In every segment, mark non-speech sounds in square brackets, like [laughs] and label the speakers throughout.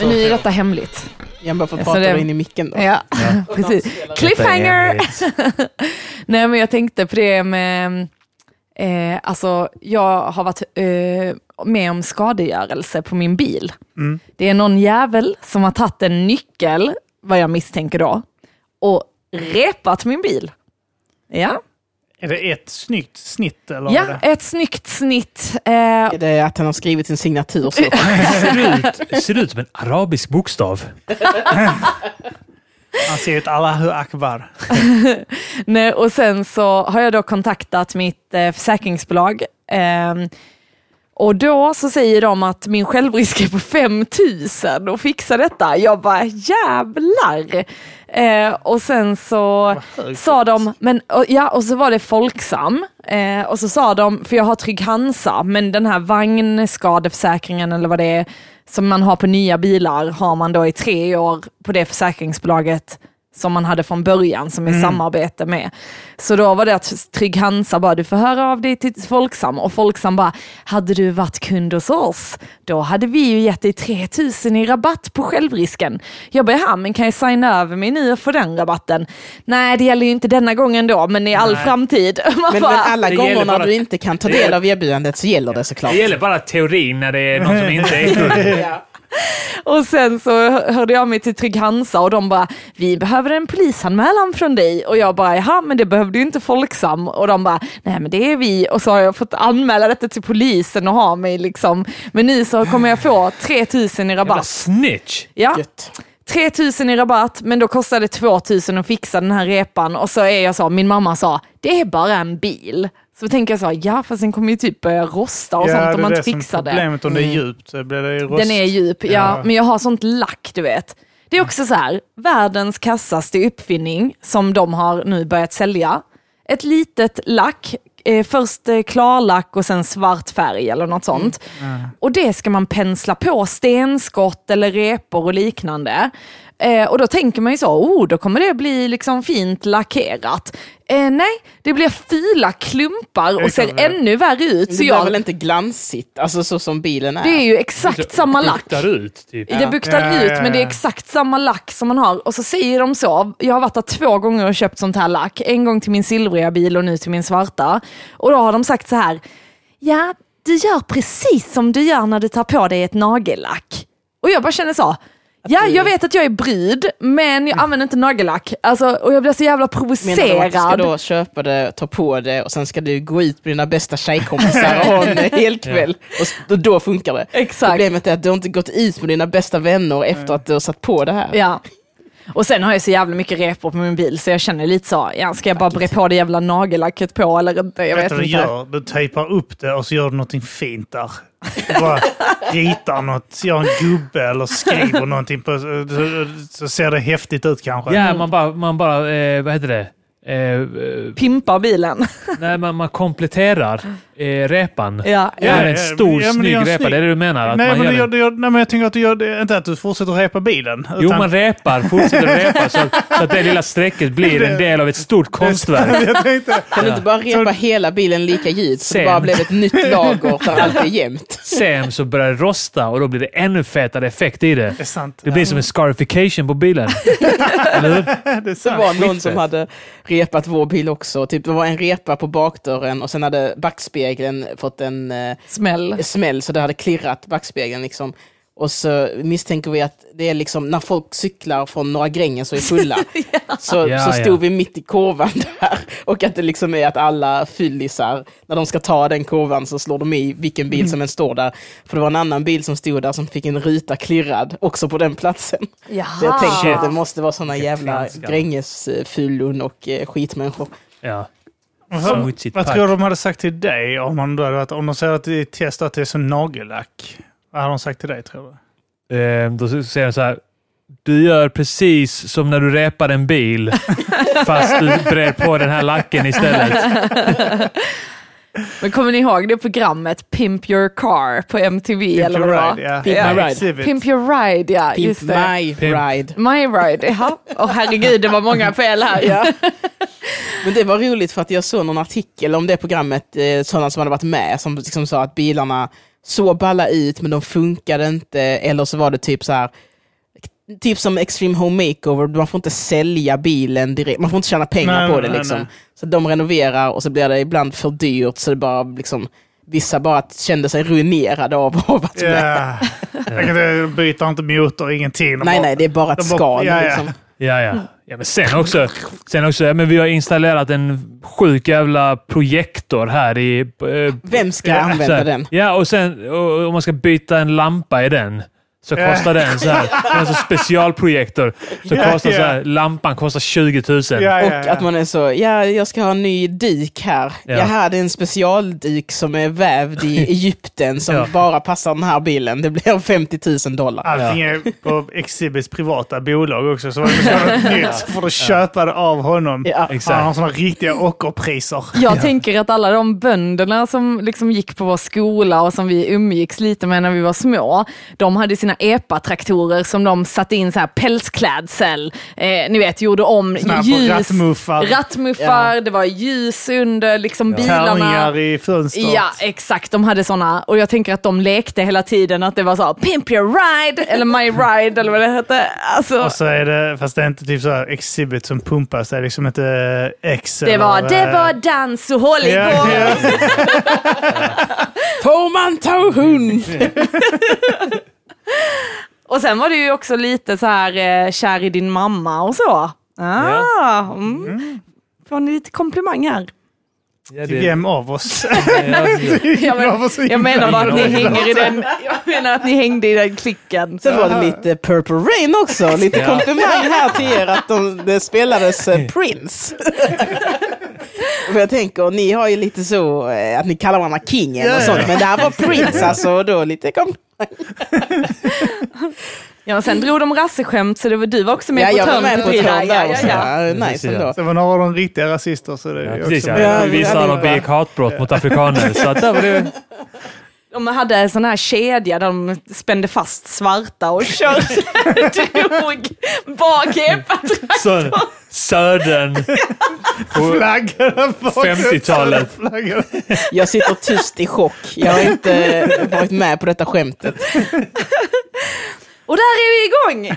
Speaker 1: nu är detta hemligt.
Speaker 2: Jag bara får
Speaker 1: Så
Speaker 2: prata
Speaker 1: Alltså, det-
Speaker 2: in i micken då.
Speaker 1: Ja, [laughs] precis. Cliffhanger! Nej, men jag tänkte på det med... Eh, alltså, jag har varit eh, med om skadegörelse på min bil.
Speaker 3: Mm.
Speaker 1: Det är någon jävel som har tagit en nyckel, vad jag misstänker då, och repat min bil. Ja,
Speaker 3: Är det ett snyggt snitt eller?
Speaker 1: ja
Speaker 3: vad är
Speaker 1: ett snyggt snitt. Eh,
Speaker 2: Är det att han har skrivit sin
Speaker 1: [laughs]
Speaker 2: signatur så?
Speaker 4: Det ser ut, ser ut som en arabisk bokstav.
Speaker 3: det? Han ser ut Allahu Akbar.
Speaker 1: Nej, och sen så har jag då kontaktat mitt eh, försäkringsbolag. Ehm, och då så säger de att min självrisk är på 5000 och fixa detta. Jag bara jävlar! Eh, och sen så sa de, men, och, ja och så var det Folksam. Eh, och så sa de, för jag har Trygg Hansa, men den här vagnskadeförsäkringen eller vad det är som man har på nya bilar har man då i tre år på det försäkringsbolaget som man hade från början som är
Speaker 2: Mm.
Speaker 1: samarbete med. Så då var det att Trygg Hansa bara, du får höra av dig till Folksam och Folksam bara, hade du varit kund hos oss, då hade vi ju gett dig 3000 i rabatt på självrisken. Jag bara, ja men kan jag signa över mig nu och få den rabatten? Nej, det gäller ju inte denna gången då, men i all
Speaker 4: Nej.
Speaker 1: framtid. [laughs] Man
Speaker 2: Men, men
Speaker 1: bara,
Speaker 2: alla
Speaker 4: Det gäller
Speaker 2: gånger när
Speaker 4: bara-
Speaker 2: du inte kan ta
Speaker 4: det
Speaker 2: del
Speaker 4: gäller-
Speaker 2: av erbjudandet så gäller det såklart.
Speaker 4: Det gäller bara teorin när det är någon som inte är
Speaker 1: [laughs]
Speaker 4: kund.
Speaker 2: Ja.
Speaker 1: Och sen så hörde jag mig till Trygg Hansa och de bara, vi behöver en polisanmälan från dig. Och jag bara, jaha men det behövde ju inte Folksam. Och de bara, nej men det är vi. Och så har jag fått anmäla detta till polisen och ha mig liksom. Men nu så kommer jag få 3000 i
Speaker 4: Jävla
Speaker 1: rabatt.
Speaker 4: snitch!
Speaker 1: Ja,
Speaker 2: Gött.
Speaker 1: 3000 i rabatt men då kostade det 2000 att fixa den här repan. Och så är jag så, min mamma sa, det är bara en bil. Så tänker jag så, ja fast den kommer ju typ börja rosta och sånt om man inte fixar det. Mm.
Speaker 3: Problemet om det är djupt så blir det ju rost.
Speaker 1: Den är djup, ja.
Speaker 3: Ja.
Speaker 1: Men jag har sånt lack, du vet. Det är också så här, världens kassaste uppfinning som de har nu börjat sälja. Ett litet lack, eh, först eh, klarlack och sen svart färg eller något sånt.
Speaker 3: Mm.
Speaker 1: Och det ska man pensla på stenskott eller repor och liknande. Eh, och då tänker man ju så, oh, då kommer det bli liksom fint lackerat. Eh, nej, det blir fula klumpar och
Speaker 3: Det kan
Speaker 1: ser
Speaker 3: det.
Speaker 1: ännu värre ut.
Speaker 2: Det
Speaker 1: Så
Speaker 2: blir
Speaker 1: jag,
Speaker 2: väl inte glansigt, alltså så som bilen är?
Speaker 1: det är ju exakt samma lack.
Speaker 4: Buktar ut, typ.
Speaker 1: Det buktar
Speaker 3: Ja, ja,
Speaker 1: ut
Speaker 3: ja,
Speaker 1: men det är
Speaker 3: ja.
Speaker 1: exakt samma lack som man har. Och så säger de så. Jag har varit där två gånger och köpt sånt här lack. En gång till min silvriga bil och nu till min svarta. Och då har de sagt så här. Ja, du gör precis som du gör när du tar på dig ett nagellack. Och jag bara känner så. Ja, jag vet att jag är brud, men jag använder inte nagellack. Alltså, och jag blir så jävla
Speaker 2: Menar de att du ska
Speaker 1: provocerad.
Speaker 2: då köpa det, ta på det och sen ska du gå ut med dina
Speaker 1: [laughs]
Speaker 2: bästa tjejkompisar och ha en hel kväll? Och s- då, då funkar det.
Speaker 1: Exakt.
Speaker 2: Problemet är att du har inte gått ut med dina bästa vänner efter att du har satt på det här.
Speaker 1: Ja. Och sen har jag så jävla mycket repor på min bil så jag känner lite så, ja, ska jag bara bre på det jävla nagellacket på eller inte? Jag
Speaker 3: Vet
Speaker 1: vet
Speaker 3: du vad du
Speaker 1: inte.
Speaker 3: gör? Du tejpar upp det och så gör du någonting fint där. Du bara ritar något, gör en gubbe eller skriver någonting på, så- så ser det häftigt ut kanske.
Speaker 4: Ja, man bara, man bara eh, vad heter det? Eh, eh,
Speaker 1: Pimpa bilen.
Speaker 4: nej, man, man kompletterar eh, repan.
Speaker 1: [laughs] Ja,
Speaker 4: Det är
Speaker 3: Ja,
Speaker 4: en
Speaker 3: ja,
Speaker 4: stor
Speaker 3: ja, men det
Speaker 4: snygg
Speaker 3: är en
Speaker 4: repa,
Speaker 3: snygg-
Speaker 4: det är det du menar? Att
Speaker 3: Nej,
Speaker 4: man
Speaker 3: men
Speaker 4: gör
Speaker 3: du
Speaker 4: den-
Speaker 3: gör, du gör, nej, men jag tänker att du gör det, inte att du fortsätter repa bilen.
Speaker 4: Jo,
Speaker 3: utan-
Speaker 4: man repar, fortsätter repa så att, så att det lilla strecket blir en del av ett stort konstverk.
Speaker 3: [laughs] jag tänkte,
Speaker 2: Kan du inte bara repa hela bilen lika ljud så det
Speaker 4: Sen.
Speaker 2: bara blev ett nytt lager
Speaker 4: [laughs]
Speaker 2: där allt är jämnt?
Speaker 4: Sen så börjar det rosta och då blir det ännu fetare effekt i det.
Speaker 3: det är sant.
Speaker 4: Det blir som en scarification på bilen. Eller hur?
Speaker 3: Ja, det är
Speaker 2: Det
Speaker 3: sant.
Speaker 2: var någon som hade repat vår bil också. Typ, det var en repa på bakdörren och sen hade backspegeln fått en eh,
Speaker 1: Smäll.
Speaker 2: smäll så det hade klirrat backspegeln. Liksom. Och så misstänker vi att det är liksom när folk cyklar från Norra Grängen så är fulla.
Speaker 4: [laughs]
Speaker 2: Så,
Speaker 4: Ja,
Speaker 2: så
Speaker 4: ja.
Speaker 2: stod vi mitt i kurvan [laughs] där och att det liksom är att alla fyllisar, när de ska ta den kurvan så slår de i vilken
Speaker 4: Mm.
Speaker 2: bil som än står där. För det var en annan bil som stod där som fick en ruta klirrad också på den platsen. Så
Speaker 1: Ah.
Speaker 2: jag tänker att det måste vända vara såna jävla
Speaker 4: klanskar.
Speaker 2: Grängesfyllon och eh, skitmänniskor.
Speaker 4: Ja.
Speaker 3: Vad,
Speaker 4: Smutsigt
Speaker 3: vad
Speaker 4: pack.
Speaker 3: tror du de hade sagt till dig om, man, då hade varit- om de säger att det är test att det är som nagellack? Vad hade de sagt till dig tror du?
Speaker 4: Eh, Då säger de så här. Du gör precis som när du repar en bil, fast du brer på den här lacken istället.
Speaker 1: Men kommer ni ihåg det programmet Pimp your car på MTV? eller vad det var?
Speaker 3: ja.
Speaker 2: Pimp
Speaker 3: Ja,
Speaker 2: my ride.
Speaker 3: exhibit.
Speaker 1: Pimp your ride, ja.
Speaker 2: Pimp
Speaker 1: just det.
Speaker 2: my
Speaker 4: Pimp.
Speaker 2: ride.
Speaker 1: My ride, ja. Åh herregud, det var många fel här.
Speaker 2: Ja. Men det var roligt för att jag såg någon artikel om det programmet, eh, sådana som hade varit med, som liksom sa att bilarna såg balla ut men de funkade inte, eller så var det typ så här typ som Extreme Home Makeover, man får inte sälja bilen direkt, man får inte tjäna pengar
Speaker 3: Nej,
Speaker 2: på
Speaker 3: nej,
Speaker 2: det.
Speaker 3: nej,
Speaker 2: Liksom.
Speaker 3: nej.
Speaker 2: Så de renoverar och så blir det ibland för dyrt så det bara liksom, vissa bara kände sig ruinerade av, av att
Speaker 3: Ja. Jag kan säga, de byter inte motor, ingenting. De
Speaker 2: Nej,
Speaker 3: bara-
Speaker 2: nej, det är bara ett
Speaker 3: de bara-
Speaker 2: skal.
Speaker 3: ja, ja.
Speaker 2: Liksom.
Speaker 4: Ja, ja. ja men sen också, sen också ja, men vi har installerat en sjuk jävla projektor här i... eh,
Speaker 2: Vem ska
Speaker 3: Ja,
Speaker 4: så
Speaker 2: använda
Speaker 4: här.
Speaker 2: den?
Speaker 4: Ja, och sen och, om man ska byta en lampa i den så
Speaker 3: Ja.
Speaker 4: kostar den
Speaker 3: [laughs]
Speaker 4: så här. Det är alltså specialprojektor. Så
Speaker 3: Ja,
Speaker 4: kostar så här,
Speaker 3: ja.
Speaker 4: lampan kostar 20 000.
Speaker 3: Ja,
Speaker 2: Och
Speaker 3: ja, ja.
Speaker 2: att man är så, ja, jag ska ha en ny dyk här.
Speaker 4: Ja.
Speaker 2: Jaha, det är en specialdyk som är
Speaker 4: [laughs]
Speaker 2: vävd i Egypten som
Speaker 4: Ja.
Speaker 2: bara passar den här bilen. Det blir 50 000 dollar.
Speaker 3: Allting är på Exhibits privata bolag också, så var det något nytt så får du köpa det av honom.
Speaker 2: Ja.
Speaker 4: Exakt.
Speaker 3: Han har sådana riktiga ockerpriser.
Speaker 1: Jag tänker att alla de bönderna som liksom gick på vår skola och som vi umgicks lite med när vi var små, de hade sina epatraktorer som de satte in så här pälsklädsel, eh, ni vet, gjorde om
Speaker 3: Såna här på
Speaker 1: ljus,
Speaker 3: rattmuffar.
Speaker 1: rattmuffar, det var ljus under liksom bilarna.
Speaker 3: Tärningar i fönstret.
Speaker 1: Ja, exakt. De hade sådana. Och jag tänker att de lekte hela tiden att det var så här, pimp your ride, eller my ride, eller vad det hette. Alltså,
Speaker 3: Och så är det, fast det är inte typ så här exhibit som pumpas, det är liksom inte X
Speaker 1: det var,
Speaker 3: eller, eh,
Speaker 1: det var dans och håll
Speaker 3: Ja,
Speaker 1: igång.
Speaker 3: ja.
Speaker 2: Får man ta hund?
Speaker 1: Och sen var det ju också lite så här eh, kär i din mamma och så. Ah, mm. Får ni lite komplimang
Speaker 3: [laughs]
Speaker 1: här?
Speaker 4: Ja,
Speaker 3: Till
Speaker 4: det-
Speaker 3: vem av oss?
Speaker 4: ja, det-
Speaker 1: Jag,
Speaker 3: [laughs]
Speaker 1: men-
Speaker 3: Jag var så
Speaker 1: jag menar bara att ni
Speaker 4: himla
Speaker 1: hänger i
Speaker 3: [laughs]
Speaker 1: den, jag menar att ni hängde i den klicken.
Speaker 2: Sen var det lite Purple Rain också, lite
Speaker 4: Ja.
Speaker 2: komplimang här till er att de, det
Speaker 4: [laughs]
Speaker 2: spelades eh, Prince. [laughs] För jag tänker, ni har ju lite så eh, att ni kallar varandra kingen
Speaker 3: Ja,
Speaker 2: och
Speaker 3: ja,
Speaker 2: sånt,
Speaker 3: ja.
Speaker 2: men det här var Prince alltså, och då lite kom...
Speaker 1: Ja, och sen drog de rasseskämt så det var, du var också med
Speaker 2: Ja,
Speaker 1: på
Speaker 2: jag var
Speaker 1: törn.
Speaker 2: med på
Speaker 1: Ja,
Speaker 2: törn
Speaker 1: ja,
Speaker 2: där och
Speaker 1: ja,
Speaker 2: så.
Speaker 1: ja.
Speaker 2: Ja,
Speaker 4: Precis,
Speaker 2: nice
Speaker 4: ja.
Speaker 2: ändå.
Speaker 3: Sen var några av de riktiga rasister så det
Speaker 4: Ja,
Speaker 3: är
Speaker 4: precis,
Speaker 3: också
Speaker 4: ja.
Speaker 3: med.
Speaker 2: Ja,
Speaker 4: Vi
Speaker 2: vi
Speaker 4: visar att
Speaker 2: allihopa.
Speaker 4: de begick hatbrott mot afrikaner. Så att där var det...
Speaker 1: De hade sån här kedja där de spände fast svarta och körde,
Speaker 2: [laughs]
Speaker 1: drog bak epatraktorn.
Speaker 4: Så, södern,
Speaker 3: Flaggan
Speaker 4: 50-talet.
Speaker 3: Flaggan.
Speaker 2: Jag sitter tyst i chock, jag har inte varit med på detta skämtet.
Speaker 1: Och där är vi igång!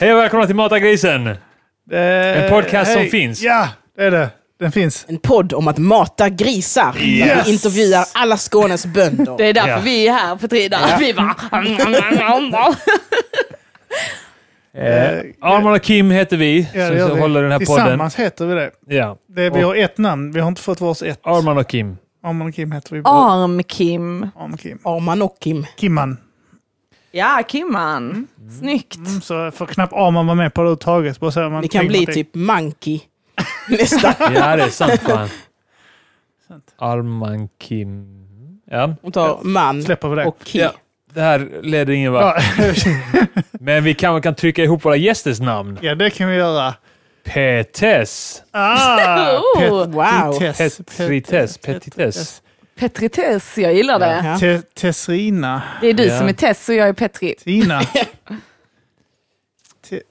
Speaker 4: Hej och välkomna till Mata grisen!
Speaker 3: En
Speaker 4: podcast som finns.
Speaker 3: Eh, Ja, det är det. Den finns.
Speaker 2: En podd om att mata grisar, där
Speaker 3: Yes.
Speaker 2: vi intervjuar alla Skånes
Speaker 1: Det
Speaker 2: bönder.
Speaker 1: är därför
Speaker 4: Ja.
Speaker 1: vi är här för Frida. Vi bara...
Speaker 4: Eh, Arman och Kim heter vi,
Speaker 3: Ja,
Speaker 4: som
Speaker 3: det gör vi.
Speaker 4: håller den här podden.
Speaker 3: Tillsammans heter vi det.
Speaker 4: Ja.
Speaker 3: det vi har ett namn, vi har inte fått vars ett.
Speaker 4: Arman och Kim.
Speaker 3: Arman och Kim heter vi. båda.
Speaker 1: Arm-Kim.
Speaker 3: Arman och Kim.
Speaker 2: Arman och Kim.
Speaker 3: Kimman.
Speaker 1: Ja, Kimman. Snyggt.
Speaker 3: Mm, Så får knappt Arman vara med på det överhuvudtaget. Bara så här, man
Speaker 2: Ni kan
Speaker 3: tänker
Speaker 2: bli
Speaker 3: någonting.
Speaker 2: typ Monkey
Speaker 4: [laughs]
Speaker 2: nästa.
Speaker 4: Ja, det är sant
Speaker 3: [laughs]
Speaker 4: fan. Arman Kim. Ja.
Speaker 2: Hon tar man
Speaker 3: Släpper vi det.
Speaker 2: typ- och Kim.
Speaker 4: ja. Det här leder ingen vart.
Speaker 3: Ja, [laughs]
Speaker 4: Men vi kanske kan trycka ihop våra gästers namn.
Speaker 3: ja, det kan vi göra.
Speaker 4: Petes.
Speaker 2: [laughs]
Speaker 3: Ah,
Speaker 1: Oh,
Speaker 3: pet-
Speaker 2: wow.
Speaker 3: Tess.
Speaker 4: Petrites. Petites.
Speaker 1: Petri Tess, jag gillar det.
Speaker 2: Ja.
Speaker 3: Te- Tessrina.
Speaker 1: Det är du
Speaker 4: Ja.
Speaker 1: som är Tess och jag är Petri.
Speaker 2: [laughs]
Speaker 3: Tina. Te-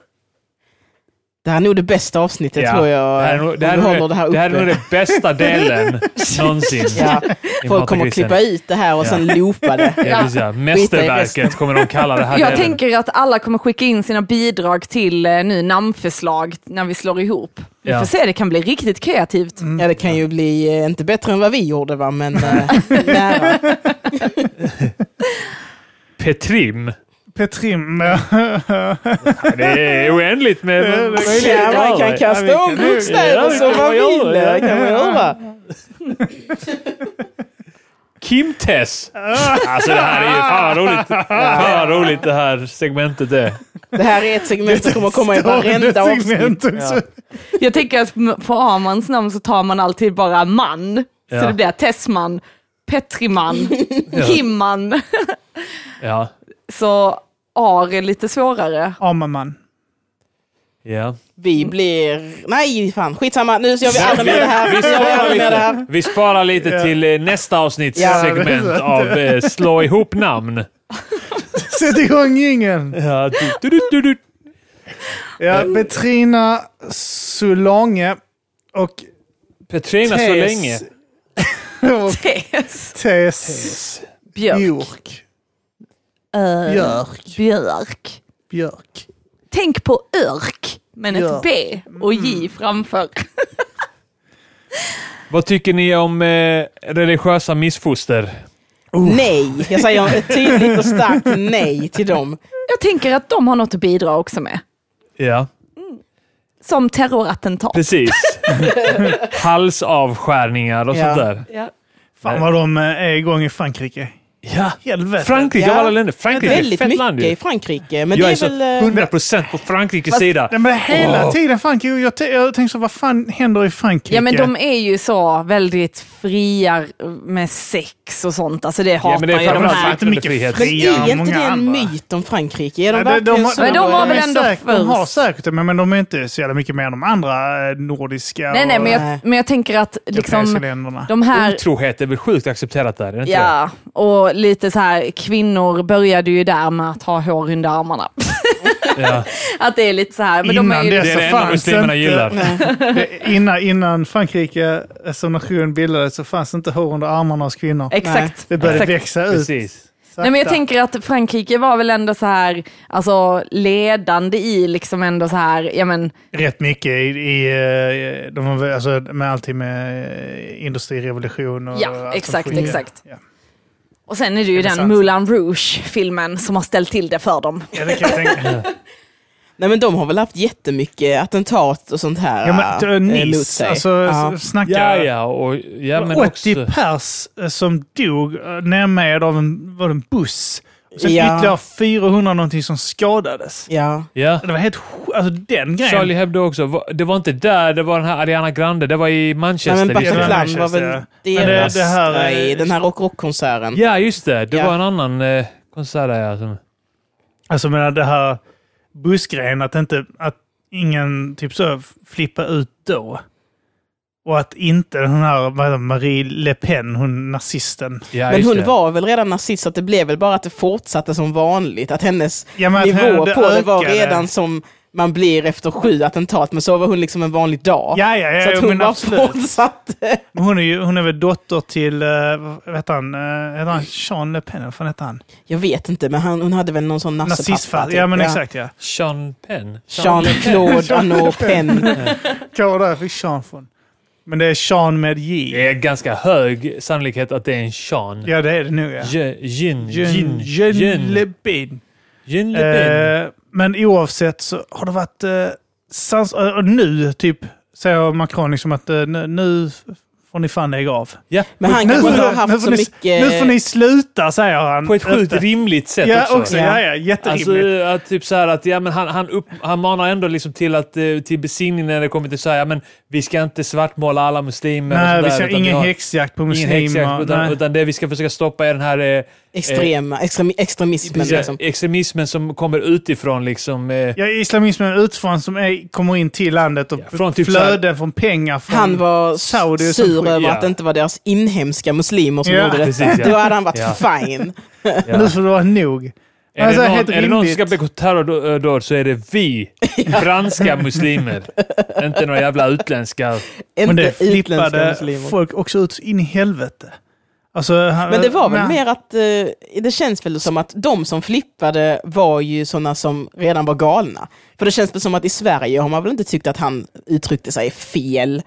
Speaker 2: Det här är nog det bästa avsnittet tror jag.
Speaker 4: Det här är nog- det här
Speaker 2: om
Speaker 4: är
Speaker 2: vi håller
Speaker 4: nog
Speaker 2: det här
Speaker 4: det-
Speaker 2: uppe.
Speaker 4: det här är nog den bästa
Speaker 2: [laughs]
Speaker 4: delen någonsin. [laughs]
Speaker 2: ja.
Speaker 4: i
Speaker 2: Folk kommer att
Speaker 4: Matagrisen.
Speaker 2: klippa ut det här och sen loopa det.
Speaker 4: Ja, precis, ja. Mästerverket kommer de kalla det här
Speaker 1: Jag
Speaker 4: delen.
Speaker 1: tänker att alla kommer skicka in sina bidrag till eh, nu namnförslag när vi slår ihop. Vi
Speaker 4: Ja.
Speaker 1: får se, det kan bli riktigt kreativt.
Speaker 4: Mm.
Speaker 2: Ja, det kan ju bli, eh, inte bättre än vad vi gjorde va, men
Speaker 4: [laughs]
Speaker 2: eh, nära.
Speaker 4: Petrim.
Speaker 3: Petrim. [laughs]
Speaker 4: Det är oändligt med
Speaker 2: Ja, man kan kasta om
Speaker 4: Ja,
Speaker 2: bokstäver
Speaker 4: det
Speaker 2: som
Speaker 4: kan
Speaker 2: man
Speaker 4: man
Speaker 2: vill.
Speaker 4: göra,
Speaker 2: Det
Speaker 4: ja.
Speaker 2: kan man göra.
Speaker 4: Kim-Tess. Alltså det här är ju fan vad roligt. Fan vad roligt det här segmentet är.
Speaker 2: Det här är ett segment som kommer komma i varenda avsnitt.
Speaker 3: Ja.
Speaker 1: Jag tänker att m- på Armans namn så tar man alltid bara man.
Speaker 4: Ja.
Speaker 1: Så det blir Tessman, Petriman, Kimman.
Speaker 4: Ja.
Speaker 1: Så Ar är lite svårare.
Speaker 3: Armaman.
Speaker 4: ja.
Speaker 2: Vi blir... Nej, fan skitsamma. Nu gör vi aldrig mer det här.
Speaker 4: Vi
Speaker 2: Nu gör vi
Speaker 4: sparar
Speaker 2: aldrig mer det här.
Speaker 4: lite, vi sparar lite
Speaker 3: Ja.
Speaker 4: till eh, nästa avsnitts
Speaker 2: Ja,
Speaker 4: segment
Speaker 3: det är sant.
Speaker 4: [laughs] av eh, Slå ihop namn.
Speaker 3: Sätt igång jingeln!
Speaker 4: Ja, du, du, du, du.
Speaker 3: Ja, Petrina Solange och
Speaker 4: Petrina så
Speaker 3: Tess-
Speaker 4: länge.
Speaker 3: [laughs] och
Speaker 1: Tess,
Speaker 3: Tess
Speaker 1: Björk,
Speaker 3: Björk.
Speaker 1: Eh,
Speaker 3: Björk.
Speaker 1: Björk,
Speaker 3: Björk.
Speaker 1: Tänk på örk, men ett
Speaker 3: Ja.
Speaker 1: B och J framför.
Speaker 4: Vad tycker ni om eh, religiösa missfoster?
Speaker 2: Nej, jag säger ett tydligt och starkt nej till dem.
Speaker 1: Jag tänker att de har något att bidra också med.
Speaker 4: Ja,
Speaker 1: Som terrorattentat.
Speaker 4: [laughs] precis. Halsavskärningar och
Speaker 2: Ja.
Speaker 4: sånt där.
Speaker 1: Ja.
Speaker 3: Fan vad de eh, är igång i Frankrike.
Speaker 4: Ja.
Speaker 3: Helvete.
Speaker 4: Frankrike
Speaker 2: Ja.
Speaker 4: av alla länder. Frankrike är ett
Speaker 2: Väldigt
Speaker 4: fett
Speaker 2: mycket
Speaker 4: land
Speaker 2: i
Speaker 4: ju.
Speaker 2: Frankrike. Men
Speaker 4: Jag
Speaker 2: det
Speaker 4: är
Speaker 2: är,
Speaker 4: så
Speaker 2: väl... eh,
Speaker 4: 100% på Frankrikes
Speaker 3: Fast-
Speaker 4: sida.
Speaker 3: Nej, men hela
Speaker 4: Åh.
Speaker 3: tiden Frankrike. Jag, t- jag tänkte så, vad fan händer i Frankrike?
Speaker 1: ja men de är ju så väldigt fria med sex och sånt. Alltså det hatar
Speaker 4: men det är
Speaker 1: ju
Speaker 4: för
Speaker 1: de
Speaker 4: att
Speaker 3: de är
Speaker 1: här.
Speaker 4: de
Speaker 3: inte
Speaker 4: Men
Speaker 3: mycket
Speaker 4: är
Speaker 2: Men
Speaker 3: fria
Speaker 2: är
Speaker 3: än
Speaker 2: inte det
Speaker 3: många
Speaker 2: en
Speaker 3: andra.
Speaker 2: myt om Frankrike? Är de
Speaker 3: Ja, det-
Speaker 2: verkligen
Speaker 3: de-
Speaker 2: så?
Speaker 1: Men de har väl
Speaker 3: är
Speaker 1: ändå
Speaker 3: säkert- De har
Speaker 1: först-
Speaker 3: säkert det, men, men de är inte så jävla mycket mer än de andra eh, nordiska
Speaker 1: Nej, nej, men
Speaker 2: Nej.
Speaker 1: jag, men jag tänker att
Speaker 3: och europeiska
Speaker 1: liksom,
Speaker 3: länderna.
Speaker 1: de här
Speaker 4: Otrohet är väl sjukt accepterat där? Är det inte det?
Speaker 1: Ja, och lite så här, kvinnor började ju där med att ha hår under armarna. [laughs]
Speaker 2: [laughs]
Speaker 4: Ja.
Speaker 1: Att det är lite så här, men de är
Speaker 3: Innan
Speaker 1: ju...
Speaker 3: det-
Speaker 4: Det är det enda
Speaker 3: fanns
Speaker 4: muslimerna
Speaker 3: inte.
Speaker 4: gillar.
Speaker 3: Det- innan, innan Frankrike eh, som nation bildades så fanns inte hår under armarna hos kvinnor.
Speaker 1: Exakt.
Speaker 3: Det började
Speaker 1: exakt.
Speaker 3: växa ut.
Speaker 4: Precis.
Speaker 3: sakta.
Speaker 1: Nej, men jag tänker att Frankrike var väl ändå så här, alltså ledande i liksom ändå så här, ja men,
Speaker 3: Rätt mycket i, i eh, de var, väl- alltså, med allting med eh, industrirevolution och
Speaker 1: Ja,
Speaker 3: allt som
Speaker 1: exakt,
Speaker 3: sker.
Speaker 1: exakt.
Speaker 3: alltså, Ja.
Speaker 1: och sen är det ju
Speaker 3: Är det
Speaker 1: den
Speaker 3: sant?
Speaker 1: Moulin Rouge-filmen som har ställt till det för dem.
Speaker 3: Ja, det kan jag tänka.
Speaker 2: Nej men de har väl haft jättemycket attentat och sånt här
Speaker 3: Ja, men
Speaker 2: eh,
Speaker 3: eh,
Speaker 2: mot
Speaker 3: Nice,
Speaker 2: sig.
Speaker 3: alltså
Speaker 2: Ja.
Speaker 3: s- snacka...
Speaker 4: Ja, ja, och, ja men
Speaker 3: 80
Speaker 4: också...
Speaker 3: pers eh, som dog eh, närmed av en, var det en buss. Och sen
Speaker 2: Ja.
Speaker 3: ytterligare 400 någonting som skadades.
Speaker 2: Ja.
Speaker 4: Ja.
Speaker 3: Det var helt sj- Alltså den grejen.
Speaker 4: Charlie Hebdo också. Va- Det var inte där, det var den här Ariana Grande. Det var i Manchester. liksom.
Speaker 2: Nej, men
Speaker 4: just det.
Speaker 3: Bataclan.
Speaker 2: Bataclan var
Speaker 3: Manchester,
Speaker 2: väl
Speaker 3: ja. Men det-
Speaker 2: deras
Speaker 3: det här eh, är-
Speaker 2: grej, den här rock rockkonserten.
Speaker 4: Ja, just det. Det
Speaker 2: Ja.
Speaker 4: var en annan eh, konsert där. Alltså.
Speaker 3: Alltså jag menar det här bussgrejen, att inte, att ingen typ så flippa ut då. Och att inte den här vad heter hon, Marie Le Pen, hon nazisten.
Speaker 4: Ja,
Speaker 2: Men
Speaker 4: just
Speaker 2: hon
Speaker 4: det.
Speaker 2: var väl redan nazist, så att det blev väl bara att det fortsatte som vanligt. Att hennes
Speaker 3: Ja, men att
Speaker 2: nivå
Speaker 3: det
Speaker 2: på det var
Speaker 3: ökade.
Speaker 2: redan som man blir efter sju attentat, men så var hon liksom en vanlig dag.
Speaker 3: Ja, ja,
Speaker 2: så
Speaker 3: ja,
Speaker 2: att
Speaker 3: jo,
Speaker 2: hon
Speaker 3: men
Speaker 2: bara
Speaker 3: absolut.
Speaker 2: fortsatte.
Speaker 3: Men Hon är, ju, hon är väl dotter till, eh, vad heter han, uh, heter han Jean Le Pen? Vad fan heter han?
Speaker 2: Jag vet inte, men han, hon hade väl någon sån nassepappa.
Speaker 3: Nazistfar. Ja men exakt ja.
Speaker 4: Sean Penn.
Speaker 2: Jean-Claude Arnaud Penn.
Speaker 3: Kolla där, jag fick Sean från. Men det är Sean med J.
Speaker 4: Det är ganska hög sannolikhet att det är en Sean.
Speaker 3: Ja det är det nog ja.
Speaker 4: Je- Jin.
Speaker 3: Jean,
Speaker 4: Jin.
Speaker 3: Jean, Le
Speaker 4: Jin.
Speaker 3: Pen.
Speaker 4: Jin Le Pen.
Speaker 3: Eh, men oavsett så har det varit eh, sans... eh, Och nu typ säger Macron liksom att eh, nu- nu får ni fan lägga av.
Speaker 4: Ja,
Speaker 2: Men han
Speaker 3: nu,
Speaker 2: kanske inte
Speaker 3: får-
Speaker 2: har
Speaker 3: nu
Speaker 2: haft
Speaker 3: får
Speaker 2: så
Speaker 3: ni,
Speaker 2: mycket...
Speaker 3: nu får ni sluta säger han.
Speaker 4: på ett sjukt
Speaker 3: Öppet.
Speaker 4: rimligt sätt
Speaker 3: Ja,
Speaker 4: också.
Speaker 3: också. Ja, ja, jätterimligt.
Speaker 4: Alltså, att typ så här att, ja, men han, han, upp, han manar ändå liksom till, att, eh, till besinning när det kommer till så här, ja, men vi ska inte svartmåla alla muslimer. och
Speaker 3: Nej,
Speaker 4: så
Speaker 3: vi
Speaker 4: alltså där,
Speaker 3: ser
Speaker 4: utan
Speaker 3: ingen
Speaker 4: har-
Speaker 3: häxjakt på
Speaker 4: Ingen
Speaker 3: muslimer.
Speaker 4: häxjakt, utan,
Speaker 3: Nej.
Speaker 4: utan det vi ska försöka stoppa är den här eh,
Speaker 2: Extrema, extrem, extremismen
Speaker 4: precis,
Speaker 2: liksom.
Speaker 4: extremismen som kommer utifrån. Liksom, eh,
Speaker 3: Ja, islamismen utifrån som är, kommer in till landet och
Speaker 4: Ja, från typ så
Speaker 3: flöden från pengar från...
Speaker 2: Han var
Speaker 3: Saudi och så
Speaker 2: sur
Speaker 3: skit,
Speaker 2: över
Speaker 4: ja.
Speaker 2: att det inte var deras inhemska muslimer som
Speaker 3: Ja,
Speaker 2: gjorde det.
Speaker 4: precis, ja.
Speaker 2: Då hade han varit
Speaker 4: Ja.
Speaker 2: fine.
Speaker 4: ja.
Speaker 3: Nu får det vara nog.
Speaker 4: Är,
Speaker 3: Alltså,
Speaker 4: det
Speaker 3: helt
Speaker 4: någon, är det någon som
Speaker 3: rimligt.
Speaker 4: ska begå terrordåd så är det vi, franska muslimer. Inte några jävla utländska.
Speaker 3: Men
Speaker 2: Inte
Speaker 3: det
Speaker 2: utländska
Speaker 3: flippade
Speaker 2: muslimer.
Speaker 3: folk också ut så in i helvete. Alltså, han-
Speaker 2: Men det var väl
Speaker 3: men-
Speaker 2: mer att, eh, det känns väl som att de som flippade var ju sådana som redan var galna. För det känns väl som att i Sverige har man väl inte tyckt att han uttryckte sig fel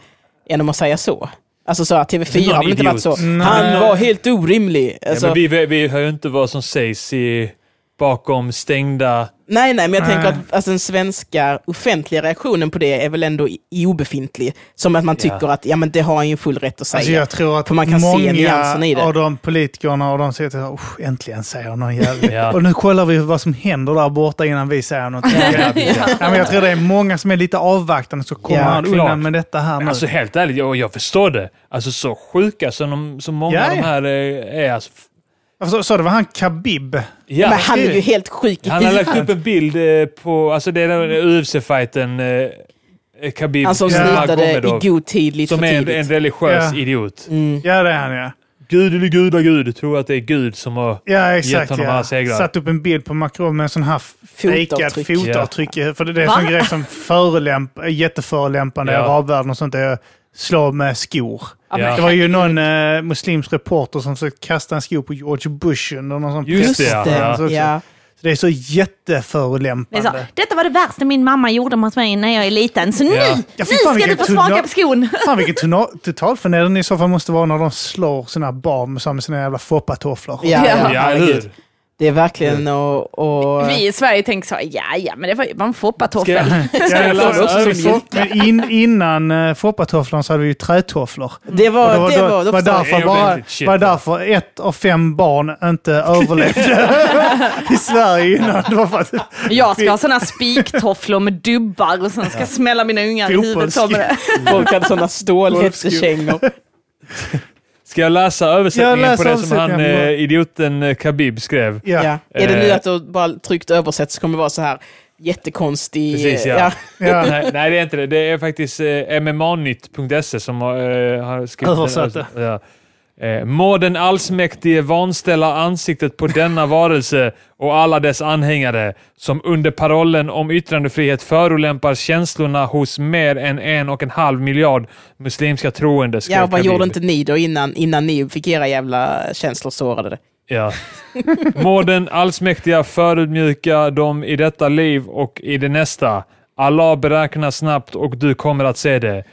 Speaker 2: genom att säga så. Alltså så att TV4
Speaker 4: Någon
Speaker 2: har väl inte
Speaker 4: idiot.
Speaker 2: varit så.
Speaker 3: Nej.
Speaker 2: Han var helt orimlig. Alltså,
Speaker 4: Ja, men vi, vi, vi hör ju inte vad som sägs i, bakom stängda...
Speaker 2: Nej, nej, men jag tänker
Speaker 3: Nej.
Speaker 2: att alltså, den svenska offentliga reaktionen på det är väl ändå i- i obefintlig. Som att man
Speaker 4: Ja.
Speaker 2: tycker att ja, men det har han ju full rätt att säga.
Speaker 3: Alltså jag tror att
Speaker 2: För man kan se
Speaker 3: många
Speaker 2: nyanserna i det.
Speaker 3: av de politikerna och de säger att "Usch, äntligen säger någon jävel.
Speaker 4: Ja.
Speaker 3: Och nu kollar vi vad som händer där borta innan vi säger något. ja. men jag tror det är många som är lite avvaktande så kommer
Speaker 2: Ja,
Speaker 3: han
Speaker 4: klart.
Speaker 3: undan med detta här nu.
Speaker 4: Alltså helt ärligt, jag, jag förstår det. Alltså så sjuka som, de, som många
Speaker 3: Ja,
Speaker 4: av de
Speaker 3: ja.
Speaker 4: här eh, är. Alltså, f-
Speaker 3: så, så det var han Khabib.
Speaker 4: ja.
Speaker 2: men han är ju
Speaker 3: skriv.
Speaker 2: helt sjuk i
Speaker 4: Han har lagt
Speaker 2: huvudet.
Speaker 4: upp en bild eh, på, alltså det är den UFC-fighten eh, Khabib
Speaker 2: Han som
Speaker 3: Ja.
Speaker 2: slutade i
Speaker 4: Nurmagomedov,
Speaker 2: god tid, lite
Speaker 4: som
Speaker 2: för
Speaker 4: är en,
Speaker 2: tidigt.
Speaker 4: en religiös
Speaker 3: Ja.
Speaker 4: idiot.
Speaker 2: Mm.
Speaker 3: Ja, det är han ja.
Speaker 4: Gud eller gudagud, tror att det är Gud som har...
Speaker 3: Ja,
Speaker 4: Gett
Speaker 3: exakt.
Speaker 4: honom alla
Speaker 3: Ja.
Speaker 4: segrar.
Speaker 3: Satt upp en bild på Macron med en sån här f- fejkad
Speaker 2: Fotavtryck.
Speaker 3: fotavtryck. För det är en
Speaker 1: Va?
Speaker 3: sån grej som förolämp, är jätteförolämpande i
Speaker 4: Ja.
Speaker 3: arabvärlden och sånt. är att Slå med skor.
Speaker 1: Ja,
Speaker 4: Ja.
Speaker 1: men-
Speaker 3: Det var ju någon eh, muslimsk reporter som försökte kasta en sko på George Bush under någon sån Alltså,
Speaker 4: Just
Speaker 2: Just
Speaker 4: det,
Speaker 2: det,
Speaker 4: ja.
Speaker 2: ja.
Speaker 3: Så Så det är så
Speaker 5: Det är så,
Speaker 3: jätteförolämpande.
Speaker 5: Detta var det värsta min mamma gjorde mot mig när jag är liten, så nu,
Speaker 4: Ja.
Speaker 3: Ja,
Speaker 5: nu
Speaker 3: fy
Speaker 5: ska
Speaker 3: fan,
Speaker 5: du
Speaker 3: vilken
Speaker 5: få smaka
Speaker 3: tunna-
Speaker 5: på skon.
Speaker 3: Fan vilken tona- totalförnedring det i så fall måste vara när de slår sina barn med- med sina jävla foppatofflor.
Speaker 2: Ja,
Speaker 1: Ja.
Speaker 2: ja, herregud.
Speaker 4: hur?
Speaker 2: Det är verkligen att... Och,
Speaker 1: Vi i Sverige tänker så, ja ja, men det var ju bara en
Speaker 4: Ska
Speaker 1: foppatoffel.
Speaker 4: jag,
Speaker 1: [laughs]
Speaker 4: ska jag läsa översikt?
Speaker 3: Men in, innan eh, foppatofflan så hade vi ju trätofflor.
Speaker 2: Det var...
Speaker 3: Och
Speaker 2: Det
Speaker 3: det var, då-
Speaker 2: var, då
Speaker 3: var
Speaker 2: förstår
Speaker 4: Det
Speaker 2: jag.
Speaker 3: därför,
Speaker 4: är
Speaker 3: bara,
Speaker 4: ordentligt shit, alltså.
Speaker 3: var
Speaker 4: då.
Speaker 3: därför ett av fem barn
Speaker 2: [laughs]
Speaker 3: inte överlevde i Sverige innan. Det var för att
Speaker 1: Jag ska ha sådana spiktofflor med dubbar och sen ska jag smälla mina ungar i huvudet. så med det.
Speaker 2: [laughs] Folk hade sådana stålhättekängor.
Speaker 4: Ska jag läsa översättningen
Speaker 3: Jag läser
Speaker 4: på det som han
Speaker 3: översättningen.
Speaker 4: eh, idioten eh, Khabib skrev?
Speaker 3: Ja.
Speaker 2: Ja. Är det nu
Speaker 4: Eh.
Speaker 2: att du bara tryckt översätt så kommer det vara så här jättekonstig...
Speaker 4: Precis, ja.
Speaker 3: Ja.
Speaker 4: nej, nej, det är inte det. Det är faktiskt eh, mmanytt.se som har, eh, har skrivit
Speaker 3: Översatt
Speaker 4: den. Ja. Eh, må den allsmäktige vanställa ansiktet på denna varelse och alla dess anhängare, som under parollen om yttrandefrihet förolämpar känslorna hos mer än en och en halv miljard muslimska troende. skrev
Speaker 2: Ja, och vad
Speaker 4: Khabib.
Speaker 2: gjorde inte ni då innan, innan ni fick era jävla känslor sårade? det?
Speaker 4: [laughs] Ja. Må den allsmäktiga förödmjuka dem i detta liv och i det nästa. Allah beräknar snabbt och du kommer att se det.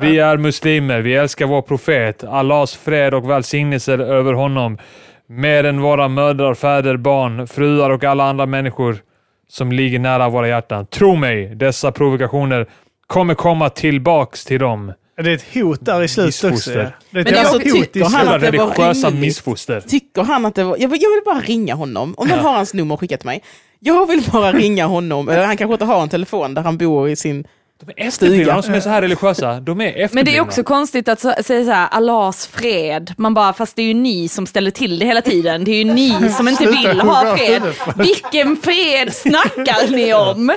Speaker 4: Vi är muslimer, vi älskar vår profet. Allahs fred och välsignelse är över honom. Mer än våra mödrar, fäder, barn, fruar och alla andra människor som ligger nära våra hjärtan. Tro mig, dessa provokationer kommer komma tillbaks till dem.
Speaker 3: Det är ett hot där i slutet också.
Speaker 4: Missfoster.
Speaker 3: ja. Det är
Speaker 2: Men
Speaker 3: ett jävla
Speaker 2: alltså,
Speaker 3: hot i
Speaker 2: tycker han
Speaker 3: slutet.
Speaker 4: Jävla
Speaker 2: att det var
Speaker 4: religiösa
Speaker 2: rimligt?
Speaker 4: missfoster.
Speaker 2: Tycker han att det var... Jag vill, jag vill bara ringa honom. Om någon har hans nummer skickat till mig. Jag vill bara ringa honom. Eller han kanske inte har en telefon där han bor i sin...
Speaker 4: De är efterblivna, de som är så här religiösa. De är efterblivna.
Speaker 1: Men det är också konstigt att så- säga så här, Allahs fred. Man bara, fast det är ju ni som ställer till det hela tiden. Det är ju ni
Speaker 4: [laughs]
Speaker 1: som inte vill ha fred. Vilken fred snackar ni om?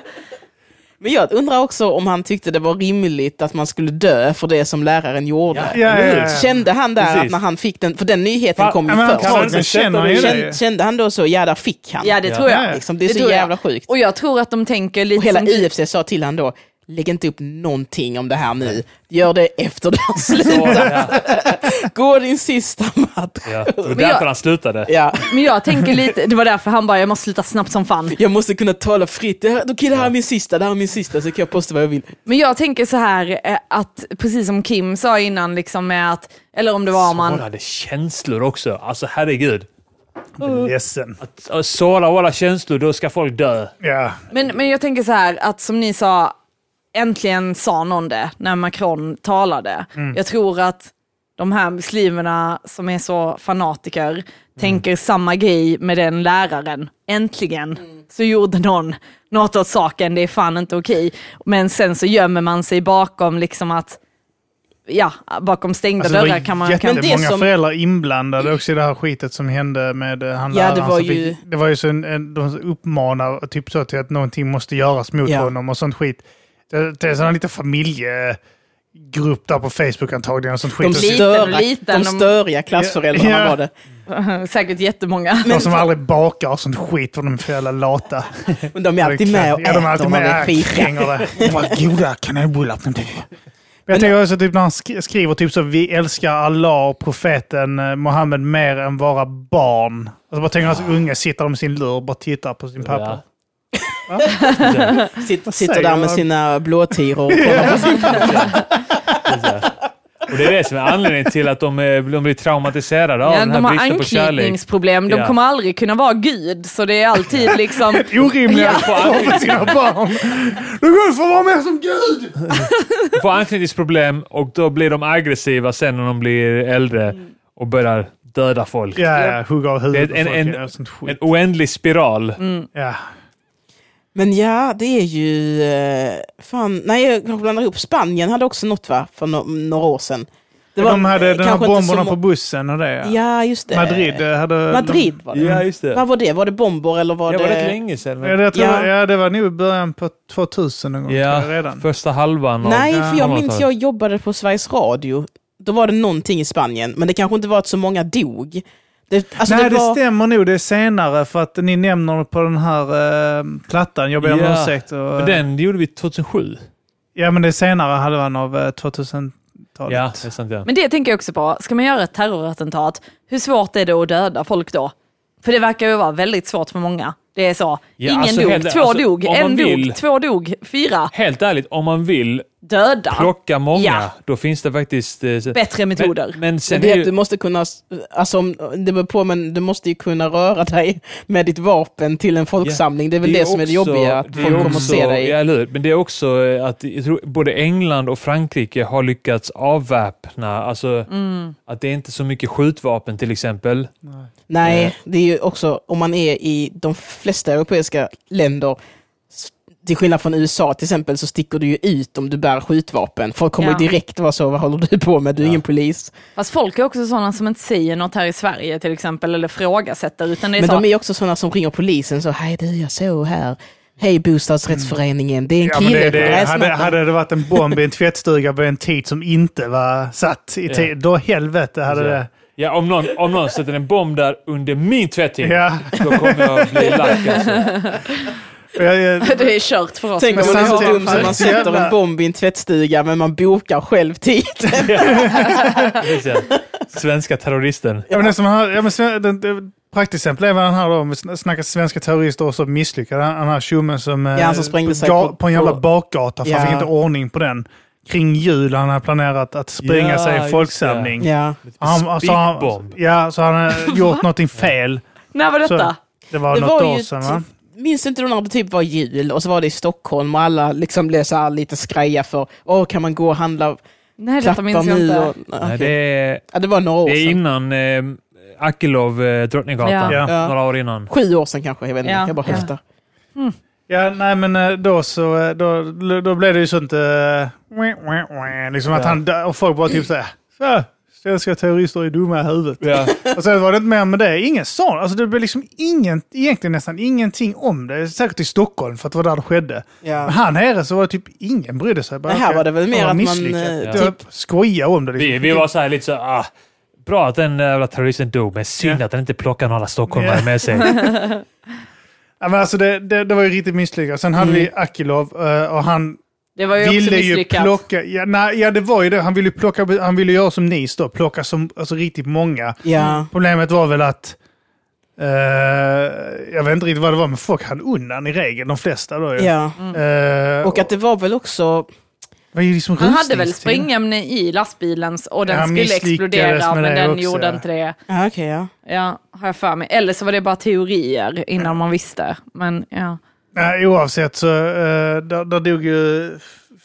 Speaker 2: Men jag undrar också om han tyckte det var rimligt att man skulle dö för det som läraren gjorde.
Speaker 3: Ja, ja, ja, ja.
Speaker 2: Kände han där
Speaker 4: Precis.
Speaker 2: att när han fick den, för den nyheten
Speaker 4: Va-
Speaker 2: kom ju
Speaker 3: Ja, men
Speaker 2: först.
Speaker 3: antagligen känner han ju det. ju.
Speaker 2: Kände, kände han då så, ja där fick han.
Speaker 1: Ja, det tror jag.
Speaker 3: Ja.
Speaker 2: liksom, det är
Speaker 1: Det
Speaker 2: så
Speaker 1: tror jag.
Speaker 2: jävla sjukt.
Speaker 1: Och jag tror att de tänker lite
Speaker 2: Och hela
Speaker 1: som...
Speaker 2: IFC sa till han då, lägg inte upp någonting om det här nu. Gör det efter det har slutat.
Speaker 4: [laughs] Ja,
Speaker 2: Gå din sista match.
Speaker 4: ja. Det var
Speaker 1: Men jag-
Speaker 4: därför han slutade.
Speaker 2: Ja,
Speaker 1: Men jag tänker lite, det var därför han bara, jag måste sluta snabbt som fan.
Speaker 2: jag måste kunna tala fritt. Det här, okej, det här är min sista, det här är min sista, så kan jag posta vad jag vill.
Speaker 1: Men jag tänker så här eh, att, precis som Kim sa innan, liksom med att, eller om det var om
Speaker 4: Man
Speaker 1: man...
Speaker 4: hade känslor också. Alltså herregud.
Speaker 3: Jag är Ledsen.
Speaker 4: Att Såra våra känslor, då ska folk dö.
Speaker 3: Ja.
Speaker 1: Men, men jag tänker så här att som ni sa, äntligen sa någon det när Macron talade.
Speaker 3: Mm.
Speaker 1: Jag tror att de här muslimerna som är så fanatiker tänker samma grej med den läraren. Äntligen så gjorde någon något åt saken, det är fan inte okej. Men sen så gömmer man sig bakom liksom att Ja, bakom stängda
Speaker 3: Alltså, det
Speaker 1: dörrar
Speaker 3: var
Speaker 1: kan man... Kan,
Speaker 2: jätte- Men det
Speaker 3: jättemånga
Speaker 2: som-
Speaker 3: föräldrar inblandade också i det här skitet som hände med eh, han
Speaker 2: Ja, det
Speaker 3: läraren
Speaker 2: var
Speaker 3: som fick-
Speaker 2: ju-
Speaker 3: Det var ju så en, en, de uppmanar typ så till att någonting måste göras mot
Speaker 2: Ja.
Speaker 3: honom och sånt skit. Det, det är sån här liten familjegrupp där på Facebook antagligen och sånt skit.
Speaker 2: De,
Speaker 3: Och så-
Speaker 1: Liten,
Speaker 2: störa,
Speaker 1: liten,
Speaker 2: de
Speaker 1: de-
Speaker 2: störiga klassföräldrarna
Speaker 3: Ja.
Speaker 2: var
Speaker 1: [laughs]
Speaker 2: det.
Speaker 1: säkert jättemånga.
Speaker 3: de som aldrig bakar och sånt skit för de är för jävla lata.
Speaker 2: Men de är alltid med och
Speaker 3: Ja, de är
Speaker 2: äter
Speaker 3: alltid
Speaker 2: när det
Speaker 3: med
Speaker 2: är
Speaker 3: och
Speaker 2: fika.
Speaker 3: kränger det. De bara, Goda kanelbullar. Men Jag tänker också typ när han sk- skriver typ så vi älskar Allah och profeten eh, Mohammed mer än våra barn. Alltså bara tänker hans unge sitter där med sin lur och bara tittar på sin pappa.
Speaker 2: Sitter, sitter
Speaker 3: säger
Speaker 2: där med
Speaker 3: han?
Speaker 2: sina blåtiror och
Speaker 3: [laughs]
Speaker 2: kollar på sin
Speaker 4: Och det är det som är anledningen till att de, eh, de blir traumatiserade av
Speaker 1: Ja,
Speaker 4: den här
Speaker 1: de har
Speaker 4: bristen på kärlek.
Speaker 1: anknytningsproblem, de
Speaker 4: Ja.
Speaker 1: kommer aldrig kunna vara gud, så det är alltid liksom...
Speaker 4: [laughs]
Speaker 3: Orimliga [laughs]
Speaker 1: Ja.
Speaker 3: krav på sina barn. Du får vara med som Gud!
Speaker 4: De får anknytningsproblem och då blir de aggressiva sen när de blir äldre och börjar döda folk.
Speaker 3: Ja, ja, hugga av huvudet
Speaker 4: Det är en-
Speaker 3: och folk,
Speaker 4: en-
Speaker 3: ja, sånt skit.
Speaker 4: En oändlig spiral.
Speaker 1: Mm.
Speaker 3: Ja.
Speaker 2: Men ja, det är ju... eh, Fan, nej, jag kanske blandar ihop. Spanien hade också något va, för no några år sedan. Det
Speaker 3: De hade
Speaker 2: eh,
Speaker 3: de här
Speaker 2: kanske inte så
Speaker 3: bomberna
Speaker 2: må-
Speaker 3: på bussen och det. ja.
Speaker 2: Ja, just det.
Speaker 3: Madrid eh, hade...
Speaker 2: Madrid var det.
Speaker 4: Ja, just det.
Speaker 2: Vad var det? Var det bomber eller var
Speaker 4: Det var
Speaker 2: det...
Speaker 4: rätt länge sedan.
Speaker 3: Ja,
Speaker 4: men-
Speaker 3: det, tror,
Speaker 2: Ja.
Speaker 3: jag- ja, det var nog i början på 2000 någon gång.
Speaker 4: Ja,
Speaker 3: tror jag, redan.
Speaker 4: första halvan av
Speaker 2: Nej,
Speaker 3: Ja,
Speaker 2: för jag
Speaker 4: de
Speaker 2: minns
Speaker 4: tar-
Speaker 2: jag jobbade på Sveriges Radio. Då var det någonting i Spanien, men det kanske inte var att så många dog. Det, alltså
Speaker 3: Nej,
Speaker 2: det
Speaker 3: det,
Speaker 2: var...
Speaker 3: stämmer nog. Det är senare för att ni nämner det på den här eh, plattan. Jag ber om
Speaker 4: Ja.
Speaker 3: ursäkt. Och,
Speaker 4: Men den gjorde vi 2007.
Speaker 3: Ja, men det är senare halvan av eh, 2000-talet.
Speaker 4: Ja, det är sant. Ja.
Speaker 1: Men det tänker jag också på, ska man göra ett terrorattentat, hur svårt är det att döda folk då? För det verkar ju vara väldigt svårt för många. Det är så.
Speaker 4: Ja,
Speaker 1: Ingen
Speaker 4: alltså,
Speaker 1: dog,
Speaker 4: helt-
Speaker 1: två
Speaker 4: alltså,
Speaker 1: dog,
Speaker 4: om man
Speaker 1: en
Speaker 4: vill-
Speaker 1: dog, två dog, fyra
Speaker 4: Helt ärligt, om man vill
Speaker 1: döda.
Speaker 4: plocka många,
Speaker 1: Ja.
Speaker 4: då finns det faktiskt... eh, så-
Speaker 1: Bättre metoder.
Speaker 4: Men, men
Speaker 2: Men
Speaker 4: sen
Speaker 2: det är
Speaker 4: är
Speaker 2: att du
Speaker 4: ju,
Speaker 2: måste kunna, alltså om, det beror på, men du måste ju kunna röra dig med ditt vapen till en folksamling. Det är väl det,
Speaker 4: är
Speaker 2: som är det
Speaker 4: också-
Speaker 2: jobbiga, att
Speaker 4: det är
Speaker 2: folk kommer
Speaker 4: också-
Speaker 2: att se dig.
Speaker 4: Ja, eller hur? Men det är också eh, att jag tror, både England och Frankrike har lyckats avväpna. Alltså,
Speaker 2: Mm.
Speaker 4: att det är inte så mycket skjutvapen till exempel.
Speaker 2: Nej, det är ju också, om man är i de flesta europeiska länder, s- till skillnad från USA till exempel, så sticker du ju ut om du bär skjutvapen. Folk kommer
Speaker 1: Ja.
Speaker 2: ju direkt vara så, vad håller du på med? Du är ingen polis.
Speaker 1: Fast folk är också sådana som inte säger något här i Sverige till exempel, eller frågasätter, utan det är
Speaker 2: Men
Speaker 1: så.
Speaker 2: de är också sådana som ringer polisen så, hej du, jag såg här, hej bostadsrättsföreningen, det är en
Speaker 3: Ja, men
Speaker 2: kille
Speaker 3: det,
Speaker 2: på
Speaker 3: det, hade,
Speaker 2: gräsmattan.
Speaker 3: hade det varit en bomb i en tvättstuga vid en tid som inte var satt i tid, då helvete hade det...
Speaker 4: Ja, om någon, om någon sätter en bomb där under min tvättning,
Speaker 3: Ja,
Speaker 4: då kommer jag bli lack alltså.
Speaker 2: [laughs]
Speaker 3: jag, jag,
Speaker 1: [laughs] det är kört för oss.
Speaker 2: Tänk om
Speaker 1: men
Speaker 2: man är
Speaker 1: vi
Speaker 2: så
Speaker 1: har-
Speaker 2: dum så man sätter en bomb i en tvättstuga men man bokar själv typ. tid.
Speaker 4: Precis. Svenska terroristen.
Speaker 3: Ja, men det som han, ja, men Sven- den- den- praktexempel är vad han har då, om vi sn- snackar svenska terrorister och så misslyckade han, han här tjommen som... eh,
Speaker 2: Ja, han som sprängde sig
Speaker 3: ga-
Speaker 2: på-
Speaker 3: på, en jävla
Speaker 2: på-
Speaker 3: bakgata för
Speaker 2: Ja.
Speaker 3: han fick inte ordning på den. Kring jul han hade planerat att spränga
Speaker 4: Ja,
Speaker 3: sig i
Speaker 4: just
Speaker 3: en
Speaker 4: Mm.
Speaker 3: folksamling.
Speaker 2: Ja.
Speaker 3: Han, så han,
Speaker 4: Spikbomb.
Speaker 3: ja, så han hade
Speaker 2: [laughs]
Speaker 3: gjort någonting fel.
Speaker 1: När var detta?
Speaker 3: Det var
Speaker 2: Det
Speaker 3: något
Speaker 2: var
Speaker 3: år
Speaker 2: ju
Speaker 3: sedan
Speaker 2: typ-
Speaker 3: va?
Speaker 2: Minns inte du när det typ var jul och så var det i Stockholm och alla liksom blev så här lite skraja för, åh kan man gå och handla
Speaker 1: Nej, detta
Speaker 2: klappar
Speaker 1: minns jag
Speaker 2: nu?
Speaker 1: inte.
Speaker 2: Och,
Speaker 4: Nej,
Speaker 2: Okej.
Speaker 4: det, är,
Speaker 2: ja, det var några år
Speaker 4: det är
Speaker 2: sedan.
Speaker 4: innan eh, Akilov, eh, Drottninggatan.
Speaker 3: Ja.
Speaker 2: Ja.
Speaker 4: Några år innan.
Speaker 2: Sju år sedan kanske, jag vet inte.
Speaker 1: Ja.
Speaker 2: Jag bara
Speaker 1: Ja.
Speaker 2: höftar.
Speaker 3: Ja, nej men eh, då så, eh, då, då blev det ju sånt... Eh, liksom att
Speaker 4: Ja.
Speaker 3: han, och folk bara typ såhär, så, svenska terrorister är dumma i huvudet.
Speaker 4: Ja.
Speaker 3: Och sen var det inte mer med det. Ingen sån. Alltså det blev liksom ingen, egentligen nästan ingenting om det. Säkert i Stockholm för att det var där det skedde. Men
Speaker 2: Ja.
Speaker 3: här nere så var det typ ingen brydde sig. Bara,
Speaker 2: Det här
Speaker 3: okej,
Speaker 2: var det väl
Speaker 3: de
Speaker 2: mer
Speaker 3: har
Speaker 2: att man...
Speaker 3: misslyckats.
Speaker 2: eh,
Speaker 4: Ja.
Speaker 3: Det var Skoja om det liksom.
Speaker 4: Vi, vi var så här lite så här, ah, bra att den jävla terroristen dog, men synd att den inte plockade några stockholmare
Speaker 3: Ja.
Speaker 4: med
Speaker 3: [laughs]
Speaker 4: sig.
Speaker 3: ja, men alltså det, det, det var ju riktigt misslyckat. Sen
Speaker 2: Mm.
Speaker 3: hade vi Akilov eh, och han
Speaker 1: Det var ju också
Speaker 3: ville ju
Speaker 1: misslyckat.
Speaker 3: plocka... Ja, nej, ja, det var ju det. Han ville ju plocka... Han ville göra som NIS då. Plocka som, alltså, riktigt många.
Speaker 2: Ja.
Speaker 3: Problemet var väl att... eh, jag vet inte riktigt vad det var, men folk hann undan i regel. De flesta då ju.
Speaker 2: ja.
Speaker 3: Eh,
Speaker 2: Och att det var väl också...
Speaker 3: var ju liksom
Speaker 1: Han hade väl
Speaker 3: rusningstid.
Speaker 1: sprängämne i lastbilen och den
Speaker 3: Ja, han
Speaker 1: skulle
Speaker 3: misslyckades
Speaker 1: explodera
Speaker 3: med
Speaker 1: men
Speaker 3: det
Speaker 1: den
Speaker 3: också,
Speaker 1: gjorde
Speaker 3: ja.
Speaker 1: inte det.
Speaker 2: Ja, okej, ja.
Speaker 1: Ja, har jag för mig. Eller så var det bara teorier innan man visste. Men ja.
Speaker 3: Nej, oavsett så eh, där, där dog ju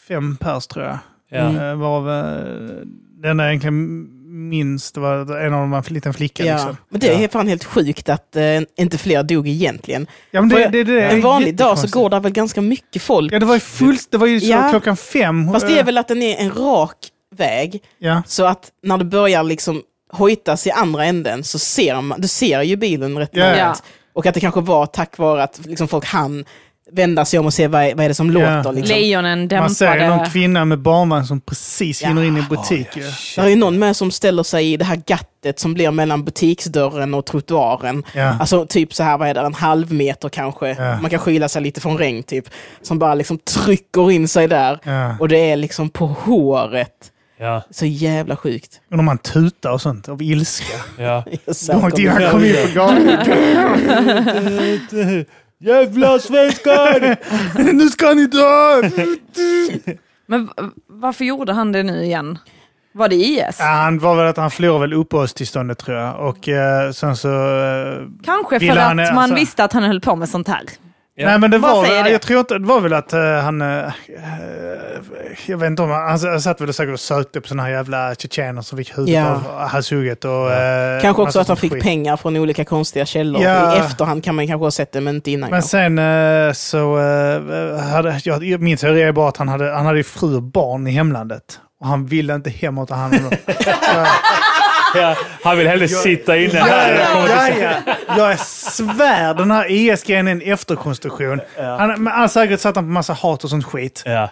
Speaker 3: fem pers tror jag.
Speaker 4: Ja. Mm.
Speaker 3: Eh, varav eh, den jag egentligen minst var att en av dem var en liten flicka.
Speaker 2: ja.
Speaker 3: Liksom.
Speaker 2: Men det är
Speaker 4: Ja.
Speaker 2: fan helt sjukt att eh, inte fler dog egentligen.
Speaker 3: Ja, men det,
Speaker 2: För
Speaker 3: det, det, är
Speaker 2: en vanlig dag så
Speaker 3: jättekonstigt.
Speaker 2: går det väl ganska mycket folk.
Speaker 3: Ja, det var ju fullt. Det var ju så
Speaker 2: Ja.
Speaker 3: klockan fem.
Speaker 2: Fast det är
Speaker 3: eh,
Speaker 2: väl att den är en rak väg,
Speaker 3: Ja.
Speaker 2: så att när du börjar liksom hojtas i andra änden så ser man, du ser ju bilen rätt
Speaker 3: Ja.
Speaker 2: långt.
Speaker 1: Ja.
Speaker 2: Och att det kanske var tack vare att liksom folk hann vända sig om och se vad är, vad är det som
Speaker 3: Ja.
Speaker 2: låter. Liksom.
Speaker 1: Lejonen
Speaker 3: Man ser ju någon
Speaker 1: dämpade.
Speaker 3: kvinna med barnvagn som precis
Speaker 2: Ja.
Speaker 3: hinner in i butik. ju.
Speaker 2: Det är ju någon med som ställer sig i det här gattet som blir mellan butiksdörren och trottoaren.
Speaker 3: Ja.
Speaker 2: Alltså typ så här, vad är det, en halv meter kanske.
Speaker 3: Ja.
Speaker 2: Man kan skyla sig lite från regn typ. Som bara liksom trycker in sig där.
Speaker 3: Ja.
Speaker 2: Och det är liksom på håret.
Speaker 4: Ja,
Speaker 2: Så jävla sjukt.
Speaker 3: Och när man tutar och sånt av ilska.
Speaker 4: ja.
Speaker 3: Långt
Speaker 2: Säkert.
Speaker 3: innan han kom in på gatan. [laughs]
Speaker 4: Jävla [laughs] svenskar!
Speaker 3: nu ska ni dö!
Speaker 1: Men v- varför gjorde han det nu igen? Var det IS?
Speaker 3: Ja, han var väl att han förlorade väl uppehållstillståndet tror jag. Och eh, sen så... Eh,
Speaker 1: Kanske för
Speaker 3: Ville han,
Speaker 1: att
Speaker 3: eh,
Speaker 1: man
Speaker 3: alltså-
Speaker 1: visste att han höll på med sånt här.
Speaker 4: Ja.
Speaker 3: Nej men det
Speaker 1: Vad
Speaker 3: var
Speaker 1: säger
Speaker 3: väl,
Speaker 1: det?
Speaker 3: jag tror inte, det var väl att eh, han... eh, jag vet inte om han, han, satt väl säkert och sökte på sådana här jävla tjetjener som fick huvudet
Speaker 2: Ja.
Speaker 3: av halshugget och... eh,
Speaker 2: Kanske också
Speaker 3: massa
Speaker 2: att han
Speaker 3: sånt
Speaker 2: fick
Speaker 3: skit.
Speaker 2: pengar från olika konstiga källor.
Speaker 3: Ja.
Speaker 2: I efterhand kan man kanske ha sett det, men inte innan.
Speaker 3: Men
Speaker 2: kanske.
Speaker 3: sen eh, så... eh, hade, jag, min teori är bara att han hade, han hade ju fru och barn i hemlandet. Och han ville inte hemåt ta hand om dem.
Speaker 4: Ja, han vill hellre sitta inne här. Jag kommer
Speaker 3: Ja, ja. Jag svär, den här IS-grejen är en efterkonstruktion. Han, men han säkert satt han på massa hat och sånt skit.
Speaker 4: till- Ja.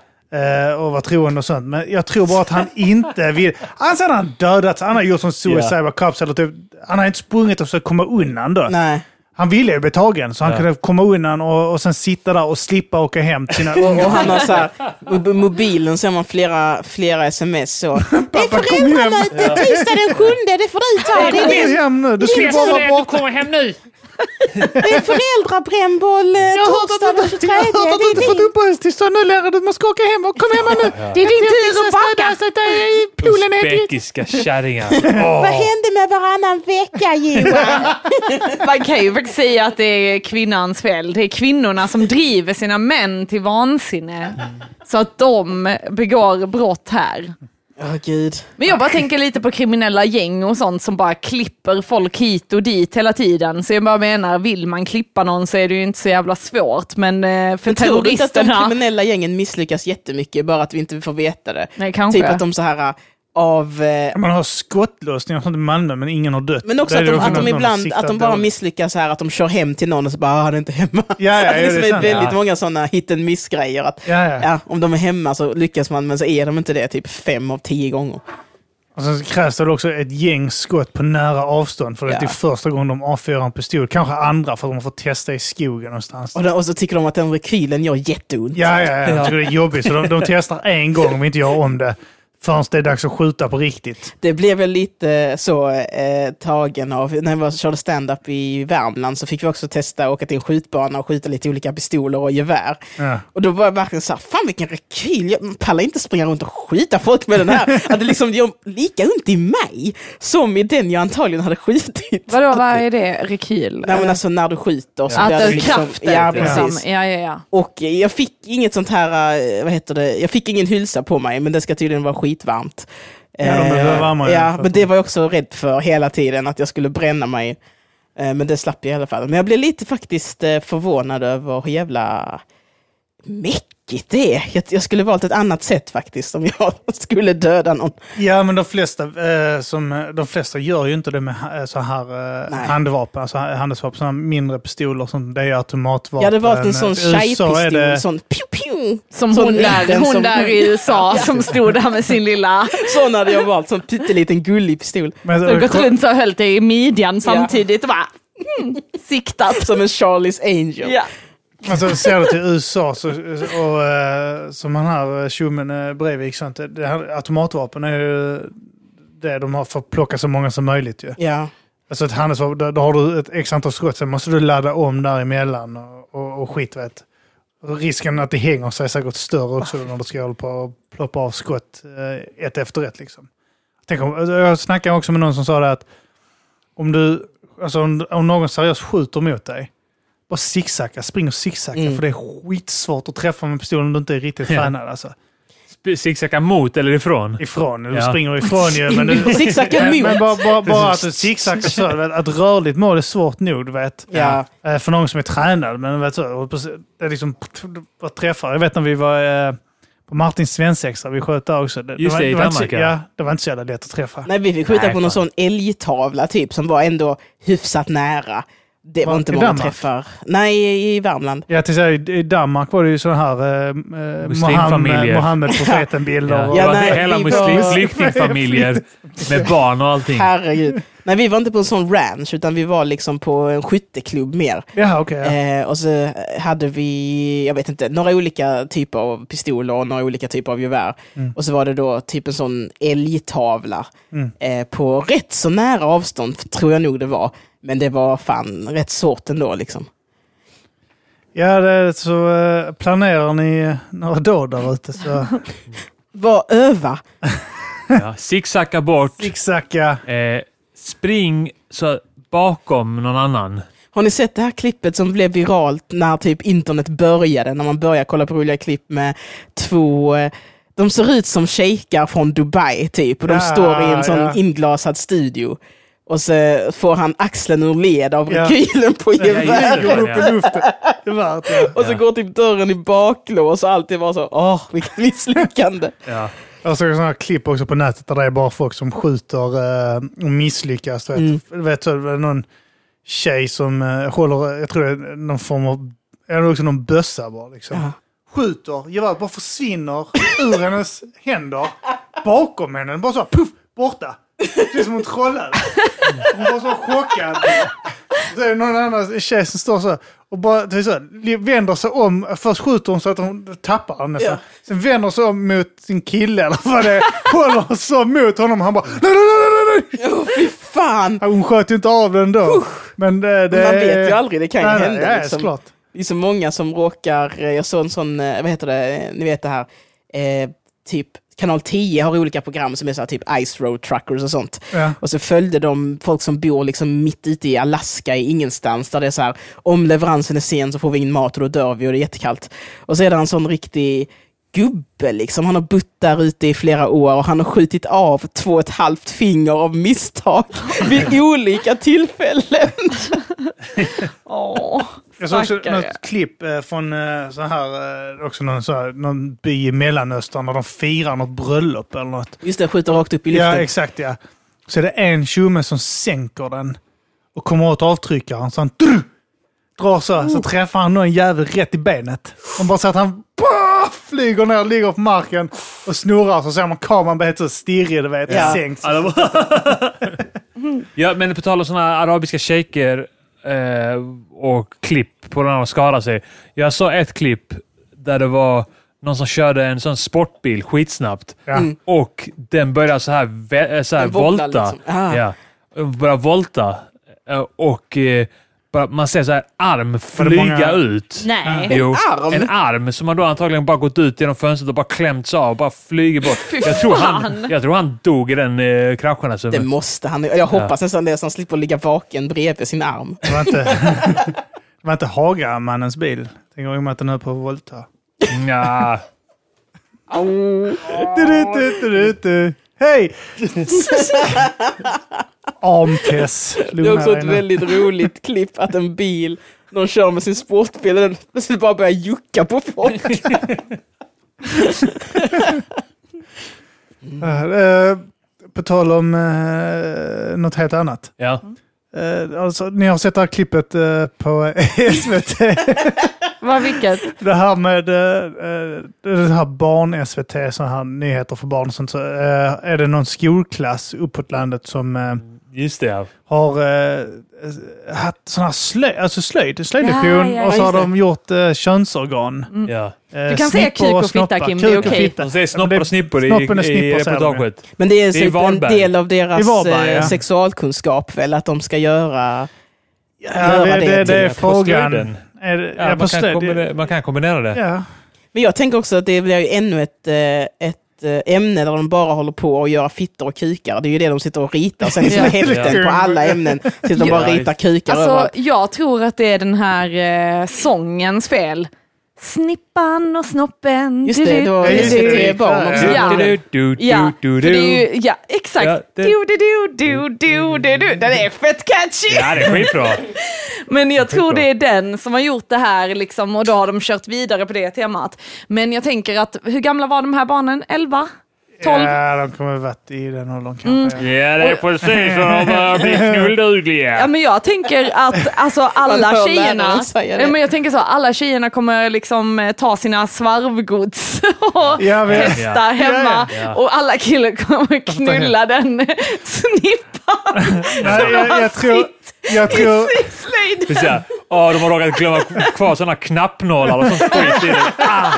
Speaker 3: Eh, och var troende och sånt. Men jag tror bara att [laughs] han inte vill... Alltså han har dödats, han har gjort som Suicide
Speaker 4: Ja.
Speaker 3: yeah. Cops eller typ... Han har inte sprungit och försökt komma undan då.
Speaker 2: Nej.
Speaker 3: Han ville ju bli tagen, så han
Speaker 4: Ja.
Speaker 3: kunde komma undan och, och sen sitta där och slippa åka hem till sina
Speaker 2: Och
Speaker 3: ungar.
Speaker 2: han har så här, mob- mobilen ser man flera, flera sms så. Det är
Speaker 3: [laughs] Pappa, kom hem!
Speaker 2: föräldramöte tisdag den sjunde, det får du ta. Det
Speaker 3: Kom
Speaker 2: är din
Speaker 3: hem nu! Du skulle bara vara borta.
Speaker 4: kommer hem nu!
Speaker 2: Det är föräldrabrännboll eh, torsdag den 23. Det är din-
Speaker 3: uppehållstillstånd nu Lera, du måste åka hem. Kom hem nu!
Speaker 5: Det är din tur att baka!
Speaker 3: Sätt dig i
Speaker 4: Uzbekiska kärringar.
Speaker 2: Vad
Speaker 4: Åh.
Speaker 2: hände med varannan vecka Johan?
Speaker 1: Man kan ju faktiskt säga att det är kvinnans fel. Det är kvinnorna som driver sina män till vansinne. Så att de begår brott här.
Speaker 2: Åh gud.
Speaker 1: Men jag bara tänker lite på kriminella gäng och sånt som bara klipper folk hit och dit hela tiden. Så jag bara menar, vill man klippa någon så är det ju inte så jävla svårt. Men eh, för
Speaker 2: Men tror du inte att de
Speaker 1: terroristerna...
Speaker 2: kriminella gängen misslyckas jättemycket, bara att vi inte får veta det?
Speaker 1: Nej, kanske.
Speaker 2: Typ att de så här av... eh,
Speaker 3: Man har skottlossningar och sånt i Malmö, men ingen har dött.
Speaker 2: Men också
Speaker 3: Där
Speaker 2: att
Speaker 3: är
Speaker 2: de,
Speaker 3: det
Speaker 2: att de
Speaker 3: någon som
Speaker 2: ibland
Speaker 3: siktar
Speaker 2: att de bara
Speaker 3: dåligt.
Speaker 2: misslyckas här, att de kör hem till någon och så bara ah, han är inte hemma.
Speaker 3: ja,
Speaker 2: att [laughs] det
Speaker 3: ja,
Speaker 2: liksom
Speaker 3: det är
Speaker 2: är
Speaker 3: sant.
Speaker 2: väldigt
Speaker 4: Ja.
Speaker 2: många sådana hit and miss-grejer. Att,
Speaker 3: Ja,
Speaker 2: ja.
Speaker 3: ja.
Speaker 2: om de är hemma så lyckas man, men så är de inte det typ fem av tio gånger.
Speaker 3: Och sen krävs det väl också ett gäng skott på nära avstånd. För
Speaker 2: Ja.
Speaker 3: det är första gången de avfyrar en pistol. Kanske andra för att de får testa i skogen någonstans.
Speaker 2: Och, då, och så tycker de att den rekylen gör jätteont.
Speaker 3: Ja, ja, ja. Jag tycker det är jobbigt. Så de, de testar en gång om vi inte gör om det. Förrän det är dags att skjuta på riktigt.
Speaker 2: Det blev jag lite så eh, tagen av, när jag var, körde stand-up i Värmland så fick vi också testa att åka till en skjutbana och skjuta lite olika pistoler och gevär.
Speaker 3: Ja.
Speaker 2: Och då var jag verkligen så här, fan vilken rekyl, jag pallar inte springa runt och skjuta folk med den här. Att det liksom gör lika ont i mig som i den jag antagligen hade skjutit.
Speaker 1: Vadå, vad är det? Rekyl?
Speaker 2: Nej men alltså när du skjuter så
Speaker 1: Att
Speaker 2: blir
Speaker 1: det
Speaker 2: det
Speaker 1: är
Speaker 2: liksom,
Speaker 1: kraften?
Speaker 2: ja
Speaker 1: liksom.
Speaker 2: precis.
Speaker 1: ja, ja, ja.
Speaker 2: Och eh, jag fick inget sånt här, eh, vad heter det, jag fick ingen hylsa på mig men det ska tydligen vara skitvarmt.
Speaker 3: Ja, de
Speaker 2: Eh,
Speaker 3: behöver varma
Speaker 2: ja,
Speaker 3: ungefär.
Speaker 2: men det var jag också rädd för hela tiden, att jag skulle bränna mig. Eh, Men det slapp jag i alla fall. Men jag blev lite faktiskt eh, förvånad över hur jävla mäckigt det är. Jag, jag skulle valt ett annat sätt faktiskt om jag [laughs] skulle döda någon.
Speaker 3: Ja, men de flesta, eh, som, eh, de flesta gör ju inte det med ha- eh, så här eh,
Speaker 2: Nej.
Speaker 3: handvapen, alltså ha- handelsvapen, sådana mindre pistoler som det är automatvapen.
Speaker 2: Jag hade valt en sån
Speaker 3: I eh, USA är
Speaker 2: tjejpistol,
Speaker 3: det-
Speaker 2: sån pju pju.
Speaker 1: Som
Speaker 2: Sån
Speaker 1: hon där,
Speaker 2: liten
Speaker 1: hon
Speaker 2: som-
Speaker 1: där i USA som stod där med sin lilla...
Speaker 2: [laughs] Sån hade jag valt, sån pytteliten gullig pistol.
Speaker 3: Men,
Speaker 1: Du har gått runt och höll dig i midjan samtidigt och bara mm, siktat.
Speaker 2: Som en Charlies Angel.
Speaker 1: Ja.
Speaker 3: Alltså, ser du till USA, så, och, eh, som han här eh, tjommen eh, Breivik, sånt, det- det här, automatvapen är ju det de har för att plocka så många som möjligt. Ju.
Speaker 2: Ja.
Speaker 3: Alltså ett handelsvapen, då, då har du ett x antal skott, sen måste du ladda om däremellan och, och, och skit vet. Och Risken att det hänger sig är säkert större också när du ska hålla på och ploppa av skott eh, ett efter ett. Liksom. Tänk om, jag snackade också med någon som sa det att om, du, alltså om, om någon seriöst skjuter mot dig, bara zigzacka, spring och zigzacka
Speaker 2: Mm.
Speaker 3: för det är skitsvårt att träffa med pistolen om du inte är riktigt
Speaker 4: Ja.
Speaker 3: tränad. Alltså.
Speaker 4: Zigzacka mot eller ifrån?
Speaker 3: Ifrån, du
Speaker 4: Ja.
Speaker 3: springer ifrån ju. Men du,
Speaker 2: Zigzacka
Speaker 3: men,
Speaker 2: mot.
Speaker 3: Eh, men bara, bara, bara att du zigzacka så, du vet, att rörligt mål är svårt nog, du vet.
Speaker 2: Ja.
Speaker 3: Eh, För någon som är tränad. Men vet du, och precis- det är liksom vad träffar. Jag vet när vi var eh, på Martins svensexa, vi sköt där också. Det,
Speaker 4: Just
Speaker 3: var,
Speaker 4: det, i
Speaker 3: var inte så,
Speaker 4: Danmark, ja.
Speaker 3: ja. Det var inte så jävla lätt att träffa.
Speaker 2: Nej, vi fick skjuta
Speaker 4: Nej,
Speaker 2: på någon
Speaker 4: fan.
Speaker 2: sån älgtavla typ som var ändå hyfsat nära. Det var,
Speaker 3: Var
Speaker 2: inte
Speaker 3: i
Speaker 2: många
Speaker 3: Danmark?
Speaker 2: träffar. Nej, i Värmland.
Speaker 3: Ja, till exempel, I Danmark var det ju sådana här eh, eh, Mohammed,
Speaker 4: Muslimfamiljer.
Speaker 3: Mohammed
Speaker 4: [laughs]
Speaker 3: profeten-bilder.
Speaker 4: Ja,
Speaker 3: och-
Speaker 4: det
Speaker 2: Ja,
Speaker 4: var
Speaker 2: nej,
Speaker 4: hela
Speaker 2: vi
Speaker 4: muslim,
Speaker 2: var- [laughs]
Speaker 4: flyktingfamiljer med barn och allting.
Speaker 3: Mm.
Speaker 2: Herregud. Nej, vi var inte på en sån ranch utan vi var liksom på en skytteklubb mer.
Speaker 3: Jaha, okej. ja.
Speaker 2: Eh, och så hade vi, jag vet inte, några olika typer av pistoler och några olika typer av gevär.
Speaker 3: Mm.
Speaker 2: Och så var det då typ en sån älgtavla
Speaker 3: Mm.
Speaker 2: eh, på rätt så nära avstånd, tror jag nog det var. Men det var fan rätt svårt ändå liksom.
Speaker 3: Ja, det, är så eh, planerar ni några dåd där
Speaker 4: [laughs]
Speaker 3: ute så
Speaker 2: Var öva.
Speaker 4: Ja, zigzacka bort.
Speaker 3: zigzacka.
Speaker 4: Eh, spring så bakom någon annan.
Speaker 2: Har ni sett det här klippet som blev viralt när typ internet började? När man börjar kolla på roliga klipp med två... eh, De ser ut som shejkar från Dubai typ och de
Speaker 3: Ja,
Speaker 2: står i en sån
Speaker 3: ja.
Speaker 2: inglasad studio. Och så får han axeln ur led av
Speaker 3: Ja.
Speaker 2: rekylen på geväret.
Speaker 4: just det.
Speaker 3: Går
Speaker 2: [laughs]
Speaker 3: upp i luften. Det var det.
Speaker 2: Och så
Speaker 4: Ja.
Speaker 2: går typ dörren i baklås och allt är bara så, åh, vilket misslyckande.
Speaker 4: Ja.
Speaker 3: Jag såg sådana här klipp också på nätet där det är bara folk som skjuter eh, och misslyckas. Du vet,
Speaker 2: Mm.
Speaker 3: Du vet så, det var någon tjej som eh, håller, jag tror det är någon form av, eller också någon bössa bara liksom.
Speaker 2: Ja.
Speaker 3: Skjuter, geväret bara försvinner ur hennes händer, bakom henne, bara så här, puff, borta. Det är som hon trollade. Hon var så chockad. Det är någon annan tjej som står så här och bara det är så här, vänder sig om. Först skjuter hon så att hon tappar honom nästan.
Speaker 2: Ja.
Speaker 3: Sen vänder hon sig om mot sin kille eller vad det är. Håller så mot honom. Han bara nej, nej, nej, nej, nej.
Speaker 2: fan!
Speaker 3: Hon sköt ju inte av den då. Men eh, det, det,
Speaker 2: Man vet ju aldrig, det kan ju
Speaker 3: Nej, nej,
Speaker 2: hända.
Speaker 3: Ja,
Speaker 2: liksom.
Speaker 3: såklart.
Speaker 2: Det är så många som råkar, jag såg en sån, eh, vad heter det, ni vet det här, eh, typ kanal 10 har olika program som är så här, typ Ice Road Truckers och sånt.
Speaker 3: Ja.
Speaker 2: Och så följde de folk som bor liksom mitt ute i Alaska i ingenstans där det är så här, om leveransen är sen så får vi ingen mat och då dör vi och det är jättekallt. Och så är det en sån riktig gubbe liksom, han har bott där ute i flera år och han har skjutit av två och ett halvt finger av misstag [laughs] vid olika tillfällen.
Speaker 1: Åh,
Speaker 3: Jag såg också
Speaker 1: stackare.
Speaker 3: något klipp eh, från eh, så här, eh, också någon, så här, någon by i Mellanöstern där de firar något bröllop eller något.
Speaker 2: Just det, skjuter rakt upp i
Speaker 3: Ja,
Speaker 2: luften.
Speaker 3: exakt ja. Så är det en tjomme som sänker den och kommer åt avtryckaren så han drr, drar så,
Speaker 2: Oh.
Speaker 3: så träffar han någon jävel rätt i benet. Man bara så att han bah, flyger ner, ligger på marken och snurrar så ser man kameran bli helt så stirrig, du vet,
Speaker 2: Ja.
Speaker 3: sänkt.
Speaker 4: Ja, det var- ja, men på tal om såna här arabiska shejker eh, och klipp på när de skadar sig. Jag såg ett klipp där det var någon som körde en sån sportbil skitsnabbt
Speaker 3: Ja. Mm.
Speaker 4: och den började så här, vä- eh, så här
Speaker 2: Den wobblar
Speaker 4: volta.
Speaker 2: liksom. Ah.
Speaker 4: Ja, började volta Eh, och eh, bara- man ser så här arm
Speaker 3: det
Speaker 4: flyga
Speaker 3: många-
Speaker 4: ut.
Speaker 1: Nej.
Speaker 4: Jo,
Speaker 2: arm?
Speaker 4: En arm som han då antagligen bara gått ut genom fönstret och bara klämts av och bara flyger bort.
Speaker 1: Fy
Speaker 4: Jag tror, han,
Speaker 1: fan.
Speaker 4: jag tror han dog i den eh, kraschen. Alltså.
Speaker 2: Det måste han. Jag hoppas nästan det, så han slipper ligga vaken bredvid sin arm.
Speaker 3: Det var inte,
Speaker 2: Mm.
Speaker 3: [laughs] det var inte Hagamannens bil. Tänker om att den höll på att volta.
Speaker 4: Nja.
Speaker 3: Du, du, du, du, du, du. Hej! Amtess.
Speaker 2: Det är också ett väldigt roligt klipp att en bil, någon kör med sin sportbil och den plötsligt bara börjar jucka på folk.
Speaker 3: Uh, på tal om uh, något helt annat.
Speaker 4: ja.
Speaker 3: Eh, alltså, ni har sett det här klippet eh, på [laughs] SVT.
Speaker 1: Vad vilket?
Speaker 3: det här med uh, det här barn-SVT, så här nyheter för barn och sånt. Så, eh, är det någon skolklass uppåt landet som eh,
Speaker 4: Just det. ja.
Speaker 3: har eh, haft sån här slö, alltså slöjd, slöjdlektion
Speaker 1: Ja, ja,
Speaker 3: och så
Speaker 2: ja,
Speaker 3: har
Speaker 2: just
Speaker 3: de gjort uh, könsorgan.
Speaker 4: Ja.
Speaker 3: Eh,
Speaker 1: Du kan säga
Speaker 3: snippor
Speaker 1: kuk och
Speaker 3: snoppar.
Speaker 1: fitta, Kim,
Speaker 3: Kuk
Speaker 1: det är
Speaker 3: och
Speaker 1: okej.
Speaker 3: fitta.
Speaker 4: De säger
Speaker 3: Ja, men det-
Speaker 4: snoppar och snippor i,
Speaker 3: snoppen och
Speaker 4: i
Speaker 3: snippor säger de ju.
Speaker 4: reportaget.
Speaker 2: Men det är, så
Speaker 4: Det är
Speaker 2: en
Speaker 4: Varberg.
Speaker 2: del av deras
Speaker 3: I Varberg,
Speaker 2: eh,
Speaker 3: ja.
Speaker 2: sexualkunskap väl, att de ska göra...
Speaker 3: Ja, det, det, det är
Speaker 4: På
Speaker 3: frågan.
Speaker 4: slöjden.
Speaker 3: Är det,
Speaker 4: Ja,
Speaker 3: ja, på
Speaker 4: man, kan
Speaker 3: slöjd.
Speaker 4: kombinera, man kan kombinera det.
Speaker 3: Ja.
Speaker 2: Men jag tänker också att det blir ju ännu ett, eh, ett eh, ämne där de bara håller på att göra fittor och kukar. Det är ju det de sitter och ritar. Och sen i sina
Speaker 1: Ja.
Speaker 2: häften på alla ämnen sitter de bara och ritar kukar
Speaker 1: Alltså,
Speaker 2: överallt.
Speaker 1: jag tror att det är den här eh, sångens fel. Snippan och snoppen.
Speaker 2: Just det, det var
Speaker 3: Ja,
Speaker 2: just
Speaker 3: just det.
Speaker 2: det, barn också.
Speaker 1: Ja.
Speaker 4: Du, du, du, du,
Speaker 1: Ja,
Speaker 4: du,
Speaker 1: för
Speaker 4: du.
Speaker 1: det är ju, ja, exakt.
Speaker 4: Ja, det-
Speaker 1: Du, du, du, du, du, du, du. Den är fett catchy!
Speaker 4: Ja, det är skitbra.
Speaker 1: Men jag tror
Speaker 4: bra.
Speaker 1: det är den som har gjort det här liksom, och då har de kört vidare på det temat. Men jag tänker att, hur gamla var de här barnen? 11? 12?
Speaker 3: Ja, de kommer ha varit i den åldern kanske.
Speaker 4: Ja, det är precis som de börjar bli
Speaker 1: Ja,
Speaker 4: knullugliga.
Speaker 1: men jag tänker att alltså, alla
Speaker 2: Man hör
Speaker 1: tjejerna
Speaker 2: läraren säga det.
Speaker 1: Ja, men jag tänker så, alla tjejerna kommer liksom eh, ta sina svarvgods [laughs] och
Speaker 3: Ja, vi-
Speaker 1: testa
Speaker 4: Ja.
Speaker 1: hemma
Speaker 4: Ja, ja.
Speaker 1: och alla killar kommer knulla den [laughs] snippan
Speaker 3: Nej, jag, jag, tror, jag, tror,
Speaker 1: i slöjden.
Speaker 4: Precis, ja. Åh, de har råkat glömma kvar sådana knappnålar och sånt skit i den. Ah!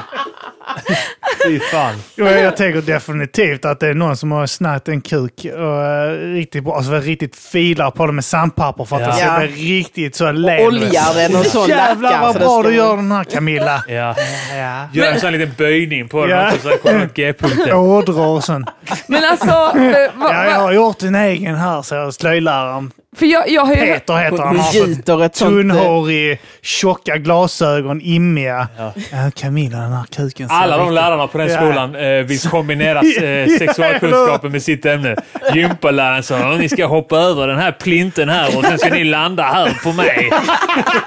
Speaker 4: Fy fan.
Speaker 3: jag, jag tänker definitivt att det är någon som har snärt en kuk och eh, riktigt bra, alltså riktigt filar på den med sandpapper för att den
Speaker 4: Ja.
Speaker 3: ska bli riktigt så len.
Speaker 2: Oljar den och sån
Speaker 3: Jävlar
Speaker 2: lackar,
Speaker 3: vad
Speaker 2: så det
Speaker 3: bra
Speaker 2: ska-
Speaker 3: du gör den här Camilla.
Speaker 4: Ja.
Speaker 3: Ja.
Speaker 4: Gör en sån liten böjning på den
Speaker 3: Ja.
Speaker 4: också så här kommer
Speaker 3: [laughs]
Speaker 4: G-punkten.
Speaker 3: Ådror och sånt.
Speaker 1: Men alltså, eh, va,
Speaker 3: Ja, jag
Speaker 1: va,
Speaker 3: har gjort en egen här, så slöjdläraren.
Speaker 1: för jag, jag har ju...
Speaker 3: Peter heter
Speaker 2: Hon
Speaker 3: han. Han har så
Speaker 2: gjuter ett sånt... eh,
Speaker 3: Tunnhårig, tjocka glasögon, immiga. Ja. Camilla, den här kuken ser
Speaker 4: Alla de
Speaker 3: riktigt-
Speaker 4: lärarna på den
Speaker 3: Ja.
Speaker 4: skolan eh, vill kombinera eh, sexualkunskapen med sitt ämne. Gympaläraren sa ni ska hoppa över den här plinten här och sen ska ni landa här på mig.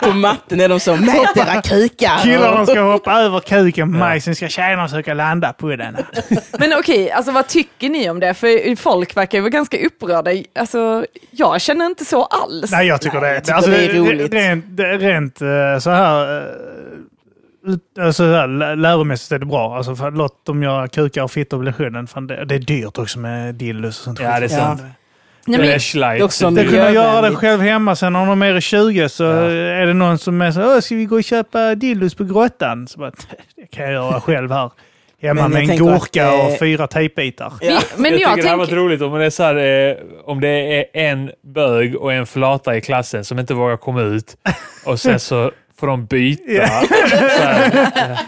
Speaker 2: På matten är de så, mät era kukar!
Speaker 3: Killarna
Speaker 2: [laughs]
Speaker 3: ska hoppa över kuken på mig, sen ska tjejerna försöka landa på den.
Speaker 1: Men okej, alltså vad tycker ni om det? För folk verkar ju vara ganska upprörda. Alltså, jag känner inte så alls.
Speaker 3: Nej, jag tycker det.
Speaker 2: tycker det är roligt.
Speaker 3: Rent, det är rent eh, så här... eh, ut- Alltså, så här lä- läromässigt är det bra. Alltså, för, låt dem göra kukar och fittor på lektionen. Fan, det, det är dyrt också med dildos och sånt.
Speaker 4: Ja, det är sant.
Speaker 1: Nej,
Speaker 4: Det
Speaker 1: men,
Speaker 4: är Schleich.
Speaker 2: Det är också en
Speaker 3: De kunde göra det
Speaker 2: Miljövänligt.
Speaker 3: själv hemma. Sen om de är i 20 så
Speaker 4: Ja.
Speaker 3: är det någon som är så "Åh, ska vi gå och köpa dildos på grottan? Så bara, det kan jag göra själv här. Hemma
Speaker 2: Men
Speaker 3: med
Speaker 2: jag
Speaker 3: en
Speaker 2: tänker
Speaker 3: gurka
Speaker 2: att, eh,
Speaker 3: och fyra [laughs] tejpbitar.
Speaker 2: Ja.
Speaker 1: Men
Speaker 4: jag tycker
Speaker 1: jag,
Speaker 4: det hade
Speaker 1: tänker...
Speaker 4: varit roligt om det, är så här, eh, om det är en bög och en flata i klassen som inte vågar komma ut och sen så får de byta.
Speaker 3: Ja.
Speaker 4: Så här,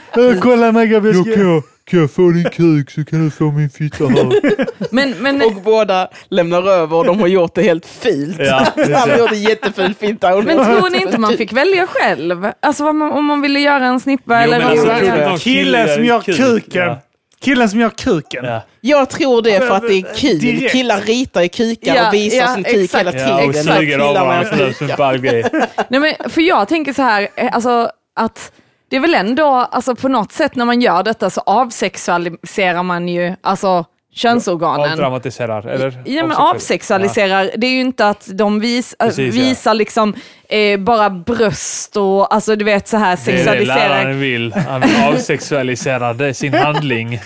Speaker 3: Kolla mig grabbar, jag ska-
Speaker 4: kan jag få din kuk så kan du få min fitta här.
Speaker 1: Men, men,
Speaker 2: Och båda lämnar över och de har gjort det helt filt. [laughs]
Speaker 4: Ja, precis.
Speaker 2: Han har gjort det jättefint fint. där. Och
Speaker 1: men tror ni
Speaker 2: [laughs]
Speaker 1: inte man fick välja själv? Alltså vad man, om man ville göra en snippa eller
Speaker 4: men
Speaker 1: vad
Speaker 2: alltså,
Speaker 1: man
Speaker 2: tror
Speaker 1: ville
Speaker 2: du
Speaker 1: göra.
Speaker 4: någon
Speaker 3: Killen som gör
Speaker 4: kuk,
Speaker 3: kuken.
Speaker 4: ja.
Speaker 3: Killen som gör kuken.
Speaker 4: Ja.
Speaker 2: Jag tror det för att det är kul.
Speaker 3: Direkt.
Speaker 2: Killar ritar i kukar
Speaker 1: Ja,
Speaker 2: och visar
Speaker 1: ja,
Speaker 2: sin kuk
Speaker 1: exakt.
Speaker 2: hela tiden.
Speaker 4: Ja, och
Speaker 2: Killar
Speaker 4: suger av
Speaker 2: med
Speaker 4: varandra
Speaker 2: kukar.
Speaker 4: sådär som en ball [laughs] grej.
Speaker 1: Nej, men, för jag tänker så här, eh, alltså att det är väl ändå, alltså på något sätt när man gör detta så avsexualiserar man ju alltså könsorganen.
Speaker 4: Avdramatiserar, eller?
Speaker 1: Ja, men
Speaker 4: Avsexuell.
Speaker 1: avsexualiserar, det är ju inte att de vis, äh,
Speaker 4: Precis, ja.
Speaker 1: visar liksom eh, bara bröst och alltså du vet så här
Speaker 4: Det är det
Speaker 1: sexualiserar.
Speaker 4: läraren vill. Han vill avsexualisera det, sin handling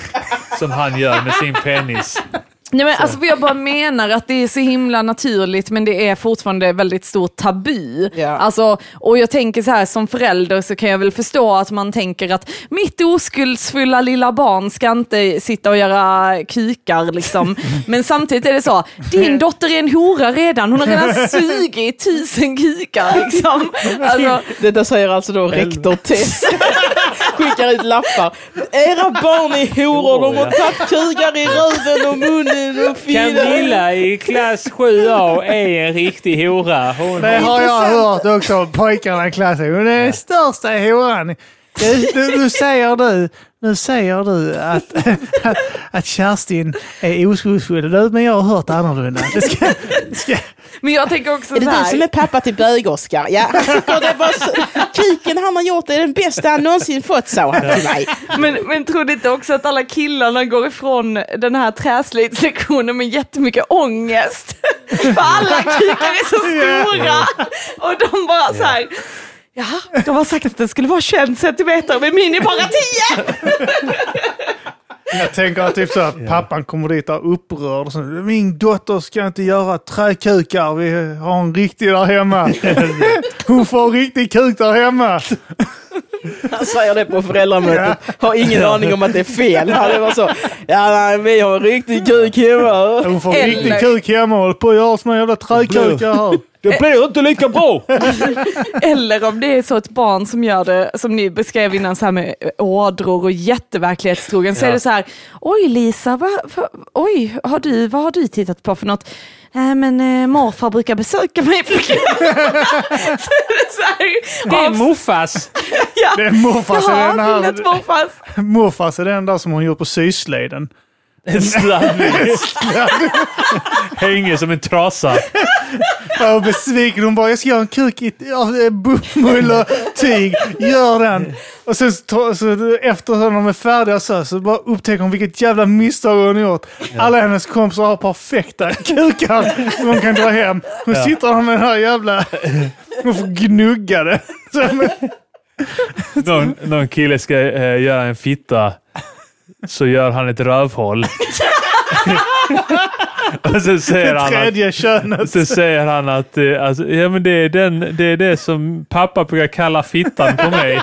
Speaker 4: som han gör med sin penis.
Speaker 1: Nej, men, alltså, för jag bara menar att det är så himla naturligt men det är fortfarande väldigt stort tabu.
Speaker 2: Ja.
Speaker 1: Alltså, och jag tänker så här som förälder så kan jag väl förstå att man tänker att mitt oskuldsfulla lilla barn ska inte sitta och göra kukar
Speaker 2: [laughs]
Speaker 1: liksom. Men samtidigt är det så, din dotter är en hora redan, hon har
Speaker 2: [laughs]
Speaker 1: redan sugit tusen kukar liksom. Alltså,
Speaker 2: Detta säger alltså då rektor Tess. [laughs] Skickar ut lappar. Era barn är horor, de har tagit kugar i röven och munnen och finnen.
Speaker 4: i klass 7A är en riktig hora. Hon
Speaker 3: Det har jag hört också om pojkarna i klassen. Hon är den största horan. Nu, nu, nu, säger du, nu säger du att, [laughs] att, att Kerstin är oskuldsfull. Du, Men jag har hört annorlunda. Det ska, ska,
Speaker 1: men jag tänker också
Speaker 2: Är
Speaker 1: så
Speaker 2: det du som är
Speaker 1: här,
Speaker 2: pappa till bög-Oskar? [laughs] Ja, han tycker det är bara så... Kuken han har gjort är den bästa han någonsin fått, sa han till mig.
Speaker 1: men, men tror du inte också att alla killarna går ifrån den här träslöjdslektionen med jättemycket ångest? För alla kukar är så stora och de bara så här, ja, de har sagt att det skulle vara 21 centimeter men min är bara 10!
Speaker 3: Jag tänker att typ så här, pappan kommer dit och är upprörd. Och så, Min dotter ska inte göra träkukar. Vi har en riktig där hemma. Hon får en riktig kuk där hemma.
Speaker 2: Han säger det på föräldramötet. Har ingen aning om att det är fel. Han är bara så. Ja, nej, vi har en riktig kuk hemma.
Speaker 3: Hon får en
Speaker 1: Eller-
Speaker 3: riktig kuk hemma och håller på att göra såna jävla träkukar här.
Speaker 4: Det blir inte lika bra!
Speaker 1: Eller om det är så ett barn som gör det, som ni beskrev innan, så här med ådror och jätteverklighetstrogen, så
Speaker 4: Ja.
Speaker 1: är det så här, oj Lisa, vad, vad, oj, har du, vad har du tittat på för något? Nej men eh, morfar brukar besöka mig på kvällen." [laughs] Så är det så här, avs-
Speaker 4: muffas!
Speaker 1: ja.
Speaker 3: Det är morfars i den
Speaker 1: Ja,
Speaker 3: här.
Speaker 1: gillat morfars.
Speaker 3: Morfars är den där som hon gör på syslöjden.
Speaker 4: En sladdning. Hänger som en trasa.
Speaker 3: Och besviken. Hon bara, jag ska göra en kuk i- av eh, bomull och tyg. Gör den. Och sen så, tar- så efter när de är färdiga så, här, så bara upptäcker hon vilket jävla misstag hon gjort. Alla hennes kompisar har perfekta kukar som hon kan dra hem. Hon sitter där med den här jävla... Hon får gnugga det. Så, men,
Speaker 4: Någon, någon kille ska eh, göra en fitta, så gör han ett rövhål. [laughs] Och sen säger han att
Speaker 3: tredje könet.
Speaker 4: Sen säger han att, eh, alltså, ja, men det, är den, det är det som pappa brukar kalla fittan på mig.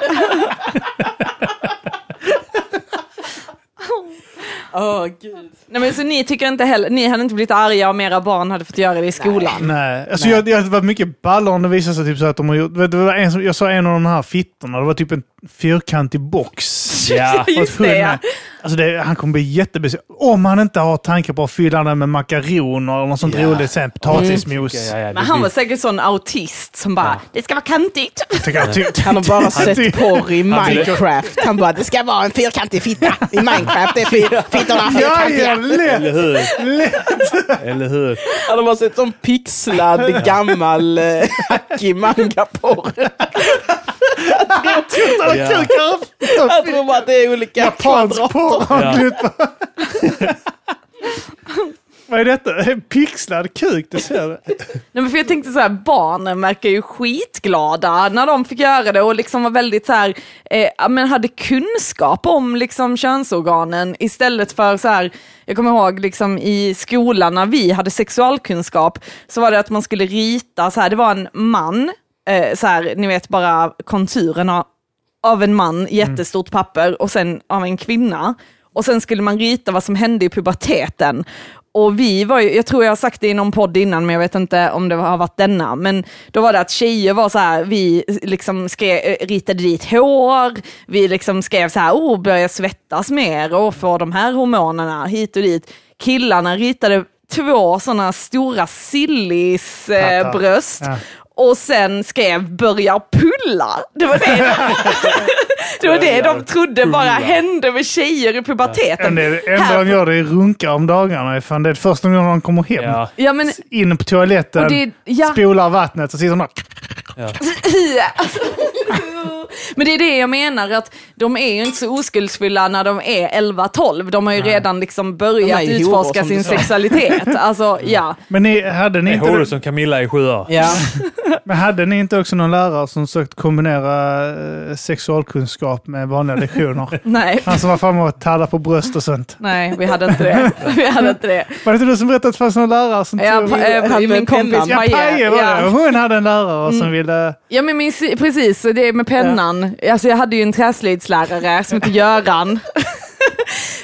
Speaker 2: Åh, gud.
Speaker 1: Nej, men så ni tycker inte heller, ni hade inte blivit arga om era barn hade fått göra det i skolan?
Speaker 3: Nej, alltså Jag, jag, det var mycket ballare om det visade sig typ så att de har gjort... vet du, Det var en som, jag såg en av de här fittorna, det var typ en fyrkantig box.
Speaker 4: Ja.
Speaker 3: Och
Speaker 1: Just
Speaker 3: hon
Speaker 1: det
Speaker 3: är-
Speaker 1: ja.
Speaker 3: Alltså det, han kommer bli jättebesviken. Om han inte har tankar på att fylla den med makaroner eller något sånt
Speaker 4: Ja. Mm.
Speaker 3: roligt. Sen potatismos.
Speaker 4: Ja, ja, det
Speaker 1: Men han
Speaker 4: blir-
Speaker 1: var säkert sån autist som bara, det ska vara kantigt.
Speaker 3: Tycker jag, ty-
Speaker 2: Han har bara
Speaker 3: ty-
Speaker 2: sett porr i
Speaker 4: Han tycker-
Speaker 2: Minecraft. Han bara, det ska vara en fyrkantig fitta i Minecraft. Det är fyr- fittorna är
Speaker 3: Ja, ja,
Speaker 2: fyrkantiga.
Speaker 3: lätt,
Speaker 4: Eller hur?
Speaker 3: lätt.
Speaker 4: Eller hur?
Speaker 2: Han har bara sett sån pixlad gammal eh, hackig manga-porr.
Speaker 3: Utan
Speaker 4: Ja.
Speaker 3: kukar.
Speaker 2: Jag tror bara att det är olika
Speaker 3: Japansk porr. har han
Speaker 4: Ja.
Speaker 3: glott på. Vad är detta? En pixlad kuk, det ser du.
Speaker 1: Nej, men för jag tänkte så här, barnen verkar ju skitglada när de fick göra det och liksom var väldigt så här, eh, ja, men hade kunskap om liksom könsorganen istället för så här, jag kommer ihåg liksom i skolan när vi hade sexualkunskap så var det att man skulle rita så här, det var en man, eh, så här, ni vet
Speaker 3: Mm.
Speaker 1: bara konturerna av en man, jättestort papper och sen av en kvinna. och sen skulle man rita vad som hände i puberteten. Och vi var ju, jag tror jag har sagt det i någon podd innan, men jag vet inte om det har varit denna. Men då var det att tjejer var så här, vi liksom skrev, eh, ritade dit hår, vi liksom skrev så här, oh, börjar svettas mer och får de här hormonerna hit och dit. Killarna ritade två sådana stora sillis eh,
Speaker 3: Tattar.
Speaker 1: bröst
Speaker 3: Ja.
Speaker 1: och sen skrev börjar pulla. Det var det, det, var det de trodde bara hände med tjejer i puberteten.
Speaker 3: Enda enda de gör det är runka om dagarna. Fan, det är första gången de kommer hem.
Speaker 4: Ja.
Speaker 1: Ja, men,
Speaker 3: In på toaletten,
Speaker 1: Och det- ja.
Speaker 3: spolar vattnet och sitter de där.
Speaker 1: Ja, alltså. [laughs] Men det är det jag menar, att de är ju inte så oskuldsfulla när de är 11-12. De har ju redan liksom börjat
Speaker 2: De är ju horor,
Speaker 1: utforska
Speaker 2: som du
Speaker 1: sin
Speaker 2: sa. [laughs]
Speaker 1: sexualitet. Alltså, ja.
Speaker 3: Men ni, hade, ni
Speaker 4: Det är horor
Speaker 3: inte,
Speaker 4: som Camilla i sju år.
Speaker 2: Ja.
Speaker 3: men hade ni inte också någon lärare som sökt kombinera eh, sexualkunskap med
Speaker 1: [laughs]
Speaker 3: vanliga lektioner?
Speaker 1: Nej.
Speaker 3: Han som var framme och tallade på bröst och sånt.
Speaker 1: Nej, vi hade inte
Speaker 2: [laughs]
Speaker 1: det. Vi hade inte det.
Speaker 3: Var det inte du som berättade att det fanns någon lärare som
Speaker 1: Ja,
Speaker 3: tog...
Speaker 1: pa- eh,
Speaker 2: hade
Speaker 1: min
Speaker 2: en
Speaker 1: kompis
Speaker 2: penna.
Speaker 3: ja, Paje var det.
Speaker 1: ja. Mm.
Speaker 3: Hon hade en lärare som ville...
Speaker 1: Ja men min, sy- precis, det är med pennan. Alltså jag hade ju en träslöjdslärare som hette Göran. [laughs]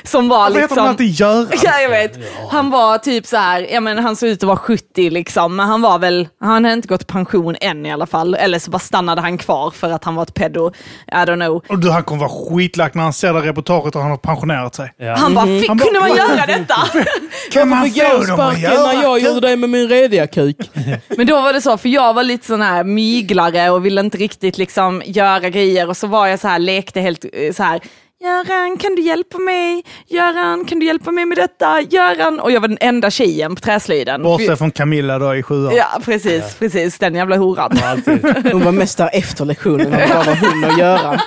Speaker 1: som var
Speaker 3: Vad heter man
Speaker 1: liksom...
Speaker 3: alltid Göran?
Speaker 1: [laughs] Ja, jag vet. Han var typ så här, ja men han såg ut att vara 70 liksom, men han var väl, han hade inte gått i pension än i alla fall. Eller så bara stannade han kvar för att han var ett pedo. I don't know.
Speaker 3: Och du, han kommer vara skitlack när han ser det reportaget och han har pensionerat sig.
Speaker 4: Ja.
Speaker 1: Han bara, fick,
Speaker 3: Han bara,
Speaker 1: kunde man
Speaker 3: "What?"
Speaker 1: göra detta?
Speaker 3: Kan man
Speaker 2: Fick jag
Speaker 3: få dem att
Speaker 2: sparken
Speaker 3: göra
Speaker 2: när jag gjorde det med min rediga kuk?
Speaker 1: Men då var det så, för jag var lite sån här myglare och ville inte riktigt liksom göra grejer och så var jag så här, lekte helt eh, så här, Göran kan du hjälpa mig? Göran kan du hjälpa mig med detta? Göran! Och jag var den enda tjejen på träslöjden.
Speaker 3: Bortsett från Camilla då i sjuan.
Speaker 1: Ja, precis, precis, den jävla horan.
Speaker 4: Alltid.
Speaker 2: Hon var mest där efter lektionen, när det bara var hon och Göran.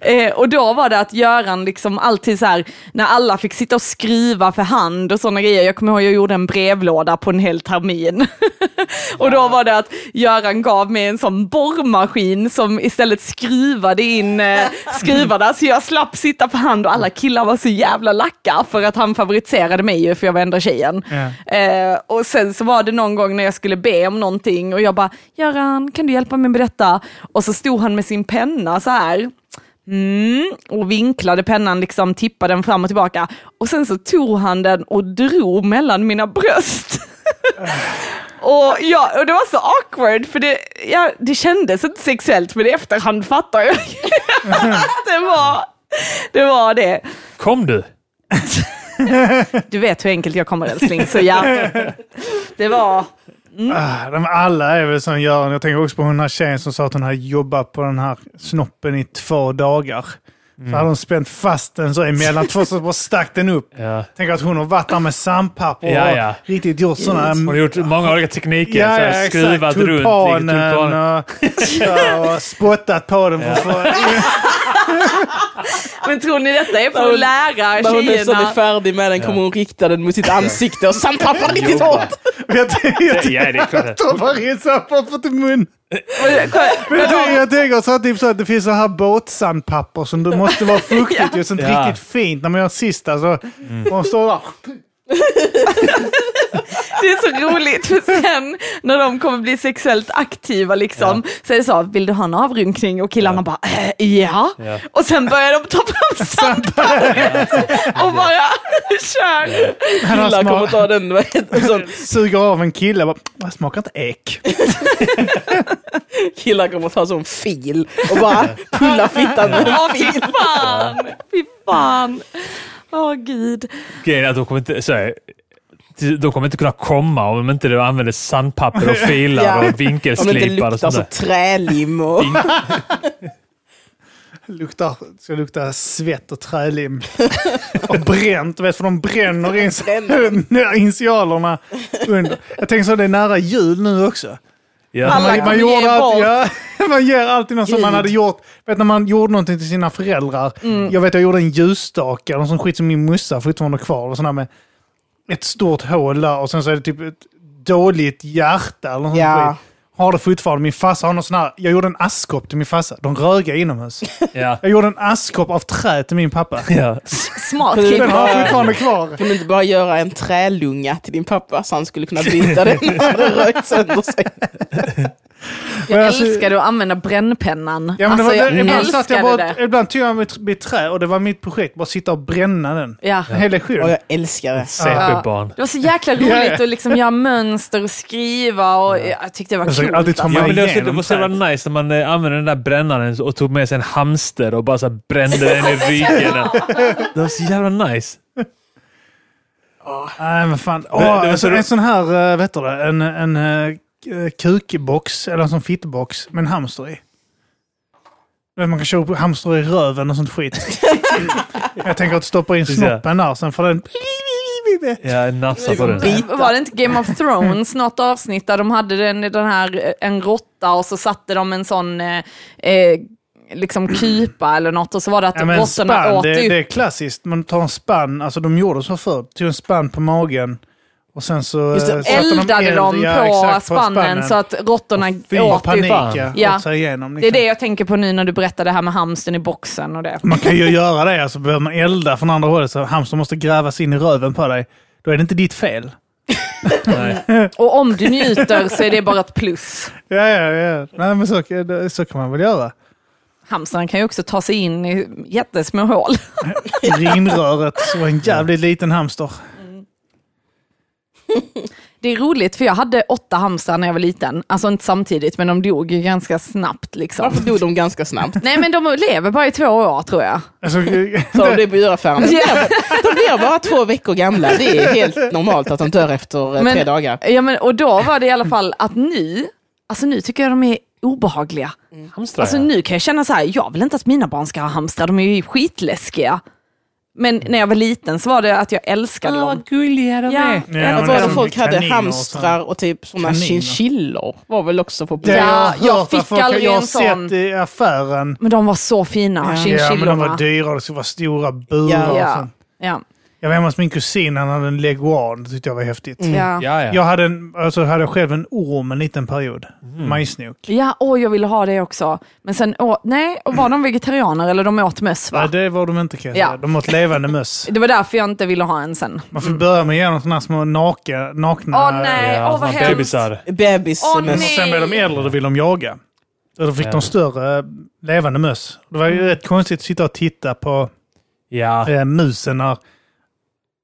Speaker 1: Eh, och då var det att Göran liksom alltid så här, när alla fick sitta och skriva för hand och sådana grejer. Jag kommer ihåg jag gjorde en brevlåda på en hel termin. [laughs] och då var det att Göran gav mig en sån borrmaskin som istället skruvade in eh, skruvarna så jag slapp sitta för hand och alla killar var så jävla lacka för att han favoriserade mig ju för jag var enda tjejen.
Speaker 3: Ja.
Speaker 1: Eh, och sen så var det någon gång när jag skulle be om någonting och jag bara, Göran kan du hjälpa mig med detta? Och så stod han med sin penna så här. Mm, och vinklade pennan, liksom tippade den fram och tillbaka. Och sen så tog han den och drog mellan mina bröst. [laughs] och, ja, och det var så awkward, för det, ja, det kändes inte sexuellt, men i efterhand fattar jag [laughs] att det var, det var det.
Speaker 4: Kom du?
Speaker 1: Du vet hur enkelt jag kommer älskling, så
Speaker 2: [laughs]
Speaker 1: ja. Det var...
Speaker 3: Ah, de alla är väl som Göran. Jag tänker också på den här tjejen som sa att hon hade jobbat på den här snoppen i två dagar. Så hade hon spänt fast den så emellan två så bara stack den upp.
Speaker 4: Ja.
Speaker 3: Tänk att hon har varit där med sandpapper och
Speaker 4: Ja, ja.
Speaker 3: riktigt gjort
Speaker 4: Hon
Speaker 3: sådana...
Speaker 4: har gjort många olika tekniker. så här, skruvat runt i tulpanen.
Speaker 3: Tulpanen och, ja, och spottat på den. För att få-
Speaker 1: Men tror ni detta är
Speaker 2: När
Speaker 1: för
Speaker 2: hon-
Speaker 1: att lära
Speaker 2: När hon nästan är
Speaker 1: tjejerna?
Speaker 2: färdig med den kommer hon rikta den mot sitt ansikte och sandpappa riktigt hårt.
Speaker 3: Jag tänker- jag tänker-
Speaker 4: Ja, det är klart.
Speaker 3: jag bara rinsar pappret i mun. Men jag tänker- jag tänker så här, typ så att det finns så här båtsandpapper som det måste vara fuktigt och sånt
Speaker 4: Ja. Mm.
Speaker 3: riktigt fint. När man gör sista så... Man står där.
Speaker 1: Det är så roligt för sen när de kommer bli sexuellt aktiva liksom, så är det så, vill du ha en avrynkning? Och killarna bara, äh, ja.
Speaker 4: Ja.
Speaker 1: Och sen börjar de ta
Speaker 3: [laughs]
Speaker 1: fram sandpappret och bara [laughs] kör.
Speaker 3: Han har
Speaker 2: Killar
Speaker 3: smak-
Speaker 2: kommer ta den. vad heter det, sån.
Speaker 3: suger av en kille. Bara, "Det smakar inte äck.
Speaker 2: Killar kommer ta sån fil och bara pulla fittan med
Speaker 1: Åh
Speaker 2: en
Speaker 1: fy
Speaker 2: fil.
Speaker 1: fan, fy fan. Åh gud.
Speaker 4: Grejen är att de kommer inte... Så här, de kommer inte kunna komma om inte du använder sandpapper och filar
Speaker 2: Ja.
Speaker 4: och
Speaker 2: Om det inte
Speaker 4: vinkelslipar och
Speaker 2: luktar
Speaker 4: sånt
Speaker 2: så
Speaker 4: där.
Speaker 2: trälim och...
Speaker 3: Luktar, ska lukta svett och trälim. Och bränt. Vet, för de bränner in [laughs] initialerna. Under. Jag tänker så det är nära jul nu också.
Speaker 4: Ja.
Speaker 1: Alla
Speaker 3: Man,
Speaker 1: kommer
Speaker 3: man,
Speaker 1: ge
Speaker 3: gjorde alltid,
Speaker 1: bort.
Speaker 3: ja, [laughs] man ger alltid något som man
Speaker 2: Gud.
Speaker 3: hade gjort. Vet när man gjorde någonting till sina föräldrar.
Speaker 1: Mm.
Speaker 3: Jag vet jag gjorde en ljusstake eller någon sån skit som min morsa fortfarande har kvar. Och sån här med ett stort hål där och sen så är det typ ett dåligt hjärta eller någon sån
Speaker 2: Ja.
Speaker 3: skit. Har det fortfarande. Min farsa har någon sån här. Jag gjorde en askkopp till min farsa. De röga inomhus.
Speaker 4: Ja.
Speaker 3: Jag gjorde en askkopp av trä till min pappa.
Speaker 4: Ja.
Speaker 1: Smart
Speaker 2: Hur-
Speaker 1: kille.
Speaker 3: Den har jag fortfarande kvar.
Speaker 2: Kan du inte bara göra en trälunga till din pappa så han skulle kunna byta den när det rökt sönder sig?
Speaker 1: Jag
Speaker 3: Men alltså-
Speaker 1: älskade att använda brännpennan.
Speaker 3: Ja, men det
Speaker 1: alltså,
Speaker 3: var,
Speaker 1: jag
Speaker 3: ibland, satt
Speaker 1: älskade
Speaker 3: jag bara,
Speaker 1: det.
Speaker 3: ibland tog jag mitt, mitt trä och det var mitt projekt, bara sitta och bränna den.
Speaker 1: Ja.
Speaker 3: En hel lektion.
Speaker 2: Och jag älskar det.
Speaker 4: CP-barn.
Speaker 1: Det var så jäkla roligt att liksom göra mönster och skriva och jag tyckte det var
Speaker 3: Jag försöker
Speaker 1: coolt.
Speaker 3: alltid ta
Speaker 1: alltså.
Speaker 3: mig
Speaker 4: Ja, men det, var så, det
Speaker 3: igenom
Speaker 4: var så jävla
Speaker 3: trädet.
Speaker 4: nice när man eh, använde den där brännaren och tog med sig en hamster och bara så här brände den i ryggen. Det var så jävla nice.
Speaker 3: Nej, men fan. Åh,
Speaker 4: det var
Speaker 3: alltså,
Speaker 4: så-
Speaker 3: en sån här, eh, vet du det, en, en eh, k- kukbox, eller en sån fittbox med en hamster i. Du vet, Man kan köra upp hamster i röven och sånt skit.
Speaker 4: [laughs]
Speaker 3: jag tänker att stoppa in snoppen där, sen får den...
Speaker 4: Jag nafsade på den.
Speaker 1: Var det inte Game of Thrones något avsnitt där de hade den, den här, en råtta och så satte de en sån eh, eh, liksom kupa eller något och så var det att
Speaker 3: Ja, men
Speaker 1: råttorna
Speaker 3: spann,
Speaker 1: åt
Speaker 3: det,
Speaker 1: upp.
Speaker 3: det är klassiskt. Man tar en spann, alltså de gjorde så förr. Tog en spann på magen och sen så...
Speaker 2: Just det,
Speaker 3: eh, satte
Speaker 1: Eldade
Speaker 3: eld-
Speaker 1: de
Speaker 3: ja,
Speaker 1: på
Speaker 3: exakt,
Speaker 1: spannen så att råttorna
Speaker 3: Fy
Speaker 1: åt
Speaker 3: panik
Speaker 1: upp.
Speaker 3: ja.
Speaker 1: Ja.
Speaker 3: Åt sig igenom,
Speaker 1: Det är
Speaker 3: liksom.
Speaker 1: det jag tänker på nu när du berättar det här med hamsten i boxen och det.
Speaker 3: Man kan ju göra det, alltså behöver man elda från andra hållet så hamstern måste grävas in i röven på dig. Då är det inte ditt fel.
Speaker 4: Nej.
Speaker 1: Och om du njuter så är det bara ett plus.
Speaker 3: Ja, ja, ja. Nej, men så, så kan man väl göra.
Speaker 1: Hamstrarna kan ju också ta sig in i jättesmå hål.
Speaker 3: I Urinröret så var en jävligt liten hamster.
Speaker 1: Det är roligt, för jag hade åtta hamstrar när jag var liten. Alltså inte samtidigt, men de dog ju ganska snabbt. Liksom.
Speaker 2: Varför dog de ganska snabbt?
Speaker 1: Nej, men de lever bara i två år tror jag.
Speaker 3: [laughs] Alltså,
Speaker 2: Så det är på djuraffären. De blir bara två veckor gamla. Det är helt normalt att de dör efter eh,
Speaker 1: Men-
Speaker 2: tre dagar.
Speaker 1: Ja, men, och då var det i alla fall att nu, alltså nu tycker jag de är obehagliga.
Speaker 3: Mm.
Speaker 4: Hamstrar,
Speaker 1: Alltså
Speaker 4: ja.
Speaker 1: nu kan jag känna så här, jag vill inte att mina barn ska ha hamstrar, de är ju skitläskiga. Men när jag var liten så var det att jag älskade dem.
Speaker 4: gulliga de
Speaker 1: Ja. är.
Speaker 3: Ja,
Speaker 2: Att
Speaker 3: men
Speaker 2: var
Speaker 3: det
Speaker 2: det
Speaker 3: är
Speaker 2: folk
Speaker 3: som
Speaker 2: hade
Speaker 3: kaniner och
Speaker 2: hamstrar och typ sådana
Speaker 3: Kaniner.
Speaker 2: chinchillor var väl också på
Speaker 3: det har
Speaker 1: Ja,
Speaker 3: hört
Speaker 1: jag
Speaker 3: att
Speaker 1: fick
Speaker 3: folk-
Speaker 1: aldrig
Speaker 3: Jag har
Speaker 1: en sån.
Speaker 3: sett i affären.
Speaker 1: Men de var så fina,
Speaker 3: Ja, men de var
Speaker 1: chinchillorna.
Speaker 3: dyra och det skulle vara stora burar. och
Speaker 1: Ja,
Speaker 3: sånt. Mm.
Speaker 1: ja,
Speaker 3: Jag var hemma hos min kusin, han hade en leguan. Det tyckte jag var häftigt.
Speaker 1: ja.
Speaker 4: Ja, ja.
Speaker 3: Jag hade, en, alltså, hade jag själv en orm en liten period. Majsnok.
Speaker 1: Ja, åh, jag ville ha det också. Men sen, åh, nej, och var de vegetarianer eller de åt möss va?
Speaker 3: Nej, det var de inte kan jag
Speaker 1: Ja.
Speaker 3: säga. De åt levande möss.
Speaker 1: Det var därför jag inte ville ha en sen.
Speaker 3: Man får börja med att ge dem sådana här små nake, nakna...
Speaker 1: Åh nej,
Speaker 4: Ja,
Speaker 1: åh vad
Speaker 4: såna
Speaker 1: hemskt.
Speaker 4: bebisar.
Speaker 2: bebis.
Speaker 1: Åh,
Speaker 2: som är-
Speaker 3: Och sen blev de äldre, då vill de jaga. Så då fick
Speaker 4: Ja.
Speaker 3: de större eh, levande möss. Det var ju
Speaker 1: Mm.
Speaker 3: rätt konstigt att sitta och titta på
Speaker 4: Ja.
Speaker 3: eh, musen när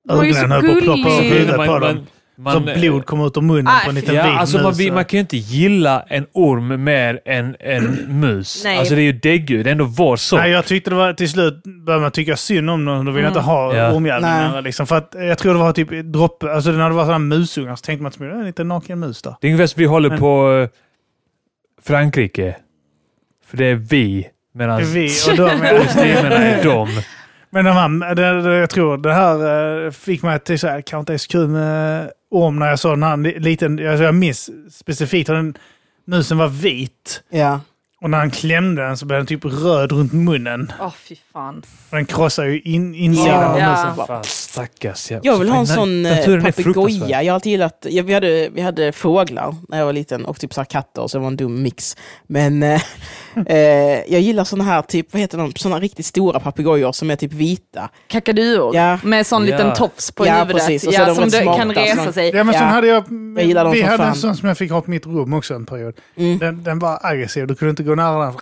Speaker 1: var ju så
Speaker 3: ögonen höll på att ploppa upp
Speaker 1: gullig.
Speaker 3: huvudet
Speaker 4: Man-
Speaker 3: på
Speaker 4: man-
Speaker 3: dem.
Speaker 4: man-
Speaker 3: Som blod kom ut ur munnen
Speaker 1: Aj,
Speaker 3: på en liten
Speaker 4: Ja,
Speaker 3: vit
Speaker 4: alltså man,
Speaker 3: mus.
Speaker 4: vill- man kan ju inte gilla en orm mer än
Speaker 2: [clears throat]
Speaker 4: en mus.
Speaker 1: Nej.
Speaker 4: Alltså det är ju däggdjur, det är ändå vår sort.
Speaker 3: Nej, jag tyckte det var till slut började man tycka synd om dem. Då vill jag
Speaker 1: Mm.
Speaker 3: inte ha
Speaker 4: Ja.
Speaker 3: ormjävlarna. Liksom, för att eh, jag tror det var typ droppe, alltså när det var sådana musungar så tänkte man att det är en liten naken mus där.
Speaker 4: Det är ungefär som vi håller
Speaker 3: Men-
Speaker 4: på eh, Frankrike. För det är vi, medan
Speaker 3: Det är vi och de
Speaker 4: [laughs]
Speaker 3: är-
Speaker 4: muslimerna Alltså. är dem.
Speaker 3: Men de här, det, det, jag tror det här eh, fick mig att till så här, kanske inte är så kul med orm när jag såg den här li- liten, alltså jag minns specifikt hur den musen var vit.
Speaker 2: Ja.
Speaker 3: Och när han klämde den så blev den typ röd runt munnen.
Speaker 1: Åh fy fan.
Speaker 3: Och Den krossar ju in, insidan
Speaker 2: Ja.
Speaker 3: av
Speaker 1: Ja.
Speaker 3: musen.
Speaker 4: Fan, stackars jävla-
Speaker 2: Jag vill ha en
Speaker 4: Fan,
Speaker 2: sån eh,
Speaker 4: naturen är fruktansvärd.
Speaker 2: papegoja. Jag har alltid gillat, ja, vi, hade, vi hade fåglar när jag var liten och typ så här katter, så det var en dum mix. Men [laughs] eh, eh, jag gillar såna här, typ, vad heter de, såna riktigt stora papegojor som är typ vita.
Speaker 1: Kakaduor
Speaker 2: Ja.
Speaker 1: med sån
Speaker 4: Ja.
Speaker 1: liten tofs på
Speaker 2: Ja,
Speaker 1: huvudet.
Speaker 2: precis. Och så är
Speaker 1: Ja,
Speaker 2: de
Speaker 1: som
Speaker 2: rätt
Speaker 1: du
Speaker 2: smarta,
Speaker 1: kan
Speaker 2: så de-
Speaker 1: resa sig.
Speaker 3: Ja men sen
Speaker 2: Ja.
Speaker 3: hade jag,
Speaker 2: Jag gillar dem
Speaker 3: vi
Speaker 2: som
Speaker 3: hade en
Speaker 2: fan.
Speaker 3: sån som jag fick ha på mitt rum också en period.
Speaker 2: Mm.
Speaker 3: Den, den var aggressiv, du kunde inte gå nära den.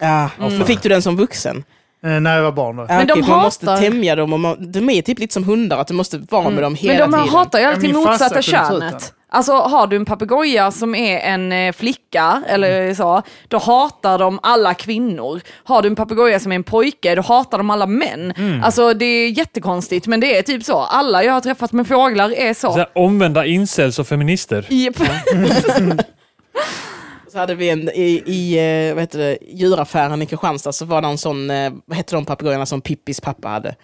Speaker 2: Ja. Men fick du den som vuxen?
Speaker 3: Eh, När jag var barn då.
Speaker 2: Ja,
Speaker 1: Men de
Speaker 2: okej, för man måste
Speaker 1: hatar- Mm.
Speaker 2: tämja dem, och man, de är typ lite som hundar, att du måste vara med dem hela
Speaker 1: Men de
Speaker 2: tiden.
Speaker 1: hatar ju
Speaker 3: Ja,
Speaker 1: alltid
Speaker 3: min farsa
Speaker 1: motsatta
Speaker 3: kunde ta ut den.
Speaker 1: könet. Alltså har du en papegoja som är en eh, flicka eller så, då hatar de alla kvinnor. Har du en papegoja som är en pojke, då hatar de alla män. Alltså det är jättekonstigt, men det är typ så. Alla jag har träffat med fåglar är så.
Speaker 4: Så här, omvända incels och feminister.
Speaker 1: [laughs] Japp.
Speaker 2: Så hade vi en, i, i eh, vad heter det, djuraffären i Kristianstad så var det en sån, eh, vad heter de papegojorna som Pippis pappa hade?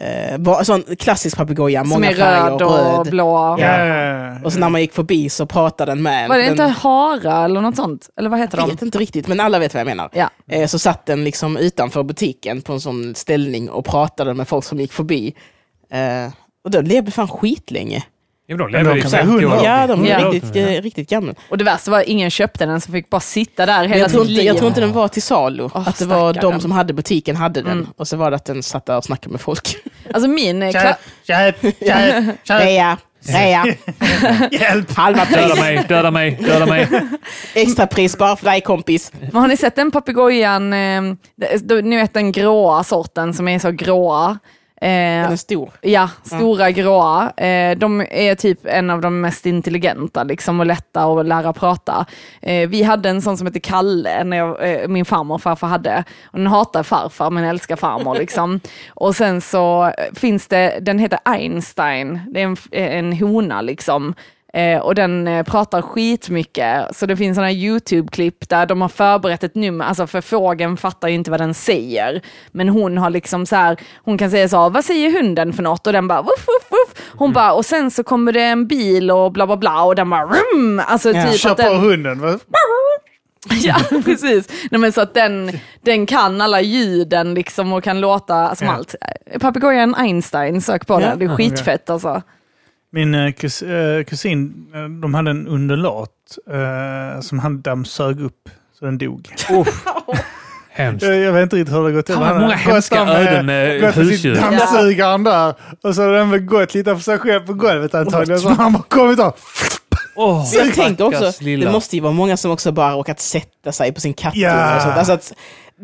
Speaker 2: Eh, var, sån klassisk papegoja,
Speaker 1: Som
Speaker 2: många
Speaker 1: är
Speaker 2: färger,
Speaker 1: röd och
Speaker 2: röd.
Speaker 1: blå.
Speaker 2: Ja.
Speaker 3: Eh,
Speaker 2: Och så när man gick förbi så pratade den med en.
Speaker 1: Var det
Speaker 2: den,
Speaker 1: inte hara eller något sånt? Eller vad heter
Speaker 2: Jag
Speaker 1: de?
Speaker 2: vet inte riktigt, men alla vet vad jag menar.
Speaker 1: Ja.
Speaker 2: Eh, så satt den liksom utanför butiken på en sån ställning och pratade med folk som gick förbi. Eh, och då levde fan skitlänge.
Speaker 4: Ja, men de lever
Speaker 3: de
Speaker 4: i
Speaker 3: kan
Speaker 4: 50
Speaker 3: säga
Speaker 4: år.
Speaker 2: Ja, de är
Speaker 1: Ja.
Speaker 2: Riktigt, eh, riktigt gamla.
Speaker 1: Och det värsta var att ingen köpte den, så fick bara sitta där hela
Speaker 2: Jag tror,
Speaker 1: sitt
Speaker 2: inte,
Speaker 1: liv.
Speaker 2: jag tror inte den var till salu. att det var
Speaker 1: stackarn.
Speaker 2: de som hade butiken hade den.
Speaker 1: Mm.
Speaker 2: Och så var det att den satt där och snackade med folk.
Speaker 1: Alltså min... eh,
Speaker 3: Köp,
Speaker 1: Kla-
Speaker 3: köp, köp,
Speaker 2: [laughs]
Speaker 3: köp.
Speaker 2: Rea,
Speaker 3: [laughs]
Speaker 2: rea,
Speaker 3: Hjälp!
Speaker 2: halva
Speaker 4: [laughs] Döda
Speaker 2: pris.
Speaker 4: mig, döda mig, döda
Speaker 3: [laughs]
Speaker 4: mig.
Speaker 2: Extra pris bara för dig kompis.
Speaker 1: Men har ni sett den papegojan, eh, det- då- ni vet den gråa sorten som är så gråa? Eh,
Speaker 2: Den är stor.
Speaker 1: ja, stora gråa. Eh, de är typ en av de mest intelligenta liksom, och lätta att lära prata. Eh, vi hade en sån som hette Kalle, när jag, eh, min farmor och farfar hade. Och den hatar farfar men älskar farmor. Liksom. Och sen så eh, finns det, den heter Einstein, det är en, f- eh, en hona liksom. Eh, och den eh, pratar skitmycket. Så det finns sådana YouTube-klipp där de har förberett ett nummer, alltså för fågeln fattar ju inte vad den säger. Men hon har liksom så här, hon kan säga så här, vad säger hunden för något? Och den bara, woof, woof, woof.
Speaker 2: Mm.
Speaker 1: Hon bara, och sen så kommer det en bil och bla bla bla och den bara, rum! Alltså
Speaker 2: Ja.
Speaker 1: typ
Speaker 3: Kör
Speaker 1: att den,
Speaker 2: [laughs]
Speaker 3: på hunden. va?
Speaker 1: Ja, precis. Nej, men så att den, den kan alla ljuden liksom och kan låta smalt. Papegojan Einstein, sök på
Speaker 2: Ja.
Speaker 1: den. Det är skitfett alltså.
Speaker 3: Min eh, kus, eh, kusin, eh, de hade en undulat eh, som han dammsög upp så den dog.
Speaker 4: Hemskt.
Speaker 3: Jag, jag vet inte riktigt hur det har gått till.
Speaker 4: Fan, vad
Speaker 3: Han har
Speaker 4: många
Speaker 3: gått
Speaker 4: hemska
Speaker 3: där
Speaker 4: öden med
Speaker 3: gått
Speaker 4: husdjur.
Speaker 3: sitt Dammsugaren där och så har den väl gått lite för sig själv på golvet antagligen. Så han bara kommit och
Speaker 4: Oh,
Speaker 2: Men jag tänker också,
Speaker 4: stackars lilla.
Speaker 2: det måste ju vara många som också bara råkat sätta sig på sin kattunge
Speaker 3: Ja.
Speaker 2: och sånt. Alltså att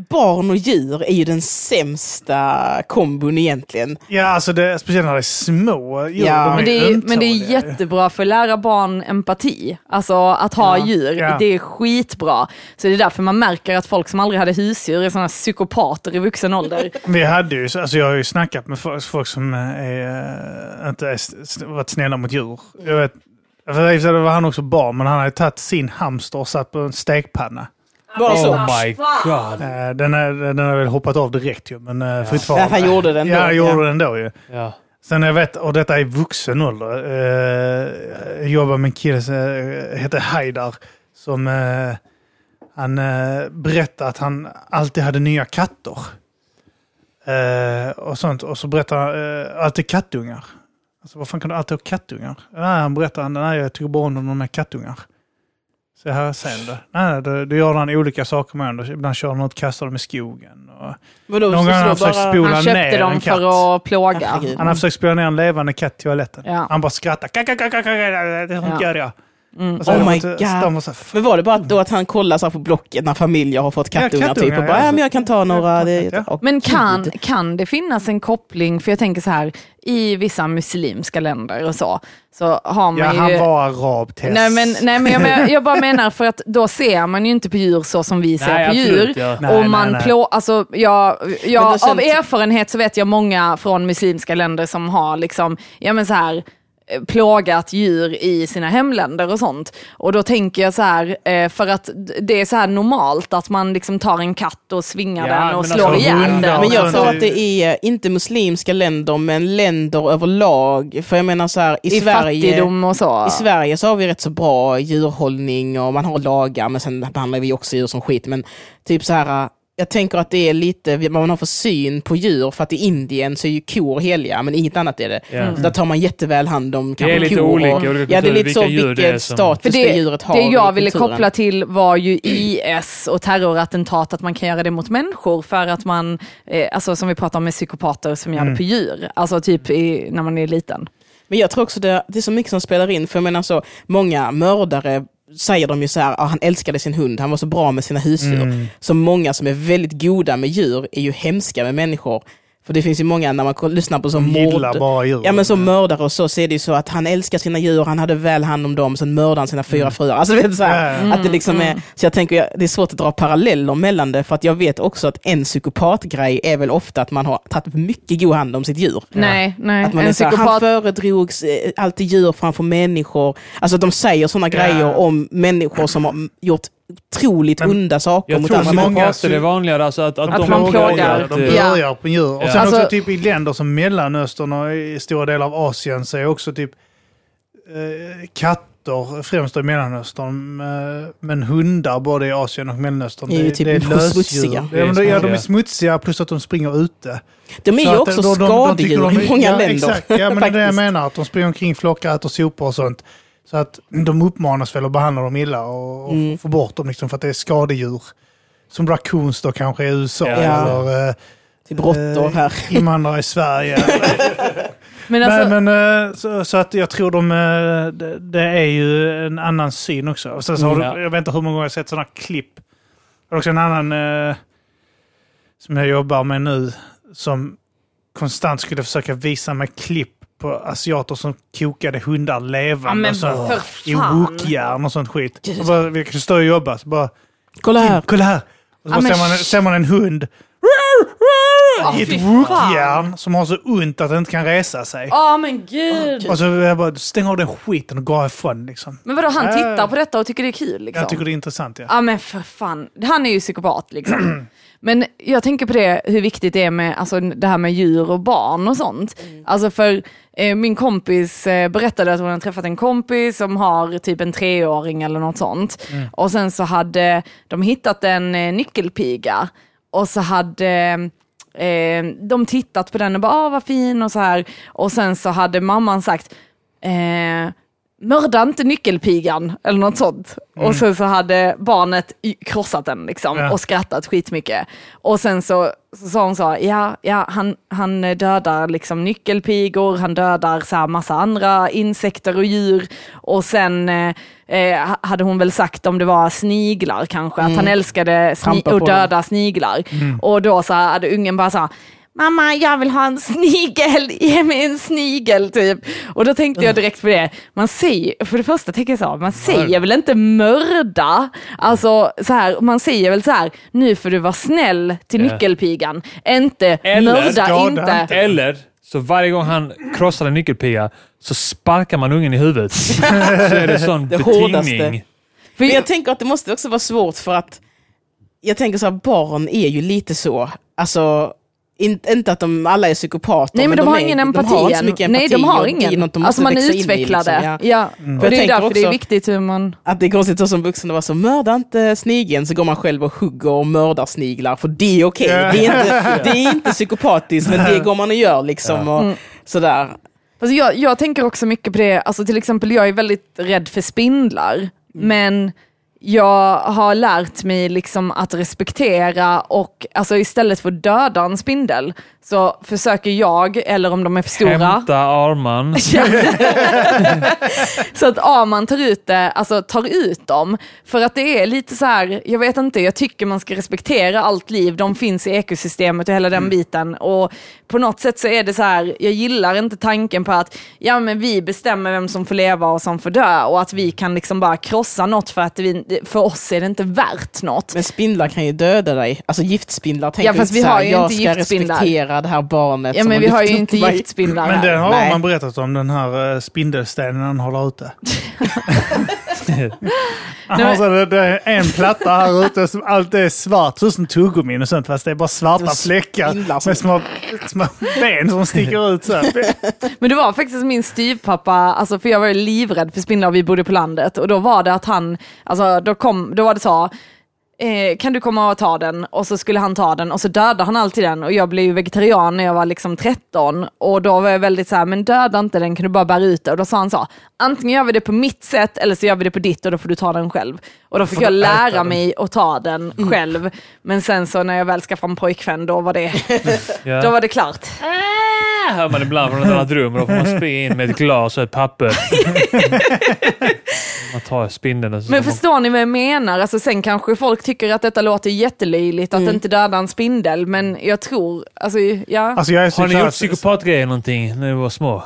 Speaker 2: barn och djur är ju den sämsta kombon egentligen.
Speaker 3: Ja, alltså det, speciellt när det är små djur.
Speaker 2: Ja.
Speaker 3: de
Speaker 1: Men det, är, men det är
Speaker 3: ömtåliga.
Speaker 1: jättebra för att lära barn empati. Alltså att ha djur,
Speaker 3: Ja.
Speaker 1: det är skitbra. Så det är därför man märker att folk som aldrig hade husdjur är sådana psykopater i vuxen
Speaker 3: [laughs]
Speaker 1: ålder.
Speaker 3: Vi hade ju, alltså jag har ju snackat med folk, folk som är, eh, inte är, s- varit snälla mot djur. Jag vet, för i och för sig var han också barn, men han hade tagit sin hamster och satt på en stekpanna.
Speaker 2: Bara så.
Speaker 4: Oh my god.
Speaker 3: Eh, Den har den har väl hoppat av direkt ju, men eh, ja. fritt
Speaker 2: Ja, han gjorde den då.
Speaker 3: Ja, han gjorde
Speaker 2: Ja.
Speaker 3: den då ju.
Speaker 4: Ja.
Speaker 3: Sen jag vet, och detta är vuxen ålder, eh, jag jobbar med en kille som eh, heter Haidar som eh, han eh, berättade att han alltid hade nya katter. Eh, och sånt. Och så berättar han eh, alltid kattungar. Alltså vad fan kan du alltid ha kattungar? Nej, han berättar, nej jag tycker bara om de med kattungar. Så här sen det. Nej, då, då gör han olika saker med dem. Ibland kör han ut kastar dem i skogen. Och
Speaker 2: Vadå,
Speaker 3: Någon
Speaker 2: så
Speaker 3: gång har han
Speaker 2: slår
Speaker 3: försökt
Speaker 2: bara-
Speaker 3: spola
Speaker 1: Han
Speaker 3: ner
Speaker 1: köpte
Speaker 3: en
Speaker 1: dem
Speaker 3: katt.
Speaker 1: för att plåga.
Speaker 2: Herregud.
Speaker 3: Han har försökt spela ner en levande katt i toaletten.
Speaker 1: Mm. Ja.
Speaker 3: Han bara skrattar. Kakakakakaka, Sånt
Speaker 1: Ja.
Speaker 3: gör jag.
Speaker 1: Mm.
Speaker 3: Och så är
Speaker 2: Oh
Speaker 3: de
Speaker 2: my
Speaker 3: inte-
Speaker 2: God.
Speaker 3: de var så här, "Fan,
Speaker 2: Men var det bara att då att han kollar så här på Blocket när familjer har fått kattungar, typ
Speaker 3: kattungar,
Speaker 2: och bara,
Speaker 3: ja.
Speaker 2: ja, men jag kan ta några. Det,
Speaker 3: Ja.
Speaker 2: och-
Speaker 1: Men kan,
Speaker 2: Gud.
Speaker 1: kan det finnas en koppling, för jag tänker så här, i vissa muslimska länder och så, så har man
Speaker 3: Ja,
Speaker 1: ju...
Speaker 3: han var arab, Tess.
Speaker 1: Nej men, nej, men jag,
Speaker 2: [laughs]
Speaker 1: men- jag bara menar för att då ser man ju inte på djur så som vi ser
Speaker 4: Nej,
Speaker 1: på
Speaker 4: absolut,
Speaker 1: djur.
Speaker 4: ja.
Speaker 3: Nej,
Speaker 1: och man
Speaker 3: nej, nej.
Speaker 1: plå, alltså, jag, jag,
Speaker 2: Men då
Speaker 1: av
Speaker 2: känns-
Speaker 1: erfarenhet så vet jag många från muslimska länder som har liksom, ja men så här, eh, plågat djur i sina hemländer och sånt. Och då tänker jag så här, eh, för att d- det är så här normalt att man liksom tar en katt och svingar
Speaker 4: Ja,
Speaker 1: den
Speaker 4: men
Speaker 1: och
Speaker 4: alltså,
Speaker 1: slår ihjäl
Speaker 3: hundar
Speaker 1: den.
Speaker 2: Men jag
Speaker 3: Ja,
Speaker 2: tror
Speaker 3: det-
Speaker 2: att det är inte muslimska länder, men länder överlag. För jag menar så här, i,
Speaker 1: I
Speaker 2: Sverige...
Speaker 1: fattigdom och så.
Speaker 2: I Sverige så har vi rätt så bra djurhållning och man har lagar, men sen behandlar vi också djur som skit. Men typ så här, äh, jag tänker att det är lite vad man har för syn på djur, för att i Indien så är ju kor heliga, men inget annat är det.
Speaker 4: Ja. Mm.
Speaker 2: Så där tar man jätteväl hand om kanske
Speaker 4: är lite
Speaker 2: kor.
Speaker 4: olika,
Speaker 2: och-
Speaker 4: olika
Speaker 2: ja, det är
Speaker 4: kulturer,
Speaker 2: lite så
Speaker 4: vilka djur
Speaker 2: vilken
Speaker 4: det är som-
Speaker 1: För
Speaker 2: status det,
Speaker 1: det,
Speaker 2: djuret har
Speaker 1: det jag
Speaker 2: i
Speaker 1: ville
Speaker 2: kulturen.
Speaker 1: koppla till var ju IS och terrorattentat, att man kan göra det mot människor för att man, eh, alltså som vi pratar om med psykopater som gör det på djur, alltså typ i, när man är liten.
Speaker 2: Men jag tror också det, det är så mycket som spelar in, för jag menar så, många mördare säger de ju så här, ah, han älskade sin hund, han var så bra med sina husdjur.
Speaker 3: Mm.
Speaker 2: Så många som är väldigt goda med djur är ju hemska med människor. För det finns ju många, när man ko- lyssnar på så
Speaker 3: De gillar
Speaker 2: mord,
Speaker 3: bara djur.
Speaker 2: ja men som mördare och så, så är det ju så att han älskar sina djur, han hade väl hand om dem, sen mördade han sina fyra fruar. Alltså vet du så här,
Speaker 3: Mm,
Speaker 2: att det liksom är, så jag tänker, jag- det är svårt att dra paralleller mellan det, för att jag vet också att en psykopatgrej är väl ofta att man har tagit mycket god hand om sitt djur.
Speaker 1: Nej, nej.
Speaker 2: Att man är
Speaker 1: en
Speaker 2: så här, han
Speaker 1: psykopat,
Speaker 2: föredrogs eh, alltid djur framför människor. Alltså de säger sådana grejer om människor som har gjort otroligt
Speaker 3: Men
Speaker 2: onda saker
Speaker 4: Jag
Speaker 2: mot
Speaker 4: tror
Speaker 2: andra
Speaker 4: att
Speaker 3: många-
Speaker 2: människor.
Speaker 4: många är det vanligare. Alltså att, att,
Speaker 1: Att
Speaker 4: de
Speaker 1: man
Speaker 4: plågar,
Speaker 1: plågar.
Speaker 4: att,
Speaker 3: De
Speaker 4: eh,
Speaker 1: Ja.
Speaker 3: börjar på djur. Och
Speaker 4: Ja.
Speaker 3: sen också
Speaker 1: Alltså-
Speaker 3: typ i länder som Mellanöstern och i stora delar av Asien så är också typ eh, katt katter främst i Mellanöstern. eh, Men hundar både i Asien och Mellanöstern.
Speaker 2: Det är ju typ
Speaker 3: lösdjur.
Speaker 2: smutsiga.
Speaker 3: Ja, men de- ja, de
Speaker 4: Smutsiga.
Speaker 3: är smutsiga plus att de springer ute.
Speaker 2: De är ju
Speaker 3: Så att eh,
Speaker 2: också
Speaker 3: de- de- de tycker
Speaker 2: skadedjur
Speaker 3: de är-
Speaker 2: i många
Speaker 3: ja,
Speaker 2: länder.
Speaker 3: Exakt, ja, men det är det jag
Speaker 2: Faktiskt.
Speaker 3: menar. Att de springer omkring, flockar, äter sopor och sånt. Så att de uppmanas väl att behandla dem illa och, och
Speaker 2: Mm.
Speaker 3: få bort dem liksom för att det är skadedjur. Som raccoons då kanske i USA.
Speaker 4: Ja.
Speaker 3: Eller eh,
Speaker 2: Typ råttor här.
Speaker 3: invandrare
Speaker 2: [laughs]
Speaker 3: i Sverige.
Speaker 1: Men alltså,
Speaker 3: Nej, men, eh, så, så att jag tror de, eh, det, det är ju en annan syn också. Och sen så
Speaker 1: Mm,
Speaker 3: har
Speaker 4: Ja.
Speaker 3: du, jag vet inte hur många gånger jag har sett sådana klipp. Jag har också en annan eh, som jag jobbar med nu som konstant skulle försöka visa mig klipp på asiater som kokade hundar
Speaker 1: ja,
Speaker 3: levande.
Speaker 1: men
Speaker 3: och så,
Speaker 1: för
Speaker 3: I
Speaker 1: fan.
Speaker 3: wokjärn och sånt skit. Och bara, vi kan stå och jobba, så bara
Speaker 2: Kolla
Speaker 1: Mm.
Speaker 2: här.
Speaker 3: kolla här!
Speaker 1: Ja,
Speaker 3: Och så bara
Speaker 1: men
Speaker 3: ser, man,
Speaker 1: sh-
Speaker 3: ser man en hund
Speaker 1: Ja,
Speaker 3: i
Speaker 1: fy
Speaker 3: ett
Speaker 1: fan.
Speaker 3: wokjärn som har så ont att den inte kan resa sig.
Speaker 1: Ja men
Speaker 2: Typ.
Speaker 1: gud.
Speaker 3: Och så Alltså, jag bara, stäng av den skiten och gå härifrån liksom.
Speaker 1: Men vadå, han
Speaker 3: Äh.
Speaker 1: tittar på detta och tycker det är kul liksom?
Speaker 3: Jag tycker det är intressant. Ja.
Speaker 1: Ja men för fan, han är ju psykopat liksom. [clears throat] Men jag tänker på det, hur viktigt det är med alltså, det här med djur och barn och sånt. Alltså för eh, min kompis eh, berättade att hon hade träffat en kompis som har typ en treåring eller något sånt. Och sen så hade de hittat en eh, nyckelpiga och så hade eh, de tittat på den och bara ah vad fin och så här. Och sen så hade mamman sagt eh, mörda inte nyckelpigan eller något sånt.
Speaker 2: Mm.
Speaker 1: Och sen så hade barnet i- krossat den liksom
Speaker 3: Ja.
Speaker 1: och skrattat skitmycket. Och sen så, så sa hon så, ja, ja han, han dödar liksom nyckelpigor, han dödar så här massa andra insekter och djur. Och sen eh, eh, hade hon väl sagt om det var sniglar kanske, att han älskade sni-
Speaker 2: Mm. Trampa på
Speaker 1: och
Speaker 2: dem.
Speaker 1: döda sniglar.
Speaker 2: Mm.
Speaker 1: Och då så hade ungen bara så här, Mamma, jag vill ha en snigel, [laughs] ge mig en snigel typ. Och då tänkte jag direkt på det, man säger, för det första tänker jag så här, man säger väl inte mörda? Alltså så här, man säger väl så här, nu får du vara snäll till
Speaker 4: Ja.
Speaker 1: nyckelpigan, inte
Speaker 4: Eller
Speaker 1: mörda
Speaker 3: skada
Speaker 1: inte.
Speaker 3: inte.
Speaker 4: Eller så varje gång han krossar en nyckelpiga så sparkar man ungen i huvudet. så är det sån
Speaker 2: Det
Speaker 4: betingning.
Speaker 2: hårdaste.
Speaker 1: För
Speaker 2: Men
Speaker 1: jag,
Speaker 2: jag tänker att det måste också vara svårt för att jag tänker så här, barn är ju lite så, alltså in, inte att de alla är psykopater.
Speaker 1: nej men de, har
Speaker 2: är,
Speaker 1: ingen empati
Speaker 2: De har inte så
Speaker 1: än.
Speaker 2: mycket empati.
Speaker 1: Nej de har
Speaker 2: och det är
Speaker 1: ingen.
Speaker 2: något de
Speaker 1: alltså
Speaker 2: måste
Speaker 1: man är
Speaker 2: växa in i,
Speaker 1: utvecklade.
Speaker 2: liksom. Ja.
Speaker 1: ja.
Speaker 2: Jag
Speaker 1: Det är
Speaker 2: tänker
Speaker 1: därför det är
Speaker 2: också-
Speaker 1: viktigt hur man...
Speaker 2: Att det är konstigt så som vuxen att vara så, mörda inte snigeln, så går man själv och hugger och mördar sniglar, för det är okej.
Speaker 3: Ja.
Speaker 2: Det, är inte- det är inte psykopatiskt, men det går man och gör liksom. Och
Speaker 1: Mm.
Speaker 2: sådär.
Speaker 1: Alltså jag, jag tänker också mycket på det, alltså till exempel jag är väldigt rädd för spindlar, men jag har lärt mig liksom att respektera och alltså istället för att döda en spindel så försöker jag, eller om de är för stora,
Speaker 4: Hämta arman.
Speaker 1: [laughs] så att ja, man tar ut det, alltså tar ut dem. För att det är lite så här, jag vet inte, jag tycker man ska respektera allt liv, de finns i ekosystemet och hela
Speaker 2: Mm.
Speaker 1: den biten. Och på något sätt så är det så här, jag gillar inte tanken på att ja, men vi bestämmer vem som får leva och som får dö och att vi kan liksom bara krossa något för att vi, för oss är det inte värt något.
Speaker 2: Men spindlar kan ju döda dig. Alltså giftspindlar tänker
Speaker 1: Ja, fast
Speaker 2: inte
Speaker 1: vi
Speaker 2: så här,
Speaker 1: har ju
Speaker 2: jag
Speaker 1: inte
Speaker 2: ska
Speaker 1: giftspindlar."
Speaker 2: respektera det här barnet.
Speaker 1: Ja,
Speaker 2: som
Speaker 1: men vi
Speaker 2: lyft
Speaker 1: har ju
Speaker 2: upp
Speaker 1: inte
Speaker 2: mig.
Speaker 1: giftspindlar
Speaker 3: Men den
Speaker 1: här.
Speaker 3: har
Speaker 2: Nej.
Speaker 3: man berättat om, den här eh, spindelstenen han
Speaker 2: [laughs]
Speaker 3: håller ute. Han har så- det, det är en platta här ute, som allt är svart, så som tuggummin och sånt, fast det är bara svarta
Speaker 2: Det är spindlar
Speaker 3: fläckar
Speaker 2: som-
Speaker 3: med små, små ben som sticker ut. Så här.
Speaker 1: Men det var faktiskt min styvpappa, alltså för jag var ju livrädd för spindlar och vi bodde på landet och då var det att han, alltså då, kom, då var det så, eh, kan du komma och ta den? Och så skulle han ta den och så dödade han alltid den och jag blev ju vegetarian när jag var liksom 13 och då var jag väldigt så här, men döda inte den kan du bara bära ut det? Och då sa han så, antingen gör vi det på mitt sätt eller så gör vi det på ditt och då får du ta den själv. Och då fick jag lära mig att ta den själv. Men sen så när jag väl skaffade en pojkvän då var det,
Speaker 4: Ja.
Speaker 1: då var det klart.
Speaker 4: Här hör man ibland från ett annat rum och då får man springa in med ett glas och ett papper. man tar spindeln och så
Speaker 1: Men
Speaker 4: ska man-
Speaker 1: förstår ni vad jag menar? Alltså, sen kanske folk tycker att detta låter jättelöjligt, att
Speaker 2: Mm.
Speaker 1: inte döda en spindel, men jag tror, alltså ja.
Speaker 3: Alltså, jag är så
Speaker 4: Har ni
Speaker 3: klar-
Speaker 4: gjort psykopatgrejer någonting när ni var små?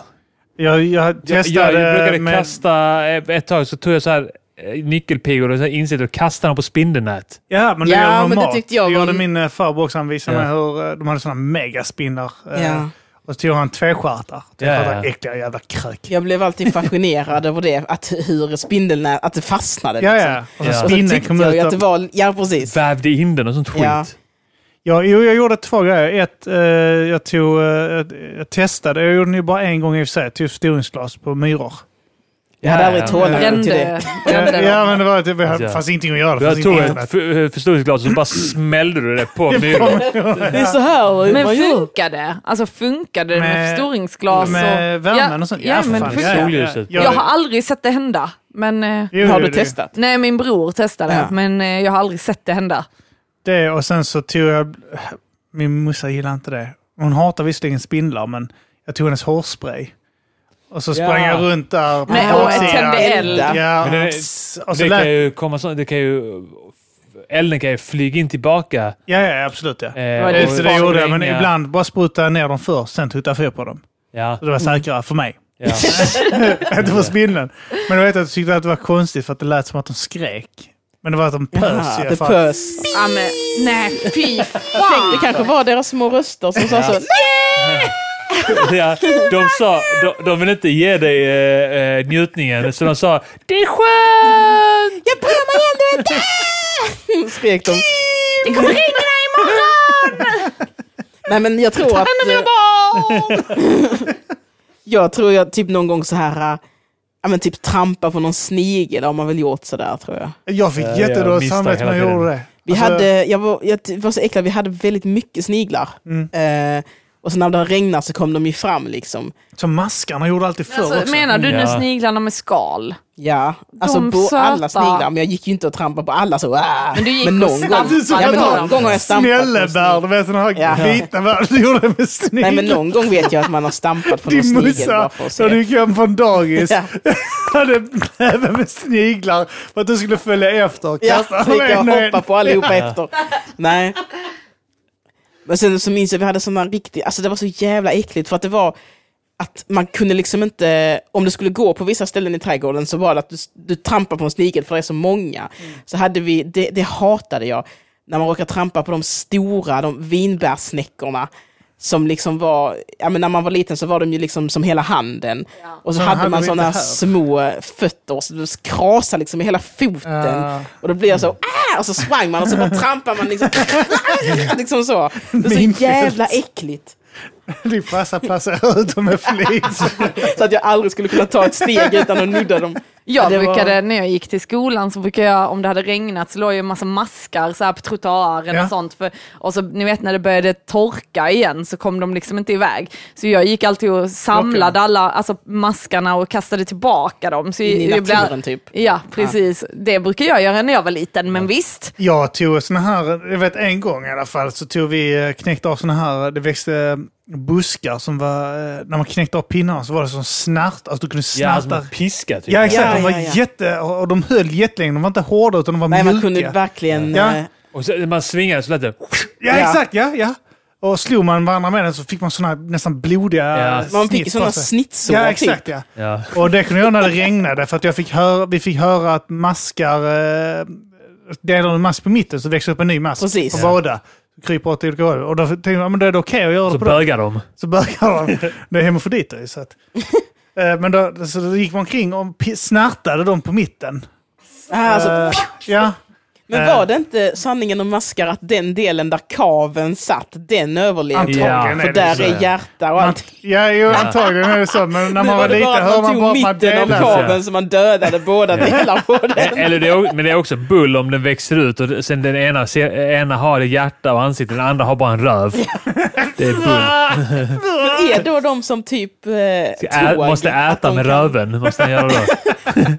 Speaker 3: Jag, jag
Speaker 4: Jag, jag,
Speaker 3: testade
Speaker 4: brukade
Speaker 3: eh, med...
Speaker 4: kasta, ett ett tag så tog jag så här eh, nyckelpigor och så här insekter och kastade dem på spindelnät.
Speaker 3: Ja, men det
Speaker 2: Ja,
Speaker 3: gör man
Speaker 2: men det
Speaker 3: normalt.
Speaker 2: tyckte jag
Speaker 3: det
Speaker 2: var-
Speaker 3: gjorde min eh, farbror också. Han visade
Speaker 4: Ja.
Speaker 3: mig hur eh, de hade sådana megaspinnar. eh,
Speaker 2: Ja.
Speaker 3: Och så tog han tvestjärtar.
Speaker 4: Ja, ja.
Speaker 3: Tvestjärtar, äckliga jävla krök.
Speaker 2: Jag blev alltid fascinerad över det, att hur spindelnät, att det fastnade.
Speaker 3: Ja,
Speaker 2: liksom.
Speaker 3: ja. Och
Speaker 4: Ja.
Speaker 3: så
Speaker 2: Och så
Speaker 3: spinnen
Speaker 2: tyckte
Speaker 3: kom
Speaker 2: jag ju att
Speaker 3: ut.
Speaker 2: det
Speaker 3: av-
Speaker 2: var, ja precis.
Speaker 4: Vävde in den och sånt skit.
Speaker 2: Ja.
Speaker 3: Ja, jo, jag gjorde två grejer. Ett, eh, jag tog, eh, jag testade, jag gjorde det ju bara en gång i och för sig, jag tog förstoringsglas på myror.
Speaker 2: Jag hade
Speaker 4: Ja,
Speaker 2: aldrig
Speaker 4: ja.
Speaker 2: tålamod till det.
Speaker 1: Brände, brände
Speaker 3: Ja,
Speaker 1: dem.
Speaker 3: men det var typ,
Speaker 4: Ja.
Speaker 3: det fanns ingenting att göra. Alltså, Det
Speaker 4: Jag
Speaker 3: fanns
Speaker 4: tog
Speaker 3: inget
Speaker 4: ett
Speaker 3: annat.
Speaker 4: f- förstoringsglas och så bara smällde du det
Speaker 3: [laughs]
Speaker 4: på myrorna.
Speaker 2: Det är så här
Speaker 1: Men
Speaker 2: man gör.
Speaker 1: funkade Alltså funkade det med
Speaker 3: Med-
Speaker 1: förstoringsglas?
Speaker 3: Med
Speaker 1: och,
Speaker 3: värmen och sånt.
Speaker 1: Ja, men
Speaker 3: för fan.
Speaker 1: funkar.
Speaker 3: Ja, ja,
Speaker 4: Solljuset.
Speaker 3: ja.
Speaker 1: Jag har aldrig sett det hända. Men, eh,
Speaker 3: Jo,
Speaker 2: Har
Speaker 3: jo,
Speaker 2: du
Speaker 3: det-
Speaker 2: testat?
Speaker 1: nej, min bror testade,
Speaker 2: Ja.
Speaker 1: men eh, jag har aldrig sett det hända.
Speaker 3: Det och sen så tog jag... Min morsa gillar inte det. Hon hatar visserligen spindlar, men jag tog hennes hårspray. Och så sprang
Speaker 2: Ja.
Speaker 3: jag runt där på
Speaker 1: Nej, och
Speaker 3: baksidan.
Speaker 1: tände eld.
Speaker 3: Ja, alltså,
Speaker 4: Men det-
Speaker 3: och så
Speaker 4: Det kan
Speaker 3: lät,
Speaker 4: ju komma så, det kan ju... Elden kan ju flyga in tillbaka.
Speaker 3: ja, ja, absolut. Ja.
Speaker 4: eh,
Speaker 1: var
Speaker 4: och-
Speaker 1: det
Speaker 3: Det, så det gjorde jag, men
Speaker 4: spränga.
Speaker 3: ibland bara sprutade jag ner dem först, sen tuttade jag fyr på dem.
Speaker 4: Ja,
Speaker 3: Så det var säkrare
Speaker 2: [laughs]
Speaker 3: för mig.
Speaker 4: ja. [laughs]
Speaker 3: Inte för spindeln. Men jag vet att jag tyckte att det var konstigt för att det lät som att de skrek. Men det var att de pös i alla
Speaker 2: det
Speaker 3: fall.
Speaker 2: pös.
Speaker 1: Ja, men, nej, fy fan!
Speaker 2: Det kanske var deras små röster som sa så.
Speaker 4: Ja. ja, de sa... De, de vill inte ge dig eh, eh, njutningen, så de sa det är skönt!
Speaker 2: Jag bryr mig ändå inte! Skrek de.
Speaker 1: Det kommer ringa dig imorgon!
Speaker 2: Nej men jag tror att... eh,
Speaker 1: Mina barn!
Speaker 2: Jag tror jag typ någon gång så här... äh, Ja men typ trampa på någon snigel har man väl gjort sådär tror jag.
Speaker 3: Jag fick
Speaker 4: Ja, jag
Speaker 3: jättedåligt
Speaker 4: misstar
Speaker 3: samvete när
Speaker 4: hela
Speaker 3: jag
Speaker 4: tiden.
Speaker 3: gjorde det.
Speaker 2: Vi
Speaker 3: Alltså,
Speaker 2: hade, jag var, jag t- var så äcklad, vi hade väldigt mycket sniglar.
Speaker 3: Mm.
Speaker 2: Eh, och så när det regnade så kom de ju fram liksom.
Speaker 3: Som maskarna gjorde alltid förr
Speaker 1: Alltså,
Speaker 3: också.
Speaker 1: menar du nu
Speaker 4: Ja.
Speaker 1: sniglarna med skal?
Speaker 2: Ja, alltså
Speaker 1: De
Speaker 2: på alla
Speaker 1: söta.
Speaker 2: sniglar. Men jag gick ju inte och trampade på alla så. "Ah!"
Speaker 1: Men du gick
Speaker 2: någon
Speaker 1: och
Speaker 2: gång-
Speaker 1: stampade
Speaker 2: ja, men
Speaker 1: på
Speaker 2: någon
Speaker 1: dem.
Speaker 2: gång har jag stampat på en
Speaker 3: Snällebär, du vet den här
Speaker 2: Ja.
Speaker 3: vita bär du gjorde med
Speaker 2: Nej men
Speaker 3: snigel.
Speaker 2: någon gång vet jag att man har stampat på någon
Speaker 3: Din
Speaker 2: snigel bara
Speaker 3: morsa,
Speaker 2: för att se.
Speaker 3: när du gick hem från dagis,
Speaker 2: Ja,
Speaker 3: [laughs] hade näven med sniglar för att du skulle följa efter och
Speaker 2: ja, [laughs]
Speaker 3: kasta
Speaker 2: så
Speaker 3: dem
Speaker 2: gick jag
Speaker 3: en
Speaker 2: och
Speaker 3: och en.
Speaker 2: hoppade
Speaker 3: [laughs]
Speaker 2: på allihopa efter. Nej. Men sen så minns jag att vi hade sådana riktiga, alltså det var så jävla äckligt för att det var att man kunde liksom inte, om du skulle gå på vissa ställen i trädgården så var det att du, du trampar på en snigel för det är så många. Så hade vi, det, det hatade jag, när man råkar trampa på de stora, de vinbärsnäckorna. Som liksom var, ja men när man var liten så var de ju liksom som hela handen. Och så
Speaker 3: Såna
Speaker 2: hade
Speaker 3: hade
Speaker 2: man
Speaker 3: vi inte
Speaker 2: sådana
Speaker 3: här.
Speaker 2: små fötter, så det krasade liksom i hela foten.
Speaker 3: Ja.
Speaker 2: Och då blir jag så, ah! och så sprang man och så bara trampar man liksom, [laughs] liksom så. Det är
Speaker 3: Min
Speaker 2: så jävla äckligt.
Speaker 3: Din farsa [laughs] placerade ut dem
Speaker 2: [laughs]
Speaker 3: med flit.
Speaker 2: Så att jag aldrig skulle kunna ta ett steg utan att nudda dem.
Speaker 1: Jag
Speaker 2: Det var-
Speaker 1: brukade, när jag gick till skolan så brukade jag, om det hade regnat så låg ju en massa maskar så här på trottoaren
Speaker 3: Ja.
Speaker 1: och sånt. För, och så ni vet när det började torka igen så kom de liksom inte iväg. Så jag gick alltid och samlade alla alltså, maskarna och kastade tillbaka dem. Så
Speaker 2: In i
Speaker 1: jag- jag blev-
Speaker 2: naturen, typ.
Speaker 1: Ja, precis. Det brukar jag göra när jag var liten, men visst.
Speaker 3: Jag tog såna här, jag vet en gång i alla fall, så tog vi, eh, knäckte av såna här, det växte eh, buskar som var, eh, när man knäckte av pinnarna så var det som snärt, alltså du kunde
Speaker 4: Ja, alltså
Speaker 3: snärta.
Speaker 4: med piska typ.
Speaker 3: Ja exakt, de var
Speaker 2: Ja, ja, ja.
Speaker 3: jätte, och och de höll jättelänge, de var inte hårda utan de var
Speaker 2: Nej, man
Speaker 3: mjuka.
Speaker 2: kunde verkligen...
Speaker 3: Ja.
Speaker 2: eh,
Speaker 4: Och så, när man svingade så lät
Speaker 3: [laughs]
Speaker 4: det...
Speaker 3: Ja,
Speaker 2: Ja.
Speaker 3: exakt, ja, ja. Och slog man varandra med den så fick man såna nästan blodiga
Speaker 4: Ja.
Speaker 3: eh,
Speaker 2: Man fick
Speaker 3: snitt
Speaker 2: sådana
Speaker 3: på sig.
Speaker 2: snittsår.
Speaker 3: Ja,
Speaker 2: typ.
Speaker 3: exakt ja.
Speaker 4: Ja.
Speaker 3: Och det kunde jag göra när det regnade för att jag fick höra, vi fick höra att maskar, eh, delar du en mask på mitten så växer upp en ny mask
Speaker 2: Precis.
Speaker 3: på
Speaker 2: Ja.
Speaker 3: båda. Kryper åt olika håll. Och då tänkte jag, men då är det okej att göra
Speaker 4: Så
Speaker 3: det på det.
Speaker 4: bögar de.
Speaker 3: Så bögar de. Det är hemofoditer ju.
Speaker 2: [laughs]
Speaker 3: Så, att, Eh, men då, så då gick man omkring och pi- snärtade dem på mitten.
Speaker 2: Ah, alltså,
Speaker 3: Eh, ja.
Speaker 2: men var det inte sanningen om maskar att den delen där kaven satt, den överlevde?
Speaker 3: Antagligen
Speaker 4: Ja,
Speaker 3: är det
Speaker 2: För där
Speaker 3: så.
Speaker 2: är hjärta och
Speaker 3: Man,
Speaker 2: allt.
Speaker 3: ja, jo, antagligen är det så. Men när
Speaker 2: Nu
Speaker 3: man var
Speaker 2: var det
Speaker 3: liten
Speaker 2: bara
Speaker 3: hör
Speaker 2: att man
Speaker 3: man
Speaker 2: tog
Speaker 3: bara att man
Speaker 2: mitten av
Speaker 3: delar sig.
Speaker 2: kaven så man dödade båda delar på den.
Speaker 4: Eller det är, men det är också bull om den växer ut och sen den ena, ser- ena har det hjärta och ansikte, den andra har bara en röv. Det är [laughs] bull.
Speaker 2: Men är då de som typ eh,
Speaker 4: Ä,
Speaker 2: tåg,
Speaker 4: måste
Speaker 2: att
Speaker 4: äta
Speaker 2: de
Speaker 4: med
Speaker 2: kan-
Speaker 4: röven. Måste den [laughs] göra då.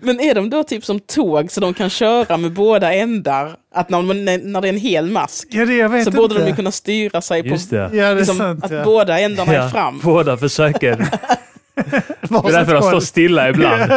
Speaker 2: Men är de då typ som tåg så de kan köra med båda ändar? Att när, man, när det är en hel mask
Speaker 3: Ja, det jag vet
Speaker 2: så
Speaker 3: inte.
Speaker 2: borde de ju kunna styra sig på
Speaker 4: Just det.
Speaker 3: Ja, det är
Speaker 2: liksom,
Speaker 3: sant.
Speaker 2: att
Speaker 3: ja.
Speaker 2: båda ändarna är
Speaker 4: Ja,
Speaker 2: fram.
Speaker 4: båda [laughs] försöker. Det
Speaker 3: Varsitt
Speaker 4: är därför de
Speaker 3: håll.
Speaker 4: står stilla ibland.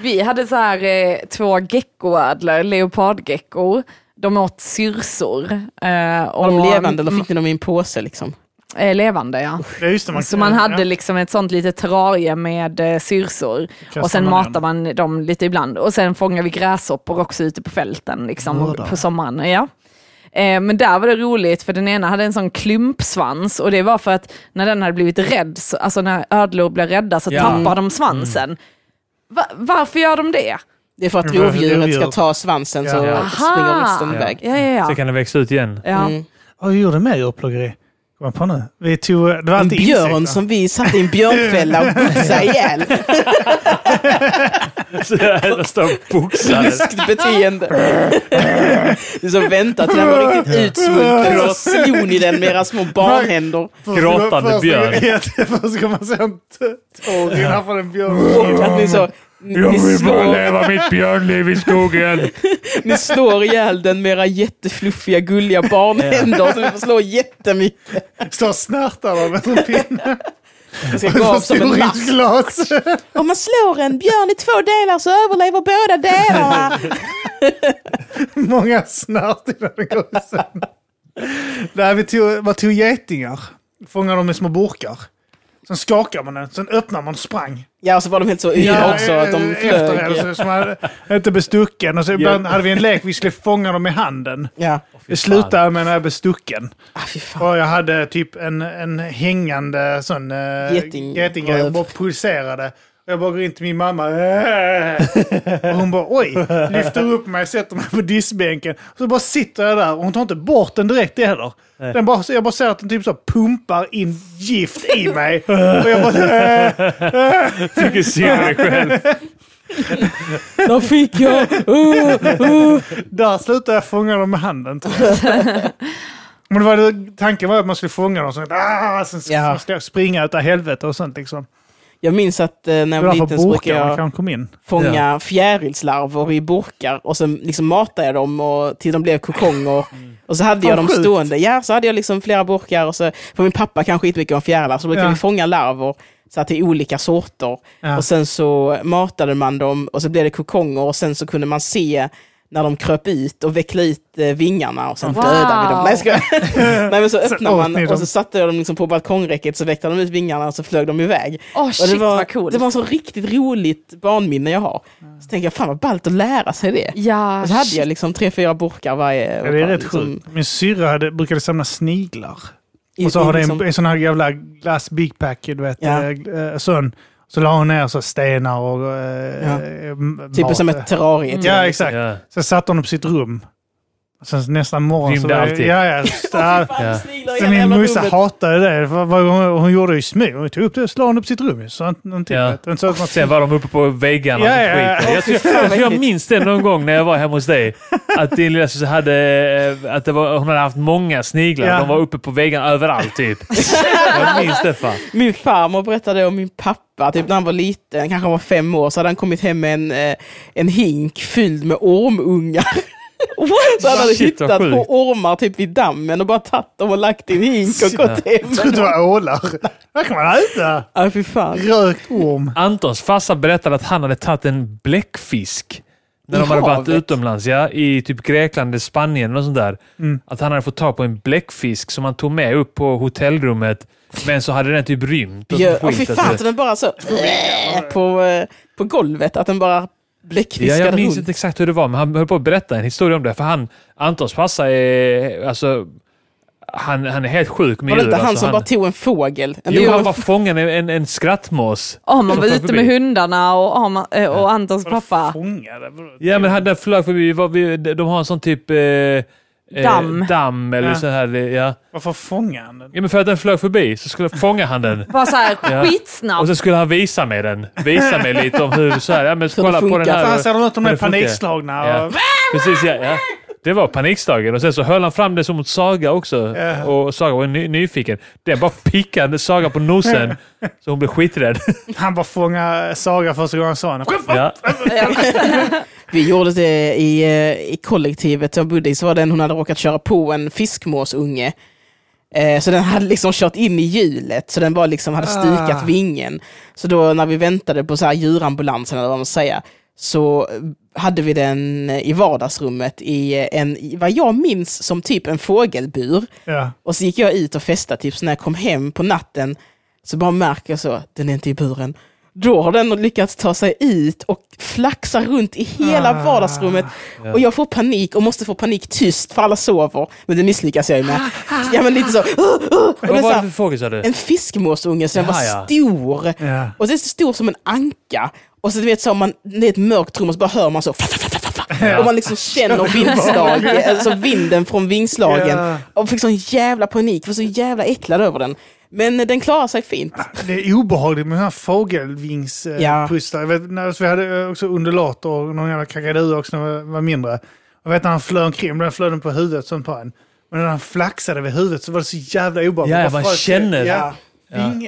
Speaker 1: Vi hade så här eh, två geckoödlor, leopardgeckor. De åt syrsor. Eh, och,
Speaker 2: Var de levande eller fick ni dem i en påse liksom?
Speaker 1: Eh, levande, ja.
Speaker 3: Ja, just det, man,
Speaker 1: Så man hade
Speaker 3: ja.
Speaker 1: liksom ett sånt litet terrarie med eh, syrsor och sen
Speaker 3: man
Speaker 1: matar man dem lite ibland och sen fångar vi gräshoppor också ute på fälten liksom,
Speaker 3: Vadå?
Speaker 1: och- på sommaren. Ja. Eh, Men där var det roligt för den ena hade en sån klumpsvans och det var för att när den hade blivit rädd, så- alltså när ödlor blir rädda så
Speaker 4: Ja.
Speaker 1: tappar de svansen. Va- varför gör de det?
Speaker 2: Det är för att
Speaker 3: Det var för
Speaker 2: rovdjuret
Speaker 3: rovdjur.
Speaker 2: ska ta svansen så
Speaker 3: Ja.
Speaker 2: springer resten iväg.
Speaker 1: Ja, ja,
Speaker 4: Sen
Speaker 1: ja.
Speaker 4: kan den växa ut igen.
Speaker 1: ja.
Speaker 2: Mm.
Speaker 3: Ja, vi gjorde med djurplågeri. Kom jag på nu? Vi tog, det
Speaker 2: En
Speaker 3: var alltid
Speaker 2: björn
Speaker 3: insekter.
Speaker 2: som vi satte i en björnfälla [laughs] och boxade ihjäl.
Speaker 4: [laughs] Så jävla står och boxar. [laughs]
Speaker 2: Ryskt beteende. Du som väntar till den var riktigt utsvulten och så slog ni den med era små barnhänder.
Speaker 4: Gråtande
Speaker 3: Först-
Speaker 4: björn.
Speaker 3: Ja, Först kommer man se en t- tår rinna från en
Speaker 2: Och att ni
Speaker 3: björn.
Speaker 2: så... Ni slår,
Speaker 4: leva mitt björnliv i [laughs] skogen.
Speaker 2: ni slår ihjäl den med era jättefluffiga, gulliga barnhänder som ni får slå jättemycket.
Speaker 3: Står och snärtar dem med en pinne.
Speaker 2: Det ska gå av som en mask.
Speaker 3: glas.
Speaker 2: Om man slår en björn i två delar så överlever båda delarna.
Speaker 3: [laughs] Många snärt innan det går sönder. Nej, vi tog, man tog getingar. Fångade dem i små burkar. Sen skakade man den, sen öppnade man och sprang.
Speaker 2: Ja, och så var de helt så yra också att de
Speaker 3: eh, Efter
Speaker 2: flög.
Speaker 3: det, så man hade inte bestucken. Och så ibland hade vi en lek, vi skulle fånga dem i handen.
Speaker 2: Ja.
Speaker 3: Det slutade med när jag blev stucken.
Speaker 2: Ah, fy fan.
Speaker 3: Och jag hade typ en, en hängande sån eh,
Speaker 2: Geting-
Speaker 3: getinggrej.
Speaker 2: röv.
Speaker 3: Hon bara pulserade. Jag bara går in till min mamma. "Äh." Och hon bara oj, lyfter upp mig, sätter mig på diskbänken. Så bara sitter jag där och hon tar inte bort den direkt heller. Den bara, så jag bara ser att den typ så pumpar in gift i mig. Och jag bara "Äh."
Speaker 4: Tycker synd om dig [laughs] själv.
Speaker 2: Då fick jag... Uh,
Speaker 3: Där slutade jag fånga dem med handen tror
Speaker 2: [laughs]
Speaker 3: jag. Men det var, det- tanken var att man skulle fånga dem och sånt. Ah, sen ska
Speaker 2: Ja.
Speaker 3: man stå- springa utav helvete och sånt liksom.
Speaker 2: Jag minns att eh, när
Speaker 3: Det
Speaker 2: jag
Speaker 3: var
Speaker 2: var
Speaker 3: därför
Speaker 2: liten så brukade
Speaker 3: burkarna
Speaker 2: jag
Speaker 3: kan kom in.
Speaker 2: fånga fjärilslarver i burkar och sen liksom matade jag dem och, till de blev kokonger. Och så hade jag
Speaker 3: Fan,
Speaker 2: dem
Speaker 3: sjukt.
Speaker 2: stående. Ja, så hade jag liksom flera burkar och så... För min pappa kan skitmycket om fjärilar så brukade
Speaker 3: Ja.
Speaker 2: vi fånga larver så att det är olika sorter.
Speaker 3: Ja.
Speaker 2: Och sen så matade man dem och så blev det kokonger och sen så kunde man se när de kröp ut och veckla ut eh, vingarna och sen
Speaker 1: Wow.
Speaker 2: dödade vi dem. Nej, ska
Speaker 3: [laughs]
Speaker 2: Nej men så öppnade
Speaker 3: åt
Speaker 2: man
Speaker 3: ni
Speaker 2: och
Speaker 3: dem.
Speaker 2: så satte jag dem liksom på balkongräcket så veckade de ut vingarna och så flög de iväg.
Speaker 1: Åh
Speaker 2: Och
Speaker 1: shit
Speaker 2: det, var,
Speaker 1: vad coolt.
Speaker 2: det var så riktigt roligt barnminne jag har. Så tänker jag, fan vad ballt att lära sig det.
Speaker 1: Ja,
Speaker 2: Och så hade
Speaker 1: shit.
Speaker 2: jag liksom tre, fyra burkar varje.
Speaker 3: Ja, det är rätt
Speaker 2: liksom,
Speaker 3: sjukt. Min syrra hade, brukade samla sniglar.
Speaker 2: i-
Speaker 3: Och så
Speaker 2: i
Speaker 3: har det en,
Speaker 2: liksom-
Speaker 3: en sån här jävla glass big pack, du vet.
Speaker 2: Ja.
Speaker 3: eh, eh, sån. Så la hon ner så stenar och eh,
Speaker 2: Ja.
Speaker 3: m-
Speaker 2: Typ
Speaker 3: mat.
Speaker 2: som ett typ. terrarie. till
Speaker 3: Ja,
Speaker 2: dem.
Speaker 3: exakt.
Speaker 4: Ja.
Speaker 3: Sen satte hon upp sitt rum. Sen nästa morgon så
Speaker 4: Rymde
Speaker 3: var
Speaker 4: alltid.
Speaker 2: [laughs]
Speaker 3: Ja, ja. Så, ja.
Speaker 2: Fan,
Speaker 4: Ja.
Speaker 2: sniglar i
Speaker 3: Så
Speaker 2: hela
Speaker 3: min
Speaker 2: jävla
Speaker 3: musa
Speaker 2: rummet.
Speaker 3: hatade det. För vad hon, hon gjorde det i smyg. Hon tog upp det och slog hon upp sitt rum. Så att någonting.
Speaker 4: Ja.
Speaker 3: vet du. Så att man
Speaker 4: Sen var de uppe på väggarna
Speaker 3: Ja,
Speaker 4: och
Speaker 3: ja, ja.
Speaker 4: skit. Jag, tror- jag, tror jag minns det någon gång när jag var hemma hos
Speaker 2: [laughs]
Speaker 4: dig. Att din lillasyster hade, eh, att det var, hon hade haft många sniglar.
Speaker 3: Ja.
Speaker 4: De var uppe på väggarna överallt
Speaker 2: [laughs]
Speaker 4: typ. Jag minns det fan.
Speaker 2: Min farmor berättade om min pappa, typ när han var liten, kanske han var fem år, så hade han kommit hem med en, eh, en hink fylld med ormungar. [laughs] Så han hade
Speaker 4: Shit, vad
Speaker 2: hittat
Speaker 4: sjukt.
Speaker 2: på ormar typ vid dammen och bara tagit dem och lagt i en hink och gått hem.
Speaker 3: [laughs] trodde det var ålar. Där kan man äta.
Speaker 2: Ja, fy fan. [laughs]
Speaker 3: Rökt orm.
Speaker 4: Antons farsa berättade att han hade tagit en bläckfisk när
Speaker 2: I
Speaker 4: de hade varit
Speaker 2: havet?
Speaker 4: utomlands, ja, i typ Grekland eller Spanien och sånt där.
Speaker 2: Mm.
Speaker 4: Att han hade fått tag på en bläckfisk som han tog med upp på hotellrummet, men så hade den typ rymt. Och
Speaker 2: Ja,
Speaker 4: sånt
Speaker 2: och fy
Speaker 4: skit,
Speaker 2: fan,
Speaker 4: alltså.
Speaker 2: så den bara så äh, på, eh, på golvet, att den bara
Speaker 4: Ja,
Speaker 2: bläckfiskade
Speaker 4: jag minns
Speaker 2: runt.
Speaker 4: inte exakt hur det var, men han höll på att berätta en historia om det. För han, Antons farsa är... Alltså, han, han är helt sjuk med
Speaker 2: Var det
Speaker 4: djur,
Speaker 2: inte han
Speaker 4: alltså,
Speaker 2: som bara tog en fågel? En
Speaker 4: Jo,
Speaker 2: djur-
Speaker 4: han var fången en, en, en skrattmås.
Speaker 1: Ja, man var
Speaker 4: Som
Speaker 1: ute
Speaker 4: förbi.
Speaker 1: med hundarna och, Arma- eh, och Antons pappa.
Speaker 3: Fångade.
Speaker 4: Ja, men han den flög förbi. Var vi, de har en sån typ... Eh, eh,
Speaker 1: Damm.
Speaker 4: damm eller
Speaker 3: Ja.
Speaker 4: så här. Ja.
Speaker 3: Varför fångade han den?
Speaker 4: ja, men för att den flög förbi så skulle fånga han den.
Speaker 1: Bara så här
Speaker 4: Ja. Och
Speaker 1: skitsnabbt.
Speaker 4: sen skulle han visa mig den. Visa mig lite om hur... Så här, ja, men
Speaker 2: det
Speaker 4: kolla på den
Speaker 2: funkar. Alltså,
Speaker 3: Så
Speaker 4: här.
Speaker 3: här ser de ut, de
Speaker 4: hur
Speaker 3: är
Speaker 4: det funkar.
Speaker 3: panikslagna.
Speaker 4: Ja.
Speaker 3: Och, [laughs]
Speaker 4: Precis, ja, ja. Det var panikslagen. Och sen så höll han fram det som mot Saga också.
Speaker 3: Ja.
Speaker 4: Och Saga var ny, nyfiken. Den bara pickade Saga på nosen. Så hon blev skiträdd.
Speaker 3: Han bara fångade Saga första gången han sa henne.
Speaker 4: Ja.
Speaker 2: Vi gjorde det i, eh, i kollektivet jag bodde i, så var den hon hade råkat köra på en fiskmåsunge. Eh, Så den hade liksom kört in i hjulet, så den var liksom hade stukat
Speaker 3: Ah.
Speaker 2: vingen. Så då när vi väntade på så här djurambulansen, eller vad man säger, så hade vi den i vardagsrummet i en, i vad jag minns som typ en fågelbur.
Speaker 3: Ja.
Speaker 2: Och så gick jag ut och festade, typ, så när jag kom hem på natten så bara märker jag så, den är inte i buren. Då har den lyckats ta sig ut och flaxa runt i hela
Speaker 3: Ah.
Speaker 2: vardagsrummet. Och jag får panik och måste få panik tyst för alla sover. Men det misslyckas jag ju
Speaker 4: [laughs]
Speaker 2: med. Ja men lite så. "Åh, åh." Och det
Speaker 4: Vad
Speaker 2: är så
Speaker 4: var det för
Speaker 2: här,
Speaker 4: fågel sa du?
Speaker 2: en fiskmåsunge så den
Speaker 4: Jaha, ja.
Speaker 2: var stor.
Speaker 3: Ja.
Speaker 2: Och så är det så stor som en anka. Och så du vet så om man, det är ett mörkt rum och så bara hör man så. fa, fa, fa, fa, fa, fa.
Speaker 4: Ja.
Speaker 2: Och man liksom känner vindslag, alltså vinden från vingslagen.
Speaker 3: Ja.
Speaker 2: Och fick sån jävla panik, var så jävla äcklad över den. Men eh, den klarar sig fint.
Speaker 3: Det är obehagligt med sådana här fågelvingspustar.
Speaker 2: Ja.
Speaker 3: Jag vet, när vi hade eh, också undulater och någon jävla kakadua också när jag var mindre. Jag vet när han flög omkring, den flög den på huvudet som på en. Men när han flaxade vid huvudet så var det så jävla obehagligt.
Speaker 4: Ja,
Speaker 3: Bara
Speaker 4: man
Speaker 3: folk-
Speaker 4: känner
Speaker 3: Ja.
Speaker 4: det.
Speaker 3: Ving,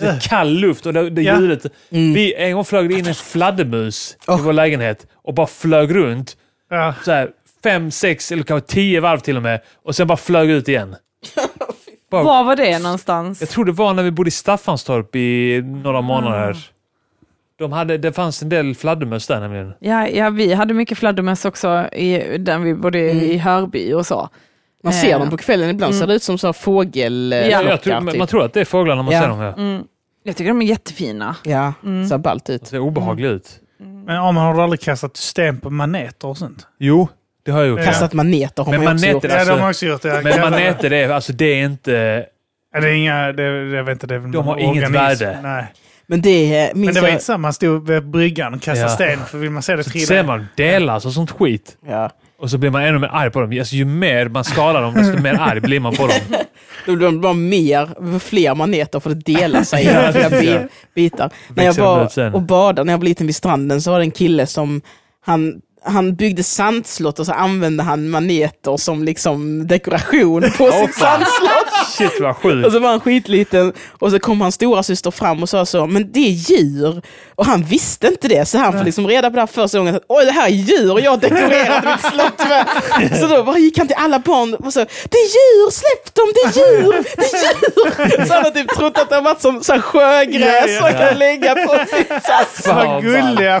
Speaker 4: Det är kall luft och det, det
Speaker 3: Ja.
Speaker 4: ljudet.
Speaker 2: Mm.
Speaker 4: Vi, en gång flög det in en fladdermus i vår lägenhet och bara flög runt.
Speaker 3: ja.
Speaker 4: Så här, fem, sex eller kanske tio varv till och med. Och sen bara flög ut igen.
Speaker 1: Var var det någonstans?
Speaker 4: Jag tror det var när vi bodde i Staffanstorp i några månader. De hade, det fanns en del fladdermöss där nämligen.
Speaker 1: Ja, ja, vi hade mycket fladdermöss också i, där vi bodde
Speaker 4: Mm.
Speaker 1: i Hörby och så.
Speaker 2: Man ser
Speaker 1: Eh.
Speaker 2: dem på kvällen ibland, ser det ut som så här
Speaker 1: Ja.
Speaker 4: Jag
Speaker 2: fågelflockar.
Speaker 4: tror,
Speaker 2: Ja, typ.
Speaker 4: Man tror att det är fåglarna man
Speaker 2: Ja.
Speaker 4: ser dem. Ja.
Speaker 3: Mm.
Speaker 1: Jag tycker de är jättefina.
Speaker 2: ja ser ballt ut.
Speaker 4: Det är obehagligt
Speaker 3: Mm.
Speaker 4: ut.
Speaker 3: Men Arman, har du aldrig kastat sten på maneter och sånt?
Speaker 4: Jo, det har jag gjort.
Speaker 3: Ja.
Speaker 2: Kastat maneter har
Speaker 4: Men
Speaker 2: man ju också
Speaker 4: maneter-
Speaker 2: gjort.
Speaker 3: Ja,
Speaker 4: Alltså,
Speaker 3: de har också gjort det.
Speaker 4: Men
Speaker 3: Jävlar.
Speaker 4: maneter, det är, alltså, det är inte...
Speaker 3: Ja, det är inga, det, jag vet inte, det är väl
Speaker 4: De har
Speaker 3: någon
Speaker 4: inget
Speaker 3: organism.
Speaker 4: värde.
Speaker 3: Nej.
Speaker 2: Men det eh,
Speaker 3: Men
Speaker 2: minns
Speaker 3: det var
Speaker 2: jag...
Speaker 3: inte samma, man stod vid bryggan och kastade
Speaker 4: Ja.
Speaker 3: sten för vill man se det
Speaker 4: Ser
Speaker 3: trilla.
Speaker 4: man delas och sånt skit.
Speaker 2: Ja.
Speaker 4: Och så blir man ännu mer arg på dem. Alltså, ju mer man skadar dem, desto mer arg blir man
Speaker 3: [laughs]
Speaker 4: på dem.
Speaker 2: Då blir de bara mer, fler maneter för det delar sig
Speaker 4: [laughs]
Speaker 2: i
Speaker 4: Ja,
Speaker 2: flera
Speaker 4: precis,
Speaker 2: bi-
Speaker 4: ja.
Speaker 2: bitar. När jag
Speaker 4: Växer de ut
Speaker 2: var
Speaker 4: sen.
Speaker 2: och badade, när jag var liten vid stranden, så var det en kille som han, han byggde sandslott och så använde han maneter som liksom dekoration på sitt sandslott.
Speaker 4: Shit vad
Speaker 2: Och
Speaker 3: Alltså,
Speaker 4: sjukt.
Speaker 2: så var han skitliten och så kom hans stora syster fram och sa så, men det är djur. Och han visste inte det, så han får liksom reda på det här första gången. Att, Oj, det här är djur och jag har dekorerat mitt slott med.
Speaker 3: [laughs]
Speaker 2: Så då bara gick han till alla barn och sa, det är djur, släpp dem, det är djur, det är
Speaker 3: [laughs]
Speaker 2: djur. Så han har typ trott att det har varit som så här
Speaker 3: Ja,
Speaker 2: sjögräs
Speaker 3: ja,
Speaker 2: som
Speaker 4: ja.
Speaker 2: han kan lägga på
Speaker 3: [laughs]
Speaker 2: sitt sass.
Speaker 4: Fan,
Speaker 3: Vad gulliga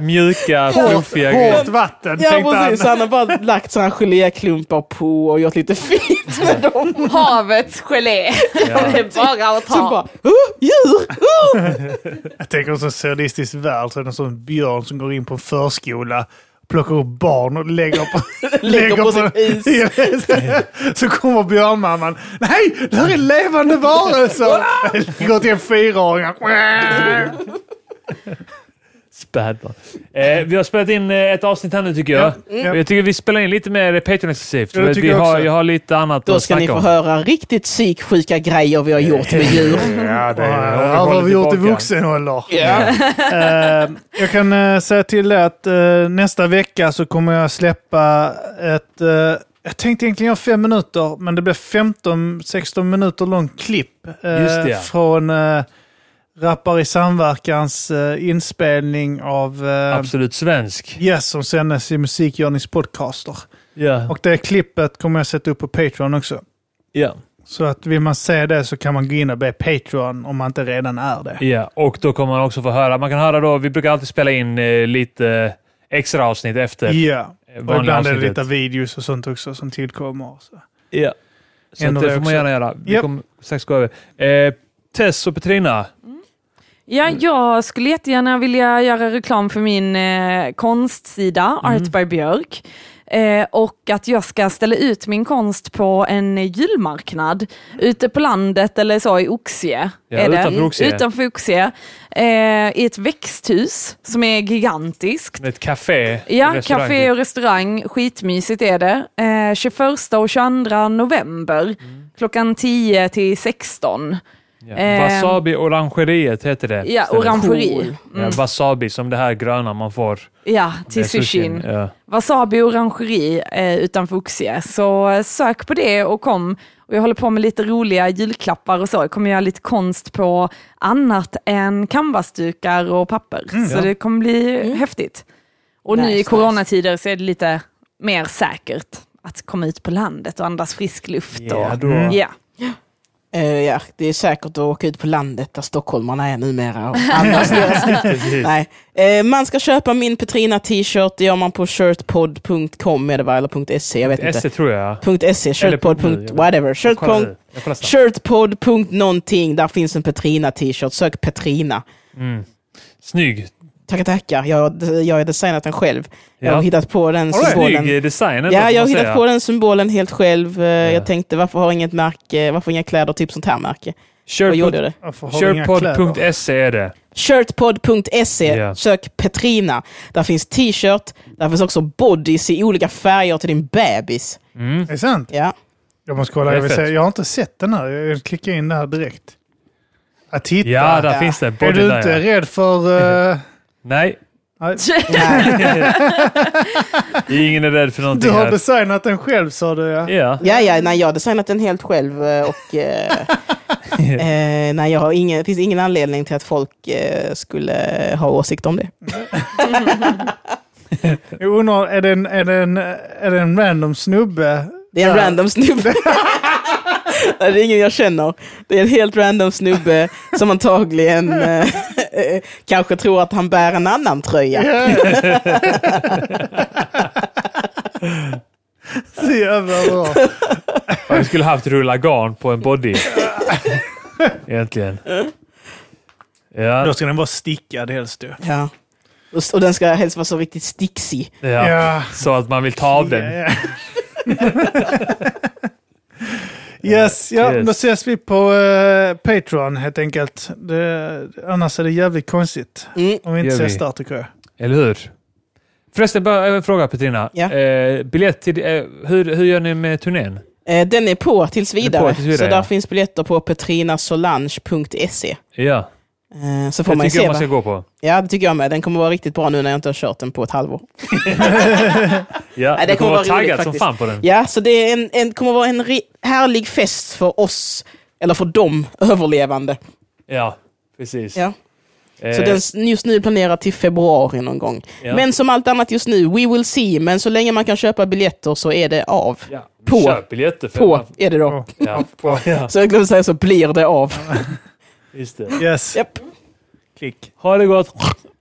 Speaker 4: [laughs] Mjuka, fluffiga grejer.
Speaker 3: Hårt vatten,
Speaker 2: Ja
Speaker 3: tänkte
Speaker 2: precis, så
Speaker 3: han.
Speaker 2: han har bara lagt så här geléklumpar på och gjort lite fint med dem.
Speaker 1: Havets [laughs] gelé. Det är bara att
Speaker 2: Så
Speaker 1: ta.
Speaker 2: bara, oh, djur! Oh.
Speaker 3: Jag tänker också en sadistisk värld, så är det en sån björn som går in på en förskola, plockar upp barn och lägger på,
Speaker 2: [laughs] Lägger på sitt is.
Speaker 3: [laughs] så kommer björnmamman. Nej, det här är levande varelser! Går till
Speaker 2: [laughs]
Speaker 3: en fyraåring.
Speaker 4: Spädbarn. Eh, vi har spelat in eh, ett avsnitt här nu tycker jag. Och Jag tycker vi spelar in lite mer Patreon-exklusivt.
Speaker 3: Mm. Ja,
Speaker 4: för
Speaker 3: det tycker
Speaker 4: vi
Speaker 3: jag
Speaker 4: har,
Speaker 3: också.
Speaker 4: jag har lite annat
Speaker 2: Då
Speaker 4: att
Speaker 2: ska
Speaker 4: snacka
Speaker 2: ni få
Speaker 4: om. Eh,
Speaker 2: höra riktigt psyksjuka grejer vi har gjort med
Speaker 4: [laughs]
Speaker 2: djur.
Speaker 3: Ja, det
Speaker 4: är-
Speaker 3: har vi gjort i
Speaker 4: tillbaka.
Speaker 3: vuxen ålder. Eh, jag kan eh, säga till er att eh, nästa vecka så kommer jag släppa ett... eh, jag tänkte egentligen göra fem minuter, men det blev 15-16 minuter långt klipp. eh,
Speaker 4: Just det, ja.
Speaker 3: Från uh, Rappar i samverkans eh, inspelning av eh,
Speaker 4: Absolut svensk.
Speaker 3: Yes som sändes i Musikjourneys podcaster.
Speaker 4: Ja.
Speaker 3: Och det klippet kommer jag sätta upp på Patreon också.
Speaker 4: Ja.
Speaker 3: Så att vill man se det så kan man gå in och bli Patreon om man inte redan är
Speaker 4: [laughs]
Speaker 3: det.
Speaker 4: ja. Och då kommer man också få höra. Man kan höra då, vi brukar alltid spela in eh, lite extra avsnitt efter. eh,
Speaker 3: Ja. Och
Speaker 4: vanliga
Speaker 3: ibland är det
Speaker 4: avsnittet.
Speaker 3: lite videos och sånt också som tillkommer. Så.
Speaker 4: Ja. Så
Speaker 3: Ändå
Speaker 4: att det
Speaker 3: det
Speaker 4: får man
Speaker 3: också.
Speaker 4: gärna göra. Vi
Speaker 3: Japp.
Speaker 4: kommer strax gå över. Eh, Tess och Petrina.
Speaker 1: Ja, jag skulle jättegärna vilja göra reklam för min eh, konstsida
Speaker 4: Mm.
Speaker 1: Art by Björk. Eh, och att jag ska ställa ut min konst på en julmarknad ute på landet eller så i Oxie.
Speaker 4: Ja,
Speaker 1: är det.
Speaker 4: utanför Oxie.
Speaker 1: Utanför Oxie. Eh, I ett växthus som är gigantiskt.
Speaker 4: Med ett café.
Speaker 1: Ja,
Speaker 4: restaurang.
Speaker 1: café och restaurang. Skitmysigt är det. Eh, 21 och 22 november
Speaker 4: Mm.
Speaker 1: klockan 10 till 16.
Speaker 4: Ja.
Speaker 1: Eh,
Speaker 4: Wasabi Orangeriet heter det.
Speaker 1: Ja,
Speaker 4: stället.
Speaker 1: orangeri.
Speaker 4: Ja, wasabi, som det här gröna man får.
Speaker 1: Ja, till
Speaker 4: med
Speaker 1: sushin.
Speaker 4: Ja.
Speaker 1: Wasabi Orangeri eh, utanför Oxie. Så eh, sök på det och kom. Och jag håller på med lite roliga julklappar och så. Jag kommer göra lite konst på annat än canvasdukar och papper. Så
Speaker 4: Ja.
Speaker 1: det kommer bli häftigt. Och nu
Speaker 2: Mm. Nice,
Speaker 1: i
Speaker 2: nice.
Speaker 1: coronatider så är det lite mer säkert att komma ut på landet och andas frisk luft.
Speaker 4: Ja,
Speaker 1: och,
Speaker 4: då.
Speaker 3: Mm.
Speaker 1: ja.
Speaker 2: Eh, ja, det är säkert att åka ut på landet där stockholmarna är
Speaker 4: [laughs]
Speaker 2: numera. Och andas deras. Nej. Eh, man ska köpa min Petrina t-shirt, det gör man på shirtpod.com är det va? eller .se, jag vet
Speaker 4: SE
Speaker 2: inte.
Speaker 4: tror jag.
Speaker 2: .se,
Speaker 4: E. Eller
Speaker 2: shirtpod.
Speaker 4: .nu, jag vet.
Speaker 2: whatever.
Speaker 4: Jag kollar
Speaker 2: Shirtpod.
Speaker 4: nu. Jag kollar snabbt.
Speaker 2: Shirtpod.någonting, där finns en Petrina t-shirt. Sök Petrina.
Speaker 4: Mm. Snygg.
Speaker 2: Tackar, tackar. Jag, har- jag har designat den själv. Jag har
Speaker 4: Ja.
Speaker 2: hittat på den
Speaker 3: All right.
Speaker 2: symbolen.
Speaker 4: Snygg eh, design ändå,
Speaker 2: Ja,
Speaker 4: får
Speaker 2: jag har
Speaker 4: man
Speaker 2: hittat
Speaker 4: säga.
Speaker 2: på den symbolen helt själv. Eh, Jag tänkte varför har inget märke, varför har inga kläder typ sånt här märke? Vad gjorde
Speaker 4: Shirtpod-
Speaker 2: det?
Speaker 3: Varför har vi inga kläder?
Speaker 4: Shirtpod.se är det.
Speaker 2: Shirtpod.se,
Speaker 4: Ja.
Speaker 2: E. sök Petrina. Där finns t-shirt, där finns också bodies i olika färger till din bebis.
Speaker 4: Mm.
Speaker 3: Är det sant?
Speaker 2: Ja.
Speaker 3: Jag måste kolla.
Speaker 4: Det är
Speaker 3: Jag, vill
Speaker 4: fett.
Speaker 3: se. jag har inte sett den här. Jag klickar in där direkt. Att titta.
Speaker 4: Ja, där
Speaker 2: Ja.
Speaker 4: finns det.
Speaker 3: är
Speaker 4: Body
Speaker 3: du
Speaker 4: där,
Speaker 3: inte
Speaker 4: ja.
Speaker 3: rädd för...
Speaker 4: [laughs]
Speaker 3: eh,
Speaker 4: Nej,
Speaker 3: nej,
Speaker 2: Nej.
Speaker 4: ingen är rädd för någonting
Speaker 3: du har
Speaker 4: här.
Speaker 3: designat den själv sa du ja.
Speaker 4: Ja. [laughs]
Speaker 2: Ja, ja, nej, jag har designat den helt själv eh, och eh, eh, nej, jag har ingen, det finns ingen anledning till att folk eh, skulle ha åsikt om det.
Speaker 3: Jag undrar, är det en, är det en, är det en
Speaker 4: [laughs]
Speaker 3: random snubbe? [laughs]
Speaker 2: Det är en
Speaker 3: Ja.
Speaker 2: random snubbe. Nej, det är ingen jag känner. Det är en helt random snubbe
Speaker 4: [laughs]
Speaker 2: som antagligen eh, eh, kanske tror att han bär en annan tröja.
Speaker 3: Så jävla bra.
Speaker 4: Ja, Vi skulle haft rulla garn på en
Speaker 3: [laughs]
Speaker 4: body. Egentligen.
Speaker 3: Då
Speaker 4: Ja,
Speaker 3: ska den vara stickad helst du.
Speaker 2: Ja. Och, och den ska helst vara så riktigt sticksig.
Speaker 4: ja.
Speaker 3: ja.
Speaker 4: Så att man vill ta av den.
Speaker 3: Ja,
Speaker 4: [laughs]
Speaker 3: ja. yes, ja,
Speaker 4: Yes.
Speaker 3: då ses vi på eh, Patreon helt enkelt. Det, annars är det jävligt konstigt
Speaker 2: Mm.
Speaker 3: om vi inte
Speaker 4: Gör
Speaker 3: ses
Speaker 4: vi.
Speaker 3: där tycker jag.
Speaker 4: Eller hur? Förresten, bara en fråga Petrina.
Speaker 2: Ja.
Speaker 4: Eh, biljett till, eh, hur, hur gör ni med turnén?
Speaker 2: Eh, den är på tills vidare,
Speaker 4: på tills vidare,
Speaker 2: så
Speaker 4: ja.
Speaker 2: där finns biljetter på petrinasolange.se.
Speaker 4: Ja,
Speaker 2: Eh, så får
Speaker 4: det
Speaker 2: man ju
Speaker 4: tycker jag
Speaker 2: se.
Speaker 4: man
Speaker 2: va?
Speaker 4: ska gå på.
Speaker 2: Ja, det tycker jag med. Den kommer vara riktigt bra nu när jag inte har kört den på ett halvår.
Speaker 4: Ja,
Speaker 2: Nej, det
Speaker 4: du kommer vara
Speaker 2: kommer vara roligt
Speaker 4: taggad som
Speaker 2: faktiskt.
Speaker 4: fan på den.
Speaker 2: Ja, så det är en, en, kommer vara en ri- härlig fest för oss, eller för de överlevande.
Speaker 4: Ja, precis.
Speaker 2: Ja.
Speaker 4: Eh,
Speaker 2: Så den s- just nu är planerad till februari någon gång.
Speaker 4: ja.
Speaker 2: Men som allt annat just nu, we will see. Men så länge man kan köpa biljetter så är det av.
Speaker 4: ja.
Speaker 2: på-
Speaker 4: Köp biljetter för
Speaker 2: På är det då.
Speaker 4: Ja, på. [laughs] Ja,
Speaker 2: Så jag glömde säga så blir det av.
Speaker 4: just det.
Speaker 3: Yes,
Speaker 2: Japp.
Speaker 3: klick.
Speaker 4: Ha det gott.